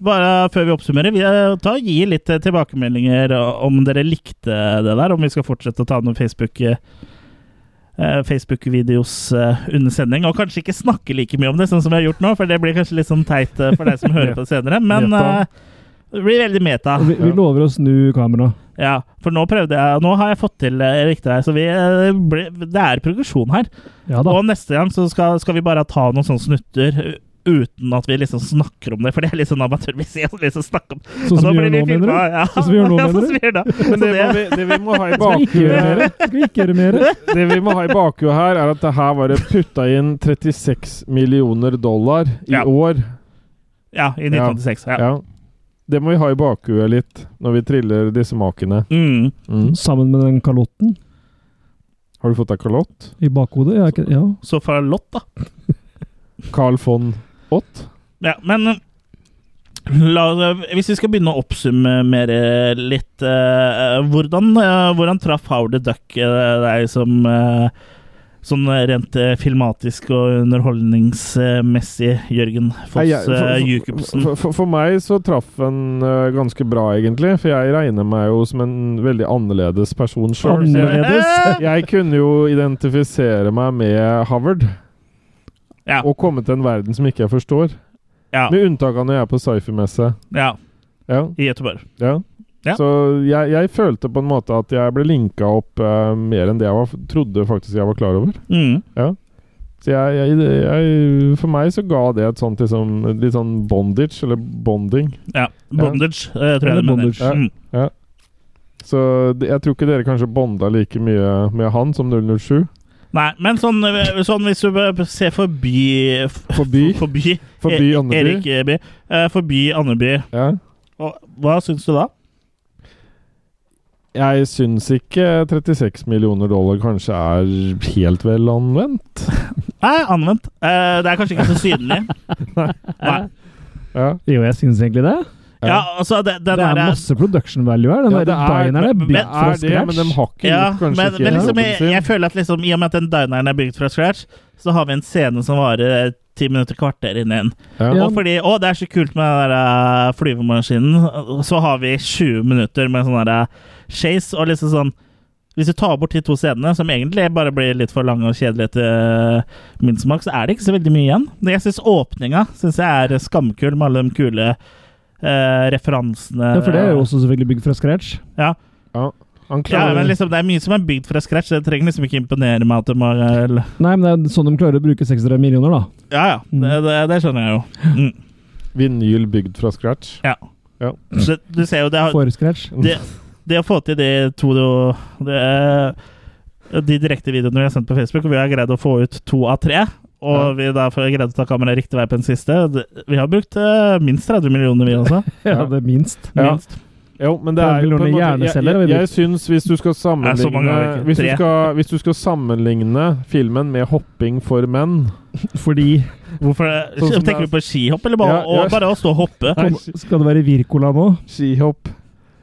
[SPEAKER 1] bare før vi oppsummerer, vi eh, ta, gi litt eh, tilbakemeldinger eh, om dere likte det der, om vi skal fortsette å ta noen Facebook eh, eh, Facebook-videos eh, under sending. Og kanskje ikke snakke like mye om det, sånn som vi har gjort nå, for det blir kanskje litt sånn teit eh, for deg som hører på det senere. Men
[SPEAKER 3] Meta.
[SPEAKER 1] eh, det blir veldig meta.
[SPEAKER 2] Vi, vi lover å snu kameraet.
[SPEAKER 1] Ja, for nå prøvde jeg Nå har jeg fått til eh, riktig vei, så vi, eh, ble, det er progresjon her.
[SPEAKER 2] Ja da.
[SPEAKER 1] Og neste gang så skal, skal vi bare ta noen sånne snutter u- uten at vi liksom snakker om det, for det er litt sånn amatørmessig å liksom snakke om
[SPEAKER 2] Sånn som
[SPEAKER 1] Og da
[SPEAKER 2] vi gjør
[SPEAKER 1] blir vi
[SPEAKER 2] nå, mener
[SPEAKER 1] filmet,
[SPEAKER 2] du?
[SPEAKER 1] Ja,
[SPEAKER 2] Sånn som vi gjør
[SPEAKER 1] Ja,
[SPEAKER 2] nå, mener
[SPEAKER 1] sånn som vi gjør da.
[SPEAKER 3] Men
[SPEAKER 1] Så
[SPEAKER 3] det, må vi, det vi må ha i bakhuet
[SPEAKER 2] Skal vi ikke gjøre mer?
[SPEAKER 3] Det vi må ha i bakhuet her, er at det her var det putta inn 36 millioner dollar i
[SPEAKER 1] Ja.
[SPEAKER 3] år.
[SPEAKER 1] ja, i 1986. Ja.
[SPEAKER 3] Ja. Det må vi ha i bakhuet litt når vi triller disse makene.
[SPEAKER 1] Mm.
[SPEAKER 3] Mm.
[SPEAKER 2] Sammen med den kalotten
[SPEAKER 3] Har du fått deg kalott?
[SPEAKER 2] i bakhodet? Ja, ikke, ja.
[SPEAKER 1] Så fra Lott, da.
[SPEAKER 3] Carl von Ott?
[SPEAKER 1] Ja, men eh, la, hvis vi skal begynne å oppsummere litt eh, Hvordan, eh, hvordan traff Howard the Duck eh, deg som eh, Sånn rent eh, filmatisk og underholdningsmessig, Jørgen
[SPEAKER 3] Nei,
[SPEAKER 1] Foss
[SPEAKER 3] jeg- for-
[SPEAKER 1] eh,
[SPEAKER 3] for-
[SPEAKER 1] Jacobsen.
[SPEAKER 3] For, for, for meg så traff en eh, ganske bra, egentlig. For jeg regner meg jo som en veldig annerledes person sjøl.
[SPEAKER 2] Annerledes.
[SPEAKER 3] Jeg kunne jo identifisere meg med Howard.
[SPEAKER 1] Ja.
[SPEAKER 3] Og komme til en verden som ikke jeg forstår.
[SPEAKER 1] Ja,
[SPEAKER 3] Med unntak av når jeg er på sci-fi-messe.
[SPEAKER 1] ja,
[SPEAKER 3] Ja,
[SPEAKER 1] i Göteborg.
[SPEAKER 3] ja.
[SPEAKER 1] Ja.
[SPEAKER 3] Så jeg, jeg følte på en måte at jeg ble linka opp eh, mer enn det jeg var, trodde faktisk jeg var klar over.
[SPEAKER 1] Mm.
[SPEAKER 3] Så jeg, jeg, jeg, for meg så ga det et sånt liksom, litt sånn bondage, eller bonding.
[SPEAKER 1] Ja. Bondage, eh, tror
[SPEAKER 2] Eller
[SPEAKER 1] jeg det mener.
[SPEAKER 2] bondage.
[SPEAKER 3] Ja.
[SPEAKER 1] Mm.
[SPEAKER 3] Så det- jeg tror ikke dere kanskje bonda like mye med han som 007.
[SPEAKER 1] Nei, men sånn, eh, sånn hvis du eh, ser forbi
[SPEAKER 3] Forby.
[SPEAKER 1] Forbi,
[SPEAKER 3] Forby
[SPEAKER 1] E-
[SPEAKER 3] Andeby.
[SPEAKER 1] Erik Eby. eh, forbi Andeby.
[SPEAKER 3] Ja.
[SPEAKER 1] Og Hva syns du da?
[SPEAKER 3] Jeg syns ikke 36 millioner dollar kanskje er helt vel anvendt.
[SPEAKER 1] Nei, anvendt. Eh, det er kanskje ikke så synlig. Nei.
[SPEAKER 3] Ja.
[SPEAKER 2] Jo, jeg syns egentlig det.
[SPEAKER 1] Ja, altså, det, den
[SPEAKER 2] Det er
[SPEAKER 1] derre-
[SPEAKER 2] masse production value her. Den
[SPEAKER 3] Ja,
[SPEAKER 2] der
[SPEAKER 3] det er-
[SPEAKER 2] dineren er
[SPEAKER 1] men-
[SPEAKER 2] bygd
[SPEAKER 1] men-
[SPEAKER 2] fra
[SPEAKER 3] er det, men de
[SPEAKER 2] scratch.
[SPEAKER 3] har ikke
[SPEAKER 1] ja, men,
[SPEAKER 3] gjort kanskje ikke
[SPEAKER 1] men liksom,
[SPEAKER 3] jobben
[SPEAKER 1] jeg,
[SPEAKER 3] sin.
[SPEAKER 1] jeg føler at liksom, i og med at den dineren er bygd fra scratch, så har vi en scene som varer eh, ti minutter kvarter inn i den.
[SPEAKER 3] ja.
[SPEAKER 2] Ja.
[SPEAKER 1] Og fordi Å, det er så kult med den der eh, flyvemaskinen. Så har vi 20 minutter med sånn der eh, chase, og liksom sånn Hvis du tar bort de to scenene, som egentlig bare blir litt for lange og kjedelige til eh, min smak, så er det ikke så veldig mye igjen. Men Jeg syns åpninga synes jeg er skamkul, med alle de kule eh, referansene.
[SPEAKER 2] Ja, for det er jo også selvfølgelig bygd fra scratch.
[SPEAKER 1] Ja.
[SPEAKER 3] Han
[SPEAKER 1] Ja,
[SPEAKER 3] klarer
[SPEAKER 1] men liksom, Det er mye som er bygd fra scratch. Det trenger liksom ikke imponere meg. at de har, eller-
[SPEAKER 2] Nei, men det er sånn de klarer å bruke 600 millioner, da.
[SPEAKER 1] Ja, ja. Det, det, det skjønner jeg jo. Mm,
[SPEAKER 3] vinyl bygd fra scratch.
[SPEAKER 1] ja.
[SPEAKER 3] Ja.
[SPEAKER 2] Mm.
[SPEAKER 1] Så, du ser jo, det har,
[SPEAKER 2] For scratch.
[SPEAKER 1] det, det å få til de to det, De direkte videoene vi har sendt på Facebook, og vi har greid å få ut to av tre. Og
[SPEAKER 3] Ja.
[SPEAKER 1] vi da får greid å ta kameraet riktig vei på den siste. Det- Vi har brukt eh, minst 30 millioner, vi også.
[SPEAKER 2] Ja, det er minst.
[SPEAKER 3] Ja.
[SPEAKER 1] Minst.
[SPEAKER 3] Jo, men det er jo på en måte Jeg,
[SPEAKER 2] Hjerneceller har vi
[SPEAKER 3] jeg,
[SPEAKER 2] brukt.
[SPEAKER 3] jeg syns hvis du skal
[SPEAKER 1] Nei, så mange
[SPEAKER 3] sammenligne
[SPEAKER 1] har vi ikke.
[SPEAKER 3] hvis du
[SPEAKER 1] Tre.
[SPEAKER 3] skal, hvis du skal sammenligne filmen med 'Hopping for menn'
[SPEAKER 2] Fordi
[SPEAKER 1] Hvorfor eh,
[SPEAKER 3] Sånn som
[SPEAKER 1] Tenker
[SPEAKER 3] det
[SPEAKER 1] du på skihopp, eller bare,
[SPEAKER 3] Ja, ja.
[SPEAKER 1] og bare å stå og hoppe?
[SPEAKER 3] Nei,
[SPEAKER 2] Skal det være Wirkola nå?
[SPEAKER 3] skihopp.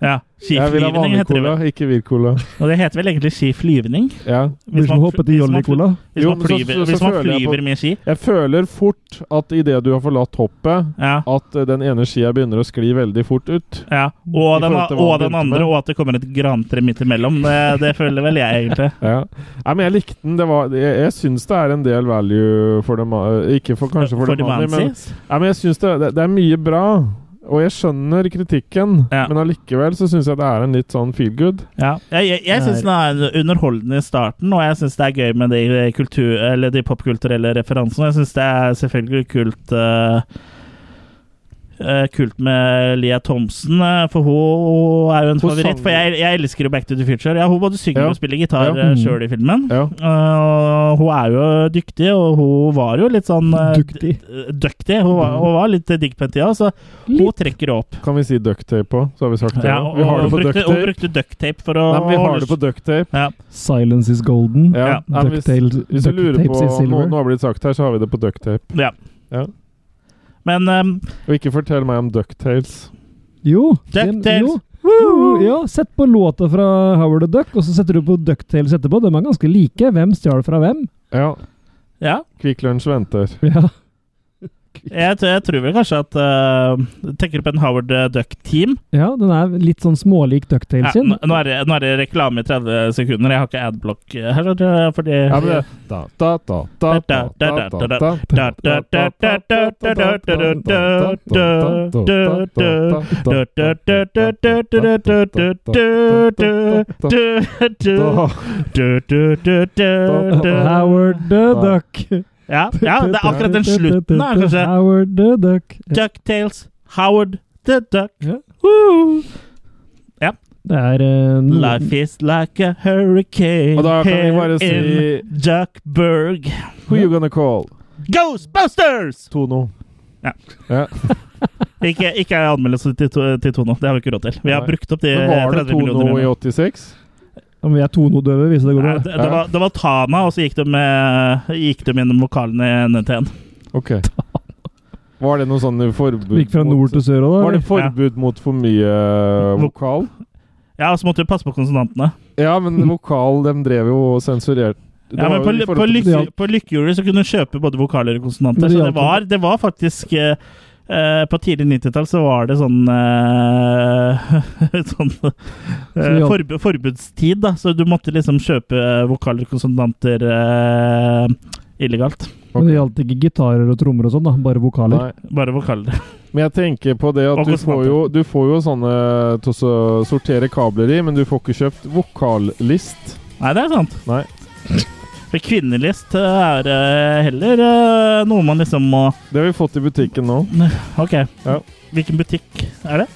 [SPEAKER 1] Ja,
[SPEAKER 3] Jeg vil ha
[SPEAKER 1] Skiflyvning
[SPEAKER 3] vanlig
[SPEAKER 1] heter det
[SPEAKER 3] cola,
[SPEAKER 1] vel.
[SPEAKER 3] ikke Virkola.
[SPEAKER 1] Og det heter vel egentlig skiflyvning?
[SPEAKER 3] Ja.
[SPEAKER 2] Blir som å hoppe til
[SPEAKER 1] hvis man-
[SPEAKER 2] Jolly Cola.
[SPEAKER 1] Hvis
[SPEAKER 3] Jo,
[SPEAKER 1] man
[SPEAKER 3] men så-
[SPEAKER 1] flyver,
[SPEAKER 3] så- så
[SPEAKER 1] hvis man
[SPEAKER 3] føler jeg på-
[SPEAKER 1] flyver med ski.
[SPEAKER 3] Jeg føler fort at idet du har forlatt hoppet,
[SPEAKER 1] Ja.
[SPEAKER 3] at eh, den ene skia begynner å skli veldig fort ut.
[SPEAKER 1] Ja, og
[SPEAKER 3] I
[SPEAKER 1] den,
[SPEAKER 3] forhold til hva
[SPEAKER 1] og
[SPEAKER 3] han
[SPEAKER 1] den
[SPEAKER 3] begynte
[SPEAKER 1] andre,
[SPEAKER 3] med.
[SPEAKER 1] og at det kommer et grantre midt imellom. Det, det føler vel jeg, egentlig.
[SPEAKER 3] Ja. Nei, men jeg likte den. Det var, jeg jeg syns det er en del value for dem eh, Ikke for, kanskje for,
[SPEAKER 1] For
[SPEAKER 3] dem
[SPEAKER 1] de
[SPEAKER 3] andre, men,
[SPEAKER 1] Mansies.
[SPEAKER 3] Nei, men jeg synes det, det, det er mye bra, og jeg skjønner kritikken,
[SPEAKER 1] Ja.
[SPEAKER 3] men allikevel så syns jeg det er en litt sånn feel good.
[SPEAKER 1] Ja. Jeg, jeg, jeg syns den er underholdende i starten, og jeg syns det er gøy med de, kultur, eller de popkulturelle referansene. Jeg syns det er selvfølgelig kult eh, eh, Kult med Lia Thomsen, eh, for hun er jo en
[SPEAKER 3] Hun
[SPEAKER 1] favoritt.
[SPEAKER 3] sang-
[SPEAKER 1] For jeg, jeg elsker jo Back to the Future. Ja, hun både synger
[SPEAKER 3] Ja.
[SPEAKER 1] og spiller gitar
[SPEAKER 3] Ja.
[SPEAKER 1] ja. sjøl i filmen.
[SPEAKER 3] Ja.
[SPEAKER 1] Eh, hun er jo dyktig, og hun var jo litt sånn eh,
[SPEAKER 2] Duktig.
[SPEAKER 1] d- døktig. Hun,
[SPEAKER 3] Mm.
[SPEAKER 1] var- hun var litt eh, digg på den tida, så hun trekker opp.
[SPEAKER 3] Kan vi si ducktape på? Så har vi sagt det.
[SPEAKER 1] Ja,
[SPEAKER 3] også.
[SPEAKER 1] og,
[SPEAKER 3] vi har det
[SPEAKER 1] hun,
[SPEAKER 3] på
[SPEAKER 1] brukte, hun
[SPEAKER 3] ducktape.
[SPEAKER 1] brukte ducktape for å
[SPEAKER 3] Nei, men vi har det på ducktape.
[SPEAKER 1] ja.
[SPEAKER 2] Silence is golden.
[SPEAKER 3] Ja.
[SPEAKER 1] Ja.
[SPEAKER 3] Nei, men hvis,
[SPEAKER 2] Ducktail-
[SPEAKER 3] hvis du lurer på
[SPEAKER 2] ducktapes is
[SPEAKER 3] noe
[SPEAKER 2] silver.
[SPEAKER 3] noe har blitt sagt her, så har vi det på ducktape.
[SPEAKER 1] Ja.
[SPEAKER 3] Ja.
[SPEAKER 1] Men ehm,
[SPEAKER 3] Og ikke fortell meg om ducktails.
[SPEAKER 2] Jo.
[SPEAKER 1] DuckTales.
[SPEAKER 2] den- jo. Woo! Ja, sett på låta fra Howard the Duck, og så setter du på Ducktails etterpå. De er ganske like. Hvem stjal fra hvem?
[SPEAKER 3] Ja.
[SPEAKER 1] ja.
[SPEAKER 3] Kvikk Lunsj venter.
[SPEAKER 2] Ja.
[SPEAKER 1] Jeg, tror- jeg tror vel kanskje at eh, Tenker du på en Howard eh, Duck-team?
[SPEAKER 2] Ja, den er litt sånn smålik
[SPEAKER 1] Ja,
[SPEAKER 2] Ducktail sin.
[SPEAKER 1] nå, nå er det, nå er det reklame i 30 sekunder. Jeg har ikke adblock eh, her. skjønner du, Fordi
[SPEAKER 3] Ja, men det da, da, da, da, da, da, da, da, da, da, da, da, da, da, da, da, da, da, da,
[SPEAKER 2] Howard the Duck.
[SPEAKER 1] ja, ja, det er akkurat den slutten der, kanskje.
[SPEAKER 2] Howard the Duck.
[SPEAKER 1] Ducktales, Howard the Duck.
[SPEAKER 2] Ja.
[SPEAKER 1] Woo!
[SPEAKER 2] Det er eh, no-
[SPEAKER 1] Life is like a hurricane
[SPEAKER 3] Og da kan vi
[SPEAKER 1] here
[SPEAKER 3] bare si-
[SPEAKER 1] in Duckburg.
[SPEAKER 3] Who you gonna call?
[SPEAKER 1] Ghostbusters!
[SPEAKER 3] Tono.
[SPEAKER 1] Ja.
[SPEAKER 3] Ja.
[SPEAKER 1] Ikke, ikke anmeldelse til, to- til Tono. Det har vi ikke råd til. Vi har
[SPEAKER 3] Nei.
[SPEAKER 1] brukt opp de
[SPEAKER 3] Men var det
[SPEAKER 1] 30 Eh, millioner.
[SPEAKER 3] Tono i
[SPEAKER 1] nå.
[SPEAKER 3] 86?
[SPEAKER 2] Om vi er tonodøve, hvis det går
[SPEAKER 1] Nei,
[SPEAKER 2] bra.
[SPEAKER 1] det, det, var, det var Tana, og så gikk de, eh, gikk de gjennom lokalene i NTN.
[SPEAKER 3] Ok. Var det noe sånn
[SPEAKER 2] Vi
[SPEAKER 3] forbud
[SPEAKER 2] Gikk fra nord til sør
[SPEAKER 3] mot,
[SPEAKER 2] òg,
[SPEAKER 3] Var
[SPEAKER 2] da.
[SPEAKER 3] det forbud mot for mye eh, vokal?
[SPEAKER 1] Ja, og så måtte vi passe på konsonantene.
[SPEAKER 3] Ja, men vokal, de drev jo og sensurerte. Det
[SPEAKER 1] Ja,
[SPEAKER 3] var
[SPEAKER 1] men
[SPEAKER 3] jo
[SPEAKER 1] på,
[SPEAKER 3] i
[SPEAKER 1] på,
[SPEAKER 3] forhold til-
[SPEAKER 1] lykke, på lykkehjulet så kunne du kjøpe både vokaler og konsonanter.
[SPEAKER 2] Men det
[SPEAKER 1] så
[SPEAKER 2] hjalp
[SPEAKER 1] det var, det var faktisk eh, eh, På tidlig 90-tall så var det sånn eh, Sånn eh,
[SPEAKER 2] det hjalp.
[SPEAKER 1] forb forbudstid, da. Så du måtte liksom kjøpe eh, vokaler og konsonanter eh, illegalt.
[SPEAKER 2] Men det gjaldt ikke gitarer og trommer og sånn, da. Bare vokaler.
[SPEAKER 3] Nei.
[SPEAKER 1] Bare vokaler.
[SPEAKER 3] Men jeg tenker på det at
[SPEAKER 1] Og
[SPEAKER 3] du får,
[SPEAKER 1] konsonanter.
[SPEAKER 3] jo, du får jo sånne eh, til å så- sortere kabler i, men du får ikke kjøpt vokallist.
[SPEAKER 1] Nei, det er sant.
[SPEAKER 3] Nei.
[SPEAKER 1] For kvinnelist eh, er eh, heller eh, noe man liksom må
[SPEAKER 3] Det har vi fått i butikken nå.
[SPEAKER 1] OK.
[SPEAKER 3] Ja.
[SPEAKER 1] Hvilken butikk er det?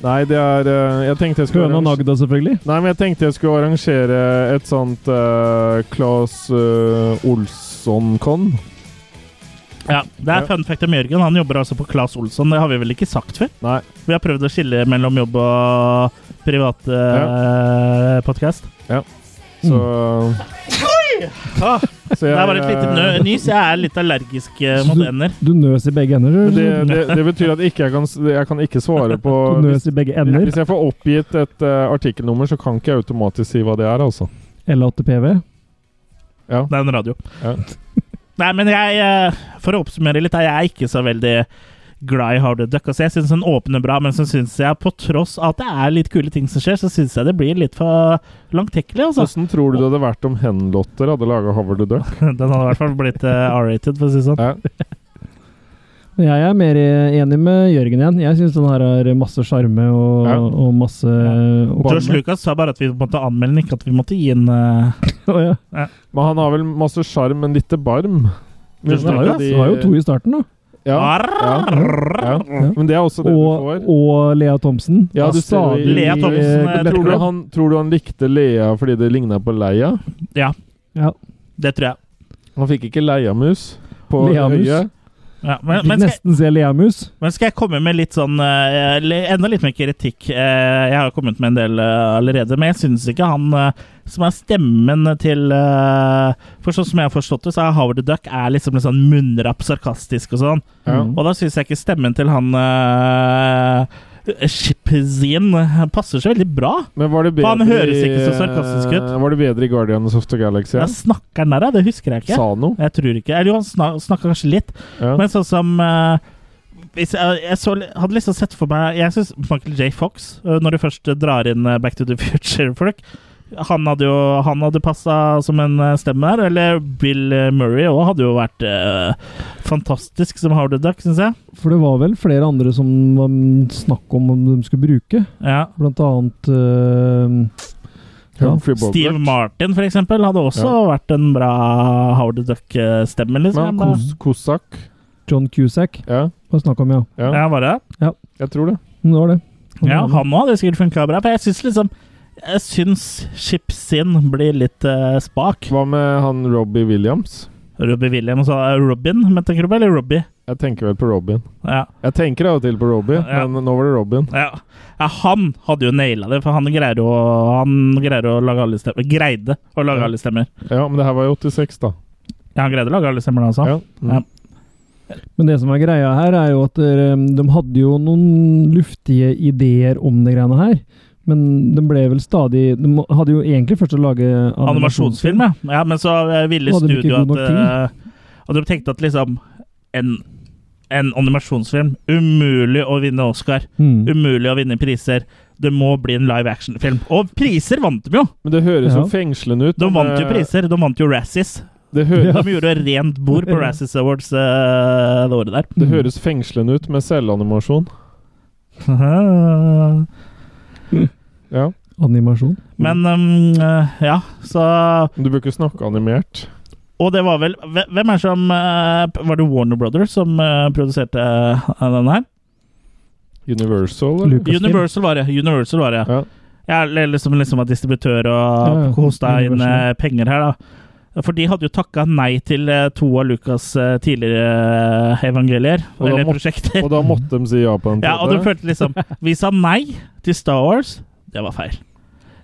[SPEAKER 3] Nei, det er eh, Jeg tenkte jeg skulle
[SPEAKER 2] Høna
[SPEAKER 3] arrangere-
[SPEAKER 2] Nagda, selvfølgelig.
[SPEAKER 3] Nei, men jeg tenkte jeg skulle arrangere et sånt uh, Claes eh, Olsson-kon.
[SPEAKER 1] Ja, Det er
[SPEAKER 3] Ja.
[SPEAKER 1] fun fact om Jørgen. Han jobber altså på Claes Olsson. Det har vi vel ikke sagt før?
[SPEAKER 3] Nei.
[SPEAKER 1] Vi har prøvd å skille mellom jobb og privat eh, podcast.
[SPEAKER 2] Mm.
[SPEAKER 3] Så
[SPEAKER 1] Ah, det
[SPEAKER 3] Så jeg, eh,
[SPEAKER 1] er bare et lite nø- nys. Jeg er litt allergisk eh, mot ender.
[SPEAKER 2] Du nøs i begge ender.
[SPEAKER 3] Men
[SPEAKER 2] du.
[SPEAKER 3] det, det, det betyr at ikke jeg, kan, s- jeg kan ikke svare på
[SPEAKER 2] Du
[SPEAKER 3] hvis,
[SPEAKER 2] nøs i begge ender.
[SPEAKER 3] hvis jeg får oppgitt et eh, artikkelnummer, så kan ikke jeg automatisk si hva det er, altså.
[SPEAKER 2] L8PV.
[SPEAKER 3] Ja.
[SPEAKER 1] Det er en radio.
[SPEAKER 3] Ja.
[SPEAKER 1] Nei, men jeg eh, For å oppsummere litt, er jeg ikke så veldig glad i Howard the Duck. Altså, jeg syns den åpner bra, men så syns jeg, på tross av at det er litt kule ting som skjer, så syns jeg det blir litt for langtekkelig, altså.
[SPEAKER 3] Hvordan tror du det hadde vært om Henlotter hadde laga Howard the Duck?
[SPEAKER 1] Den hadde i hvert fall blitt eh, R-rated, for å si det sånn.
[SPEAKER 3] Ja.
[SPEAKER 2] Men Jeg er mer eh, enig med Jørgen igjen. Jeg syns den her har masse sjarme og,
[SPEAKER 3] Ja.
[SPEAKER 2] og masse eh, og
[SPEAKER 1] George Lucas sa bare at vi måtte anmelde den, ikke at vi måtte gi den eh,
[SPEAKER 2] Å, ja.
[SPEAKER 3] Men han har vel masse sjarm, men lite barm.
[SPEAKER 2] Det var jo, det var jo to i starten, da.
[SPEAKER 1] Ah,
[SPEAKER 3] Ja, ja, ja. Men det er også det du
[SPEAKER 2] Og,
[SPEAKER 3] får.
[SPEAKER 2] og Lea Thomsen.
[SPEAKER 3] Ja, du ser jo i-
[SPEAKER 1] Lea Thomsen,
[SPEAKER 2] eh,
[SPEAKER 1] jeg
[SPEAKER 3] tror, du
[SPEAKER 2] lettkledd.
[SPEAKER 3] han, tror du han likte Lea fordi det ligna på Leia?
[SPEAKER 1] Ja,
[SPEAKER 2] Ja.
[SPEAKER 1] det tror jeg.
[SPEAKER 3] Han fikk ikke leiamus på
[SPEAKER 2] Leiamus?
[SPEAKER 3] øyet.
[SPEAKER 1] Ja, men,
[SPEAKER 2] Fikk
[SPEAKER 1] men, skal,
[SPEAKER 2] nesten se Leamus.
[SPEAKER 1] men skal jeg komme med litt sånn eh, le- Enda litt mer kritikk. Eh, jeg har jo kommet med en del eh, allerede, men jeg syns ikke han eh, som er stemmen til eh, For sånn som jeg har forstått det, så er Howard the Duck er liksom litt sånn munnrapp, sarkastisk og sånn.
[SPEAKER 3] Ja.
[SPEAKER 2] Mm.
[SPEAKER 1] Og da syns jeg ikke stemmen til han eh, Shipzin passer så veldig bra.
[SPEAKER 3] Men var det bedre
[SPEAKER 1] Faen, han høres
[SPEAKER 3] i-
[SPEAKER 1] ikke så sarkastisk ut.
[SPEAKER 3] eh, Var det bedre i Guardians of the Galaxy?
[SPEAKER 1] Ja. Snakker han der, ja, det husker jeg ikke.
[SPEAKER 3] Sa noe?
[SPEAKER 1] Jeg tror ikke. Eller jo, han snak- snakka kanskje litt.
[SPEAKER 3] Ja.
[SPEAKER 1] Men sånn som eh, hvis jeg, jeg så, hadde liksom sett for meg Jeg syns Michael J. Fox, eh, når du først drar inn eh, Back to the Future-folk Han hadde jo Han hadde passa som en eh, stemme der. Eller Bill eh, Murray òg hadde jo vært eh, fantastisk som Howard the Duck, syns jeg.
[SPEAKER 2] For det var vel flere andre som var snakk om om de skulle bruke.
[SPEAKER 1] Ja.
[SPEAKER 2] Blant annet eh, ja.
[SPEAKER 3] Humphrey Bogart.
[SPEAKER 1] Steve Martin, for eksempel, hadde også vært en bra Howard the Duck-stemme.
[SPEAKER 3] Men
[SPEAKER 1] Liksom.
[SPEAKER 3] Kos Kossak.
[SPEAKER 2] John Cusack.
[SPEAKER 3] Ja,
[SPEAKER 2] Var snakk om, ja.
[SPEAKER 3] ja,
[SPEAKER 1] ja, var det?
[SPEAKER 3] jeg tror det.
[SPEAKER 2] Det var det.
[SPEAKER 1] Ja,
[SPEAKER 2] var det.
[SPEAKER 1] han òg hadde sikkert funka bra. For jeg syns liksom Jeg syns Chipsin blir litt eh, spak.
[SPEAKER 3] Hva med han Robbie Williams?
[SPEAKER 1] Robbie Williams og eh, Robin, men tenker du på? Eller Robbie?
[SPEAKER 3] Jeg tenker vel på Robin.
[SPEAKER 1] Ja,
[SPEAKER 3] Jeg tenker av og til på Robbie,
[SPEAKER 1] Ja.
[SPEAKER 3] men nå var det Robin.
[SPEAKER 1] ja. ja han hadde jo naila det, for han greier jo Han greier å lage alle stemmer. Greide å lage alle stemmer.
[SPEAKER 3] Ja, men det her var jo 86, da.
[SPEAKER 1] Ja, han greide å lage alle stemmer, han også.
[SPEAKER 3] Ja. Mm.
[SPEAKER 1] Ja.
[SPEAKER 2] Men det som er greia her, er jo at eh, de hadde jo noen luftige ideer om det greiene her. Men de ble vel stadig De må- hadde jo egentlig først å lage
[SPEAKER 1] Animasjonsfilm, ja. ja. Men så eh, ville
[SPEAKER 2] Hadde de ikke
[SPEAKER 1] studio
[SPEAKER 2] god
[SPEAKER 1] at
[SPEAKER 2] nok tid?
[SPEAKER 1] eh, Og de tenkte at liksom en en animasjonsfilm. Umulig å vinne Oscar.
[SPEAKER 2] Mm.
[SPEAKER 1] Umulig å vinne priser. Det må bli en live action-film. Og priser vant de jo!
[SPEAKER 3] Men det høres
[SPEAKER 2] Ja.
[SPEAKER 3] jo fengslende ut.
[SPEAKER 1] De
[SPEAKER 3] men
[SPEAKER 1] vant jo
[SPEAKER 3] det-
[SPEAKER 1] priser. De vant jo Razzies.
[SPEAKER 3] Det, hø
[SPEAKER 1] De gjorde rent bord på Razzies Awards eh, det året der.
[SPEAKER 3] det
[SPEAKER 2] Mm.
[SPEAKER 3] høres fengslende ut med selvanimasjon. Ja.
[SPEAKER 2] Animasjon.
[SPEAKER 1] Men ehm, eh, ja, så
[SPEAKER 3] Du bør ikke snakke animert.
[SPEAKER 1] Og det var vel hve- Hvem er det som eh, Var det Warner Brothers som eh, produserte eh, denne her?
[SPEAKER 3] Universal, eller?
[SPEAKER 2] Lucasfilm.
[SPEAKER 1] Universal var det. Universal var det.
[SPEAKER 3] Ja.
[SPEAKER 1] Ja, eller liksom, liksom at distributør og
[SPEAKER 2] Ja, ja.
[SPEAKER 1] hosta inn
[SPEAKER 2] Universal.
[SPEAKER 1] eh, penger her, da. For de hadde jo takka nei til eh, to av Lucas' eh, tidligere eh, evangelier,
[SPEAKER 3] Og da
[SPEAKER 1] eller
[SPEAKER 3] må-
[SPEAKER 1] prosjekter.
[SPEAKER 3] Og da måtte de si ja på den
[SPEAKER 1] Ja, og du
[SPEAKER 3] tredje.
[SPEAKER 1] følte liksom Vi sa nei til Star Wars. Det var feil.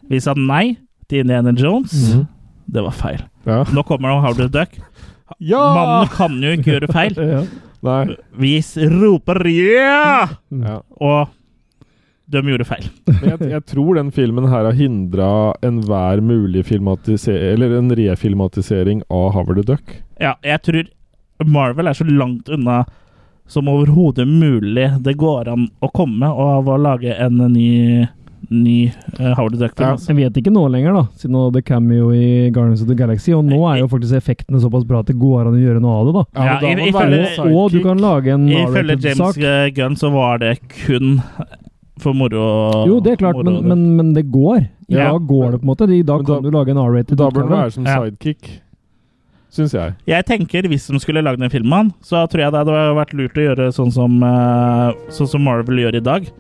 [SPEAKER 1] Vi sa nei til Indiana Jones.
[SPEAKER 3] Mhm.
[SPEAKER 1] Det var feil.
[SPEAKER 3] Ja.
[SPEAKER 1] Nå kommer det Howard the Duck.
[SPEAKER 3] ja!
[SPEAKER 1] Mannen kan jo ikke gjøre feil.
[SPEAKER 2] Ja.
[SPEAKER 3] Nei.
[SPEAKER 1] Vi s- roper ja!
[SPEAKER 3] Mm. Ja.
[SPEAKER 1] Og de gjorde feil.
[SPEAKER 3] Men jeg, jeg tror den filmen her har hindra enhver mulig filmatisering Eller en refilmatisering av Howard the Duck.
[SPEAKER 1] Ja, jeg tror Marvel er så langt unna som overhodet mulig det går an å komme og å lage en ny, ny eh, Howard the
[SPEAKER 3] Ja.
[SPEAKER 1] Duck-film. altså.
[SPEAKER 2] Jeg vet ikke nå lenger, da, siden nå hadde cameo i Guardians of the Galaxy. Og nå er jo faktisk effektene såpass bra at det går an å gjøre noe av det, da.
[SPEAKER 1] Ja,
[SPEAKER 3] men da
[SPEAKER 1] i-
[SPEAKER 3] må man
[SPEAKER 1] ifølge-
[SPEAKER 3] være
[SPEAKER 2] Og, og du kan lage en
[SPEAKER 1] Ifølge James
[SPEAKER 2] R-rated-sak.
[SPEAKER 1] Gunn så var det kun for moro.
[SPEAKER 2] Jo, det er klart, men,
[SPEAKER 1] moro.
[SPEAKER 2] men, men det går. I
[SPEAKER 1] Ja.
[SPEAKER 2] dag går det, på en måte. I dag
[SPEAKER 3] Men
[SPEAKER 2] kan du
[SPEAKER 3] da-
[SPEAKER 2] lage en R-rated
[SPEAKER 3] Da bør den
[SPEAKER 2] utgave.
[SPEAKER 3] være som
[SPEAKER 1] Ja.
[SPEAKER 3] sidekick, syns jeg.
[SPEAKER 1] Jeg tenker Hvis de skulle lagd den filmen, så tror jeg det hadde vært lurt å gjøre sånn som, eh, sånn som Marvel gjør i dag.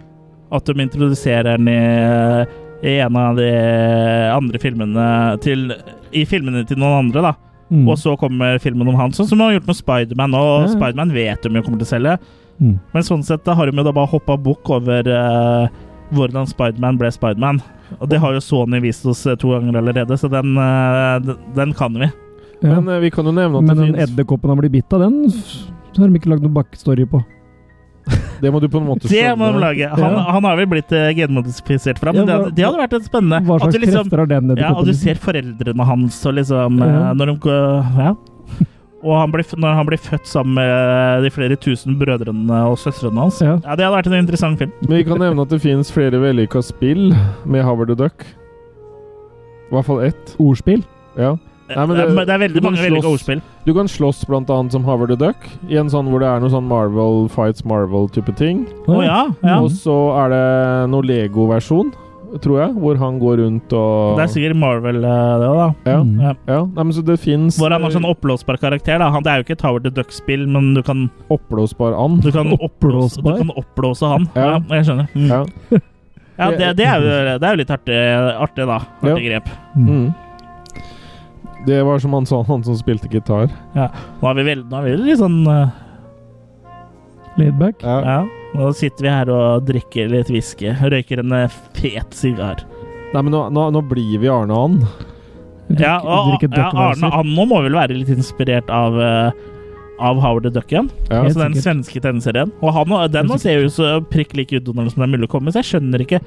[SPEAKER 1] At de introduserer den i, i en av de andre filmene til I filmene til noen andre, da.
[SPEAKER 2] Mm.
[SPEAKER 1] Og så kommer filmen om han, sånn som de har gjort med Spiderman. Og
[SPEAKER 2] Ja, ja.
[SPEAKER 1] Spiderman vet de jo kommer til å selge.
[SPEAKER 2] Mm.
[SPEAKER 1] Men sånn sett da har de jo da bare hoppa bukk over eh, hvordan Spiderman ble Spiderman. Og det har jo Sony vist oss eh, to ganger allerede, så den, eh, d- den kan vi.
[SPEAKER 2] Ja.
[SPEAKER 3] Men eh, vi kan jo nevne at
[SPEAKER 2] Men
[SPEAKER 3] det
[SPEAKER 2] den
[SPEAKER 3] fins
[SPEAKER 2] edderkoppen han blir bitt av, den f- har de ikke lagd noen backstory på.
[SPEAKER 3] Det må du på en måte
[SPEAKER 1] Det må de
[SPEAKER 3] skjønne.
[SPEAKER 1] lage. Han,
[SPEAKER 2] Ja.
[SPEAKER 1] han har vel blitt eh, genmodifisert fra, men
[SPEAKER 2] Ja,
[SPEAKER 1] det,
[SPEAKER 2] hva-
[SPEAKER 1] hadde- det hadde vært et spennende.
[SPEAKER 2] Hva
[SPEAKER 1] At
[SPEAKER 2] slags
[SPEAKER 1] du liksom,
[SPEAKER 2] krefter har den
[SPEAKER 1] ja, og
[SPEAKER 2] edderkoppen?
[SPEAKER 1] du ser foreldrene hans og liksom eh,
[SPEAKER 2] Ja.
[SPEAKER 1] Når de går- Ja. Og han blir, f- når han blir født sammen med eh, de flere tusen brødrene og søstrene hans.
[SPEAKER 2] Ja.
[SPEAKER 1] Ja, Det hadde vært en interessant film.
[SPEAKER 3] Men vi kan nevne at det fins flere vellykka spill med Howard the Duck. I hvert fall ett.
[SPEAKER 2] Ordspill?
[SPEAKER 3] Ja. Nei,
[SPEAKER 1] det,
[SPEAKER 3] men det-
[SPEAKER 1] er- det er veldig
[SPEAKER 3] du kan
[SPEAKER 1] mange veldig gode
[SPEAKER 3] slåss.
[SPEAKER 1] ordspill.
[SPEAKER 3] Du kan slåss blant annet som Howard the Duck, i en sånn hvor det er noe sånn Marvel fights Marvel-type ting.
[SPEAKER 1] Å ja, ja.
[SPEAKER 3] Og så er det noe Lego-versjon, tror jeg, hvor han går rundt og
[SPEAKER 1] Det er sikkert Marvel, eh, det òg, da.
[SPEAKER 3] Ja.
[SPEAKER 2] Mm.
[SPEAKER 1] Ja.
[SPEAKER 3] ja. Nei, men så det eh, fins
[SPEAKER 1] Hvor han har sånn oppblåsbar karakter. da Han, Det er jo ikke et Howard the Duck-spill, men du kan,
[SPEAKER 3] oppblåsbar and.
[SPEAKER 1] du kan, oppblåse, du
[SPEAKER 2] Oppblåsbar?
[SPEAKER 1] kan oppblåse han. Ja,
[SPEAKER 3] Ja.
[SPEAKER 1] Jeg skjønner. Mm.
[SPEAKER 3] Ja.
[SPEAKER 1] Ja, det, det, er jo, det er jo litt artig, artig da. Artig grep.
[SPEAKER 3] Mm. Det var som han sa, han som spilte gitar.
[SPEAKER 1] Nå er vi vel- nå er vi litt sånn eh,
[SPEAKER 2] Laidback?
[SPEAKER 3] Ja.
[SPEAKER 1] Ja. Nå sitter vi her og drikker litt whisky. Røyker en eh, fet sigar.
[SPEAKER 3] Nei, men nå, nå, nå blir vi Arne and.
[SPEAKER 1] Ja, og
[SPEAKER 2] drikke
[SPEAKER 1] ja, Arne
[SPEAKER 2] Duckweiser.
[SPEAKER 1] Anno må vel være litt inspirert av eh, av Howard the Duck igjen.
[SPEAKER 3] Ja.
[SPEAKER 2] Helt
[SPEAKER 1] Altså den
[SPEAKER 2] sikkert.
[SPEAKER 1] svenske tegneserien. Og han, den nå ser jo så prikk lik ut Donald som det er mulig å komme, så jeg skjønner ikke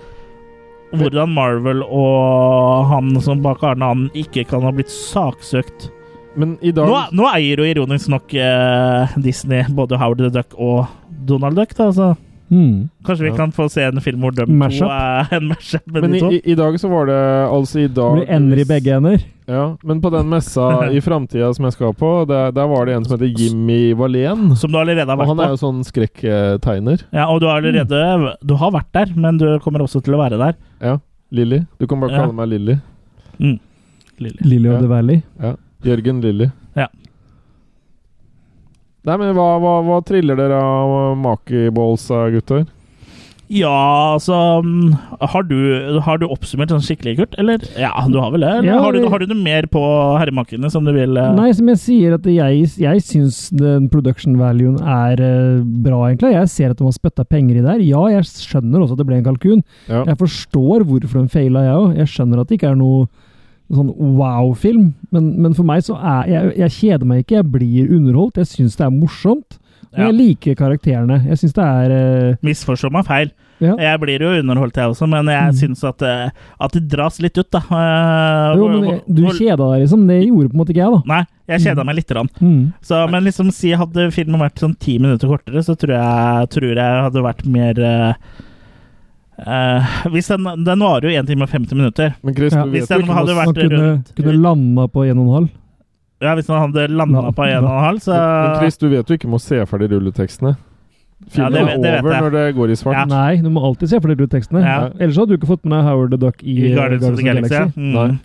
[SPEAKER 1] hvordan Marvel og han som bak Arne Ann ikke kan ha blitt saksøkt.
[SPEAKER 3] Men i dag
[SPEAKER 1] Nå, nå eier jo ironisk nok eh, Disney både Howard the Duck og Donald Duck, da, så
[SPEAKER 2] Mm.
[SPEAKER 1] kanskje vi
[SPEAKER 3] Ja.
[SPEAKER 1] kan få se en film hvor de
[SPEAKER 2] Mashup.
[SPEAKER 1] to er en mashup med
[SPEAKER 3] Men
[SPEAKER 1] de to.
[SPEAKER 3] i, i, i dag så var det altså i dag
[SPEAKER 2] Blir ender i begge ender.
[SPEAKER 3] Ja, men på den messa i framtida som jeg skal på, der, der var det en som heter Jimmy Valén.
[SPEAKER 1] Som du allerede har
[SPEAKER 3] Og
[SPEAKER 1] vært
[SPEAKER 3] han er
[SPEAKER 1] på.
[SPEAKER 3] jo sånn skrekktegner.
[SPEAKER 1] Ja, og du har allerede Du har vært der, men du kommer også til å være der.
[SPEAKER 3] Lilly. Du kan bare
[SPEAKER 1] Ja.
[SPEAKER 3] kalle meg Lilly.
[SPEAKER 1] Lilly.
[SPEAKER 2] Lily of
[SPEAKER 3] Ja.
[SPEAKER 2] the Valley.
[SPEAKER 3] Jørgen Lilly.
[SPEAKER 1] Ja.
[SPEAKER 3] Nei, men hva, hva, hva triller dere av makiballs, gutter?
[SPEAKER 1] Ja, altså mm, har du, har du oppsummert sånn skikkelig, Kurt? Eller? Ja, du har vel det? Eller?
[SPEAKER 2] Ja,
[SPEAKER 1] har, du,
[SPEAKER 2] vi-
[SPEAKER 1] har du noe mer på herremakene som du vil eh?
[SPEAKER 2] Nei, som jeg sier, at jeg, jeg syns den production valuen er eh, bra, egentlig. Jeg ser at de har spytta penger i der. Ja, jeg skjønner også at det ble en kalkun.
[SPEAKER 3] Ja.
[SPEAKER 2] Jeg forstår hvorfor de feila, jeg òg. Jeg skjønner at det ikke er noe sånn wow-film, men, men for meg så er jeg, jeg kjeder meg ikke. Jeg blir underholdt. Jeg syns det er morsomt. Men jeg liker karakterene. Jeg syns det er eh,
[SPEAKER 1] Misforstå meg feil.
[SPEAKER 2] Ja.
[SPEAKER 1] Jeg blir jo underholdt, jeg også, men jeg syns at, eh, at det dras litt ut, da. Eh,
[SPEAKER 2] Jo,
[SPEAKER 1] hvor-
[SPEAKER 2] men jeg- du
[SPEAKER 1] hvor-
[SPEAKER 2] kjeda deg, liksom. Det gjorde på en måte ikke jeg, da.
[SPEAKER 1] Nei, jeg kjeda meg lite grann.
[SPEAKER 2] Mm.
[SPEAKER 1] Så, men liksom, si hadde filmen vært sånn ti minutter kortere, så tror jeg, tror jeg hadde vært mer eh, eh, Hvis den, den varer jo 1 time og 50 minutter.
[SPEAKER 3] Men Chris,
[SPEAKER 2] Ja.
[SPEAKER 3] du
[SPEAKER 1] Hvis
[SPEAKER 3] vet
[SPEAKER 1] den
[SPEAKER 3] jo ikke
[SPEAKER 1] hadde
[SPEAKER 3] hva-
[SPEAKER 2] Man
[SPEAKER 1] vært
[SPEAKER 2] kunne,
[SPEAKER 1] rundt
[SPEAKER 2] kunne landa på en og en halv.
[SPEAKER 1] Ja, hvis den hadde landa
[SPEAKER 2] Ja.
[SPEAKER 1] på 1,5, så
[SPEAKER 3] Men Chris, du vet jo ikke må se ferdig rulletekstene. Filmen
[SPEAKER 1] det vet- det
[SPEAKER 3] er
[SPEAKER 1] vet
[SPEAKER 3] over
[SPEAKER 1] jeg.
[SPEAKER 3] når det går i svart.
[SPEAKER 1] Ja.
[SPEAKER 2] Nei, du må alltid se for deg rulletekstene.
[SPEAKER 1] Ja.
[SPEAKER 2] Ellers hadde du ikke fått med deg Howard the Duck i,
[SPEAKER 1] I
[SPEAKER 2] eh,
[SPEAKER 1] Guardians of the Galaxy. Mm.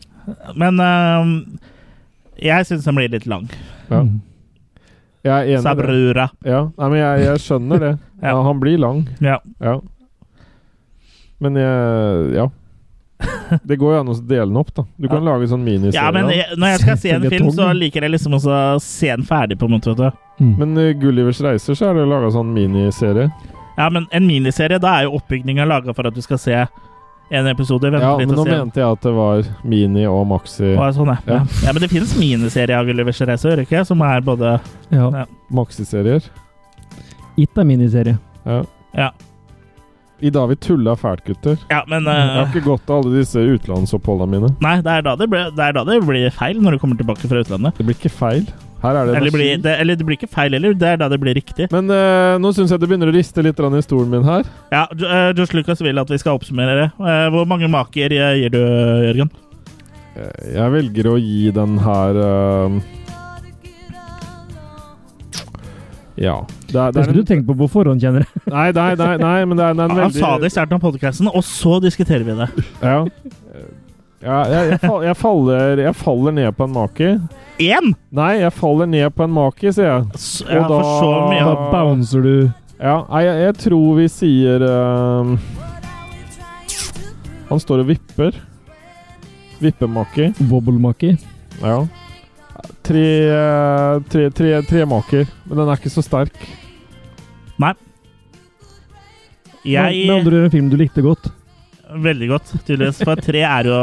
[SPEAKER 1] Men øhm, jeg syns den blir litt lang.
[SPEAKER 3] Ja.
[SPEAKER 2] Mm.
[SPEAKER 3] Jeg er enig. i det.
[SPEAKER 1] Sabrura.
[SPEAKER 3] Ja. Nei, men jeg, jeg skjønner det.
[SPEAKER 1] Ja.
[SPEAKER 3] ja, han blir lang.
[SPEAKER 1] Ja.
[SPEAKER 3] Ja. Men jeg Ja. Det går jo an å dele den opp, da. Du kan lage sånn miniserie.
[SPEAKER 1] ja, men
[SPEAKER 3] av den.
[SPEAKER 1] jeg, når jeg skal se en film,
[SPEAKER 2] Føljetong.
[SPEAKER 1] så liker jeg liksom også å se den ferdig, på en måte. vet du.
[SPEAKER 2] Mm.
[SPEAKER 3] Men eh, Gullivers reiser, så er det laga sånn miniserie.
[SPEAKER 1] Ja, men en miniserie, da er jo oppbygninga laga for at du skal se en episode. Vente
[SPEAKER 3] Ja,
[SPEAKER 1] litt
[SPEAKER 3] men
[SPEAKER 1] og
[SPEAKER 3] nå
[SPEAKER 1] se.
[SPEAKER 3] mente jeg at det var mini og maxi,
[SPEAKER 1] Å, sånn, ja.
[SPEAKER 3] Ja.
[SPEAKER 1] Ja. ja, men det finnes miniserier av Gullivers reise, gjør det ikke? Som er både
[SPEAKER 2] Ja.
[SPEAKER 1] Ja.
[SPEAKER 3] maxiserier.
[SPEAKER 2] It er miniserie.
[SPEAKER 3] Ja.
[SPEAKER 1] Ja,
[SPEAKER 3] I dag vi tulla fælt, gutter.
[SPEAKER 1] ja men
[SPEAKER 3] Jeg har
[SPEAKER 1] øh,
[SPEAKER 3] ikke godt av alle disse utenlandsoppholda mine.
[SPEAKER 1] Nei, det er, da det, ble, det er da det blir feil når du kommer tilbake fra utlandet.
[SPEAKER 3] Det blir ikke feil. Her er det
[SPEAKER 1] Eller, blir,
[SPEAKER 3] energi.
[SPEAKER 1] det, eller det blir ikke feil heller, det er da det blir riktig.
[SPEAKER 3] Men eh, nå syns jeg det begynner å riste litt grann i stolen min her.
[SPEAKER 1] Ja, Jo- eh, Josh Lucas vil at vi skal oppsummere det. Eh, Hvor mange maker eh, gir du, Jørgen?
[SPEAKER 3] Eh, Jeg velger å gi den her eh, Ja. Det er, det
[SPEAKER 2] Det
[SPEAKER 3] er
[SPEAKER 2] skulle
[SPEAKER 3] en,
[SPEAKER 2] du tenkt på på forhånd, kjenner jeg.
[SPEAKER 3] nei, nei, nei, nei, men det er, det er en
[SPEAKER 1] Han
[SPEAKER 3] veldig
[SPEAKER 1] sa det i starten av podkasten, og så diskuterer vi det.
[SPEAKER 3] Ja. Ja, jeg, jeg, fall, jeg, faller, jeg faller ned på en maki.
[SPEAKER 1] Én!
[SPEAKER 3] Nei, jeg faller ned på en maki, sier jeg.
[SPEAKER 1] S-
[SPEAKER 3] Og
[SPEAKER 1] Ja, for
[SPEAKER 3] da-
[SPEAKER 1] så mye.
[SPEAKER 2] Da bouncer du
[SPEAKER 3] Ja, nei, jeg, jeg tror vi sier ehm, Han står og vipper. Vippemaki.
[SPEAKER 2] wobblemaker.
[SPEAKER 3] Ja. Tre, eh, tre, tre, tre maker, men den er ikke så sterk.
[SPEAKER 2] Med
[SPEAKER 1] Jeg
[SPEAKER 2] andre ord en film du likte godt.
[SPEAKER 1] Veldig godt, tydeligvis. For tre er jo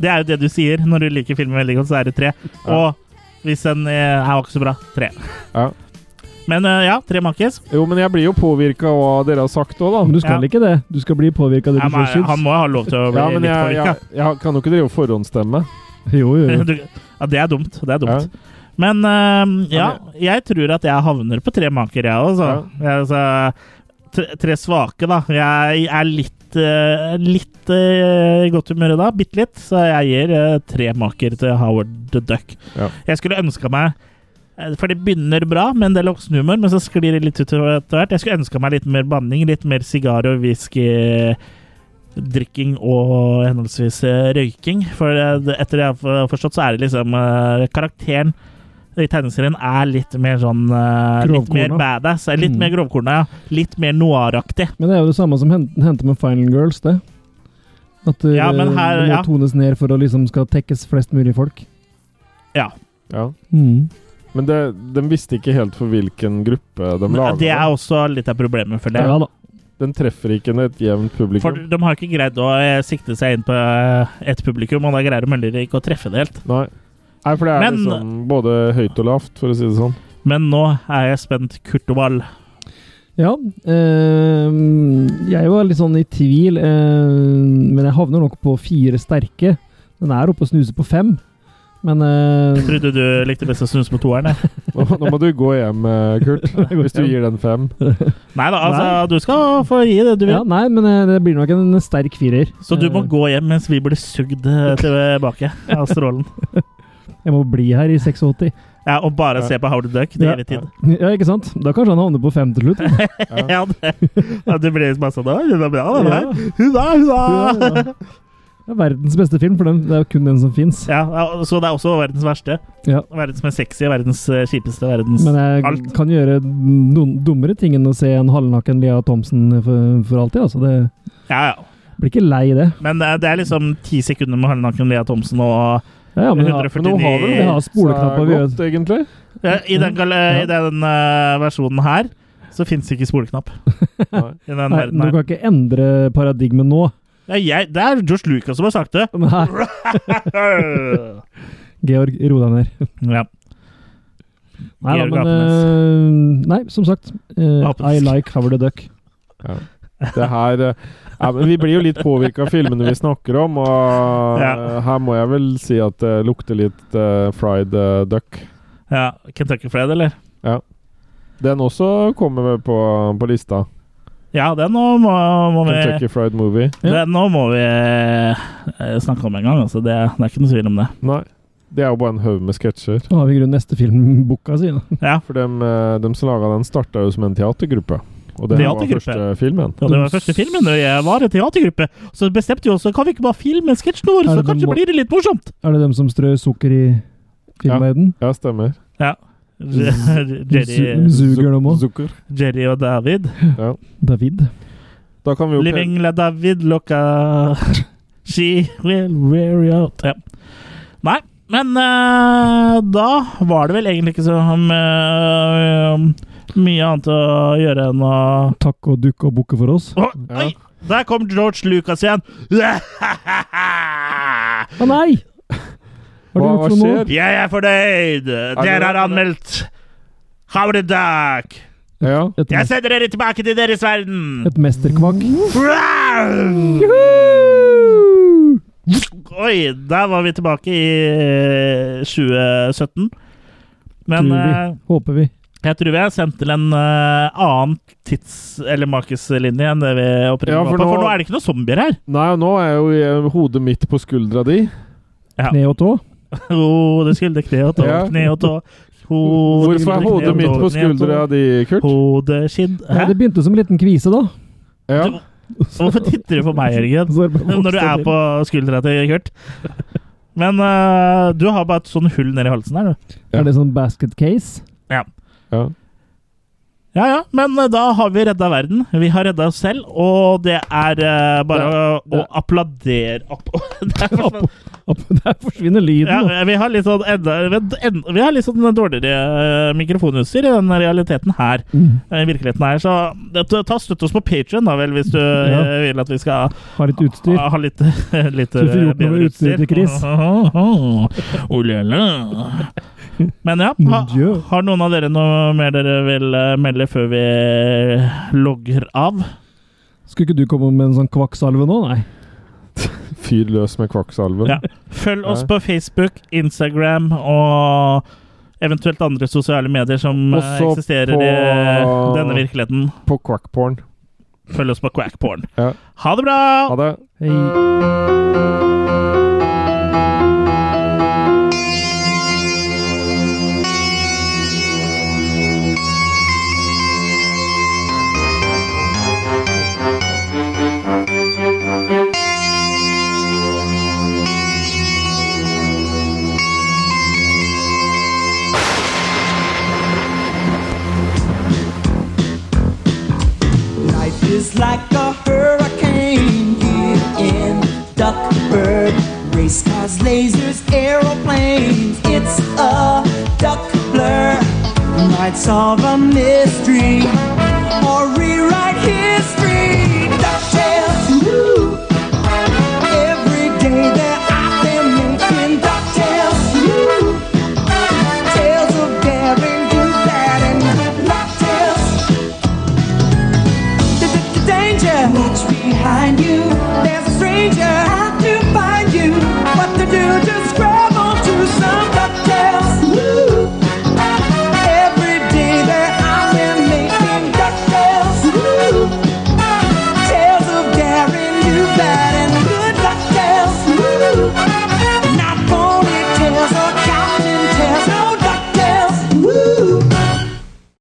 [SPEAKER 1] Det er jo det du sier. Når du liker filmen veldig godt, så er det tre.
[SPEAKER 3] Ja.
[SPEAKER 1] Og hvis den eh, er ikke så bra, tre.
[SPEAKER 3] Ja.
[SPEAKER 1] Men eh, ja, tre makis.
[SPEAKER 3] Jo, men jeg blir jo påvirka av hva dere har sagt òg,
[SPEAKER 2] Men
[SPEAKER 3] da.
[SPEAKER 2] du skal
[SPEAKER 1] Ja.
[SPEAKER 2] ikke det. Du skal bli påvirka av det
[SPEAKER 1] Ja,
[SPEAKER 2] du
[SPEAKER 1] men,
[SPEAKER 2] sjøl
[SPEAKER 1] han
[SPEAKER 2] syns.
[SPEAKER 1] må ha lov til å bli
[SPEAKER 3] Ja, men
[SPEAKER 1] litt
[SPEAKER 3] jeg, jeg,
[SPEAKER 1] påvirka.
[SPEAKER 3] jeg kan jo ikke drive og forhåndsstemme.
[SPEAKER 2] Jo, jo, jo.
[SPEAKER 1] Du- Ja, det er dumt. Det er dumt. Men øhm, ja, jeg tror at jeg havner på tre maker, jeg òg. Altså, tre, tre svake, da. Jeg er litt øh, litt øh, i godt humør i dag. Bitte litt. Så jeg gir øh, tre maker til Howard the Duck.
[SPEAKER 3] Ja.
[SPEAKER 1] Jeg skulle ønska meg eh, for det begynner bra med en del voksenhumor, men så sklir det litt ut etter hvert. Jeg skulle ønska meg litt mer banning, litt mer sigar og whisky. Drikking og henholdsvis eh, røyking. For eh, det- etter det jeg har forstått, så er det liksom eh, Karakteren i tegneserien er litt mer sånn eh, Litt mer
[SPEAKER 2] Grovkorna.
[SPEAKER 1] badass. er Litt
[SPEAKER 2] Mm.
[SPEAKER 1] mer grovkorna, ja. Litt mer noiraktig.
[SPEAKER 2] Men det er jo det samme som hen- hente med Final Girls, det. At eh,
[SPEAKER 1] Ja, men her-
[SPEAKER 2] det må
[SPEAKER 1] ja.
[SPEAKER 2] tones ned for å liksom skal tekkes flest mulig folk.
[SPEAKER 3] Ja.
[SPEAKER 2] Mm.
[SPEAKER 3] Men det, de visste ikke helt for hvilken gruppe de laga.
[SPEAKER 1] Det er også litt av problemet, føler jeg.
[SPEAKER 2] Ja da.
[SPEAKER 3] Den treffer ikke et jevnt
[SPEAKER 1] For
[SPEAKER 3] publikum.
[SPEAKER 1] de har ikke greid å eh, sikte seg inn på eh, et publikum, og da greier de heller ikke å treffe det helt.
[SPEAKER 3] Nei. Nei, for det er
[SPEAKER 1] Men-
[SPEAKER 3] liksom både høyt og lavt, for å si det sånn.
[SPEAKER 1] Men nå er jeg spent. Kurtoval.
[SPEAKER 2] Ja. ehm, jeg var litt sånn i tvil, ehm, men jeg havner nok på fire sterke. Den er oppe og snuser på fem, men eh,
[SPEAKER 1] Trodde du likte best å snuse på toeren? jeg.
[SPEAKER 3] Nå, nå må du gå hjem, eh, Kurt,
[SPEAKER 2] går
[SPEAKER 3] hvis du
[SPEAKER 2] hjem.
[SPEAKER 3] gir den fem.
[SPEAKER 1] Nei da, altså, du skal få gi det du vil.
[SPEAKER 2] ja, Nei, men eh, det blir nok en sterk firer.
[SPEAKER 1] Så du må
[SPEAKER 2] Eh,
[SPEAKER 1] gå hjem mens vi blir sugd eh, tilbake av strålen.
[SPEAKER 2] Jeg må bli her i 86.
[SPEAKER 1] Ja, og bare se på Howard the Duck til
[SPEAKER 2] Ja.
[SPEAKER 1] evig tid.
[SPEAKER 2] Ja, ikke sant? Da kanskje han havner på fem til slutt.
[SPEAKER 1] Ja, det, ja, det blir bare sånn «Å, Hun er bra, den her.
[SPEAKER 2] Ja.
[SPEAKER 1] Hurra, hurra!
[SPEAKER 2] Det er verdens beste film, for den, det er jo kun den som fins.
[SPEAKER 1] Ja, ja, så det er også verdens verste.
[SPEAKER 2] Ja.
[SPEAKER 1] Verdens mest sexy, verdens eh, kjipeste, verdens
[SPEAKER 2] Men jeg
[SPEAKER 1] Alt.
[SPEAKER 2] kan gjøre noen dummere ting enn å se en halvnaken Lea Thomsen for, for alltid. Altså. Det
[SPEAKER 1] Ja, ja.
[SPEAKER 2] blir ikke lei, det.
[SPEAKER 1] Men eh, det er liksom ti sekunder med halvnaken Lea Thomsen og
[SPEAKER 2] Ja, ja, men, ja,
[SPEAKER 1] 149
[SPEAKER 3] Men nå har vi
[SPEAKER 2] vi har
[SPEAKER 3] Så
[SPEAKER 2] spoleknapper.
[SPEAKER 3] det
[SPEAKER 2] Vi
[SPEAKER 3] er
[SPEAKER 2] gjør
[SPEAKER 3] godt, egentlig.
[SPEAKER 1] Ja, I den, gal- eh,
[SPEAKER 2] Ja.
[SPEAKER 1] i den eh, versjonen her så fins ikke spoleknapp.
[SPEAKER 3] Nei.
[SPEAKER 1] I den
[SPEAKER 2] Nei,
[SPEAKER 1] verden
[SPEAKER 2] du
[SPEAKER 1] her.
[SPEAKER 2] kan ikke endre paradigmet nå.
[SPEAKER 1] Ja, jeg, det er George Lucas som har sagt det!
[SPEAKER 2] Nei,
[SPEAKER 1] ja.
[SPEAKER 2] Georg, ro deg ned. Nei, da,
[SPEAKER 1] Georg
[SPEAKER 2] men,
[SPEAKER 1] Apenes.
[SPEAKER 2] eh, nei, som sagt. eh, I
[SPEAKER 1] Apenes.
[SPEAKER 2] like Howard the Duck.
[SPEAKER 3] Ja. Det her eh, ja, men Vi blir jo litt påvirka av filmene vi snakker om, og
[SPEAKER 1] Ja.
[SPEAKER 3] eh, her må jeg vel si at det lukter litt eh, fried eh, duck.
[SPEAKER 1] Ja, Kentucky Fried, eller?
[SPEAKER 3] Den også kommer vel på, på lista.
[SPEAKER 1] Ja, den nå må, må vi
[SPEAKER 3] Kentucky Fried Movie.
[SPEAKER 2] Ja.
[SPEAKER 1] Den nå må vi eh, snakke om en gang, altså. Det, det er ikke noe tvil om det.
[SPEAKER 3] Nei. Det er jo bare en haug med sketsjer.
[SPEAKER 2] Så har vi i grunnen neste film booka, sier han.
[SPEAKER 1] Ja,
[SPEAKER 3] For dem, eh, dem som laga den, starta jo som en teatergruppe. Og det her var
[SPEAKER 1] Teatergruppe?
[SPEAKER 3] første filmen.
[SPEAKER 1] ja Det var første filmen. og Jeg var en teatergruppe. Så bestemte vi oss kan vi ikke bare filme sketsjene våre,
[SPEAKER 2] Er
[SPEAKER 1] så
[SPEAKER 2] det
[SPEAKER 1] kanskje
[SPEAKER 2] må-
[SPEAKER 1] blir det litt morsomt.
[SPEAKER 2] Er det dem som strør sukker i filmverden?
[SPEAKER 3] Ja, stemmer.
[SPEAKER 1] Jerry,
[SPEAKER 2] Zu- Suger dem også?
[SPEAKER 3] Zucker.
[SPEAKER 1] Jerry og David.
[SPEAKER 2] David?
[SPEAKER 3] Da kan vi jo pe-
[SPEAKER 1] Living la David loca She will wear you out. Ja. Nei, men eh, da var det vel egentlig ikke så eh, mye annet å gjøre enn å
[SPEAKER 2] Takk og dukk og bukke for oss?
[SPEAKER 1] Å, Oi! Der kom George Lucas igjen!
[SPEAKER 2] Å nei! Har du
[SPEAKER 3] Hva-
[SPEAKER 2] gjort
[SPEAKER 3] hva
[SPEAKER 2] for noe?
[SPEAKER 3] skjer?
[SPEAKER 1] Jeg er fornøyd! Dere har anmeldt Howard the Duck!
[SPEAKER 3] Ja.
[SPEAKER 2] Et,
[SPEAKER 1] Jeg sender dere tilbake til deres verden!
[SPEAKER 2] et mesterkvakk?
[SPEAKER 1] Oi, der var vi tilbake i eh, 2017. Men
[SPEAKER 2] Tror vi.
[SPEAKER 1] eh,
[SPEAKER 2] Håper vi.
[SPEAKER 1] jeg tror vi er sendt til en eh, annen tids- eller markedslinje enn det vi opprinnelig
[SPEAKER 3] Ja,
[SPEAKER 1] var
[SPEAKER 3] for
[SPEAKER 1] på. For
[SPEAKER 3] nå-
[SPEAKER 1] nå er det ikke noen zombier her.
[SPEAKER 3] Nei, og nå er jo eh, hodet mitt på skuldra di.
[SPEAKER 2] Kne og tå?
[SPEAKER 1] Hode, skulder, kne og tå,
[SPEAKER 3] Ja.
[SPEAKER 1] kne og tå. Hode,
[SPEAKER 3] Hvorfor er
[SPEAKER 1] skulder, kne
[SPEAKER 3] hodet
[SPEAKER 1] og
[SPEAKER 3] mitt
[SPEAKER 1] tå,
[SPEAKER 3] på
[SPEAKER 1] kne og tå.
[SPEAKER 3] skuldra di, Kurt?
[SPEAKER 1] Hode, kinn
[SPEAKER 2] Nei,
[SPEAKER 1] Hæ?
[SPEAKER 2] det begynte som en liten kvise, da.
[SPEAKER 3] Ja.
[SPEAKER 1] Du- Hvorfor titter du på meg, Jørgen?
[SPEAKER 2] Så er det bare
[SPEAKER 1] Når du er
[SPEAKER 2] vokst
[SPEAKER 1] på skuldra til Kurt. Men eh, du har bare et sånn hull nedi halsen her, du.
[SPEAKER 2] til. Er det sånn basket case?
[SPEAKER 3] ja.
[SPEAKER 1] Ja ja, men eh, da har vi redda verden. Vi har redda oss selv, og det er eh, bare å, å applaudere app det er for-
[SPEAKER 2] Opp, der forsvinner lyden.
[SPEAKER 1] ja,
[SPEAKER 2] da.
[SPEAKER 1] Vi har litt sånn enda, en- vi har litt sånn dårligere eh, mikrofonutstyr i den realiteten her.
[SPEAKER 2] Mm.
[SPEAKER 1] eh, I virkeligheten her, så det- ta støtt oss på Patreon da vel, hvis du eh, vil at vi skal
[SPEAKER 2] Har litt utstyr.
[SPEAKER 1] Ha Ah, litt, litt
[SPEAKER 2] Så vi får gjort noe
[SPEAKER 1] bedre
[SPEAKER 2] med utstyret til Chris.
[SPEAKER 1] Oh la la. Men ja, ha,
[SPEAKER 2] Mon Dieu.
[SPEAKER 1] har noen av dere noe mer dere vil eh, melde før vi eh, logger av?
[SPEAKER 2] Skulle ikke du komme med en sånn kvakksalve nå? Nei.
[SPEAKER 3] Fyr løs med kvakksalven.
[SPEAKER 1] Ja. Følg oss på Facebook, Instagram og eventuelt andre sosiale medier som eh,
[SPEAKER 3] Også
[SPEAKER 1] eksisterer
[SPEAKER 3] på-
[SPEAKER 1] i denne virkeligheten.
[SPEAKER 3] På quackporn.
[SPEAKER 1] Følg oss på Quackporn.
[SPEAKER 3] Ja.
[SPEAKER 1] Ha det bra!
[SPEAKER 3] Ha det.
[SPEAKER 2] Hei.
[SPEAKER 10] Life is like a hurricane here in Duckburg. Race cars, lasers, aeroplanes. It's a duck blur. Might solve a mystery or rewrite history.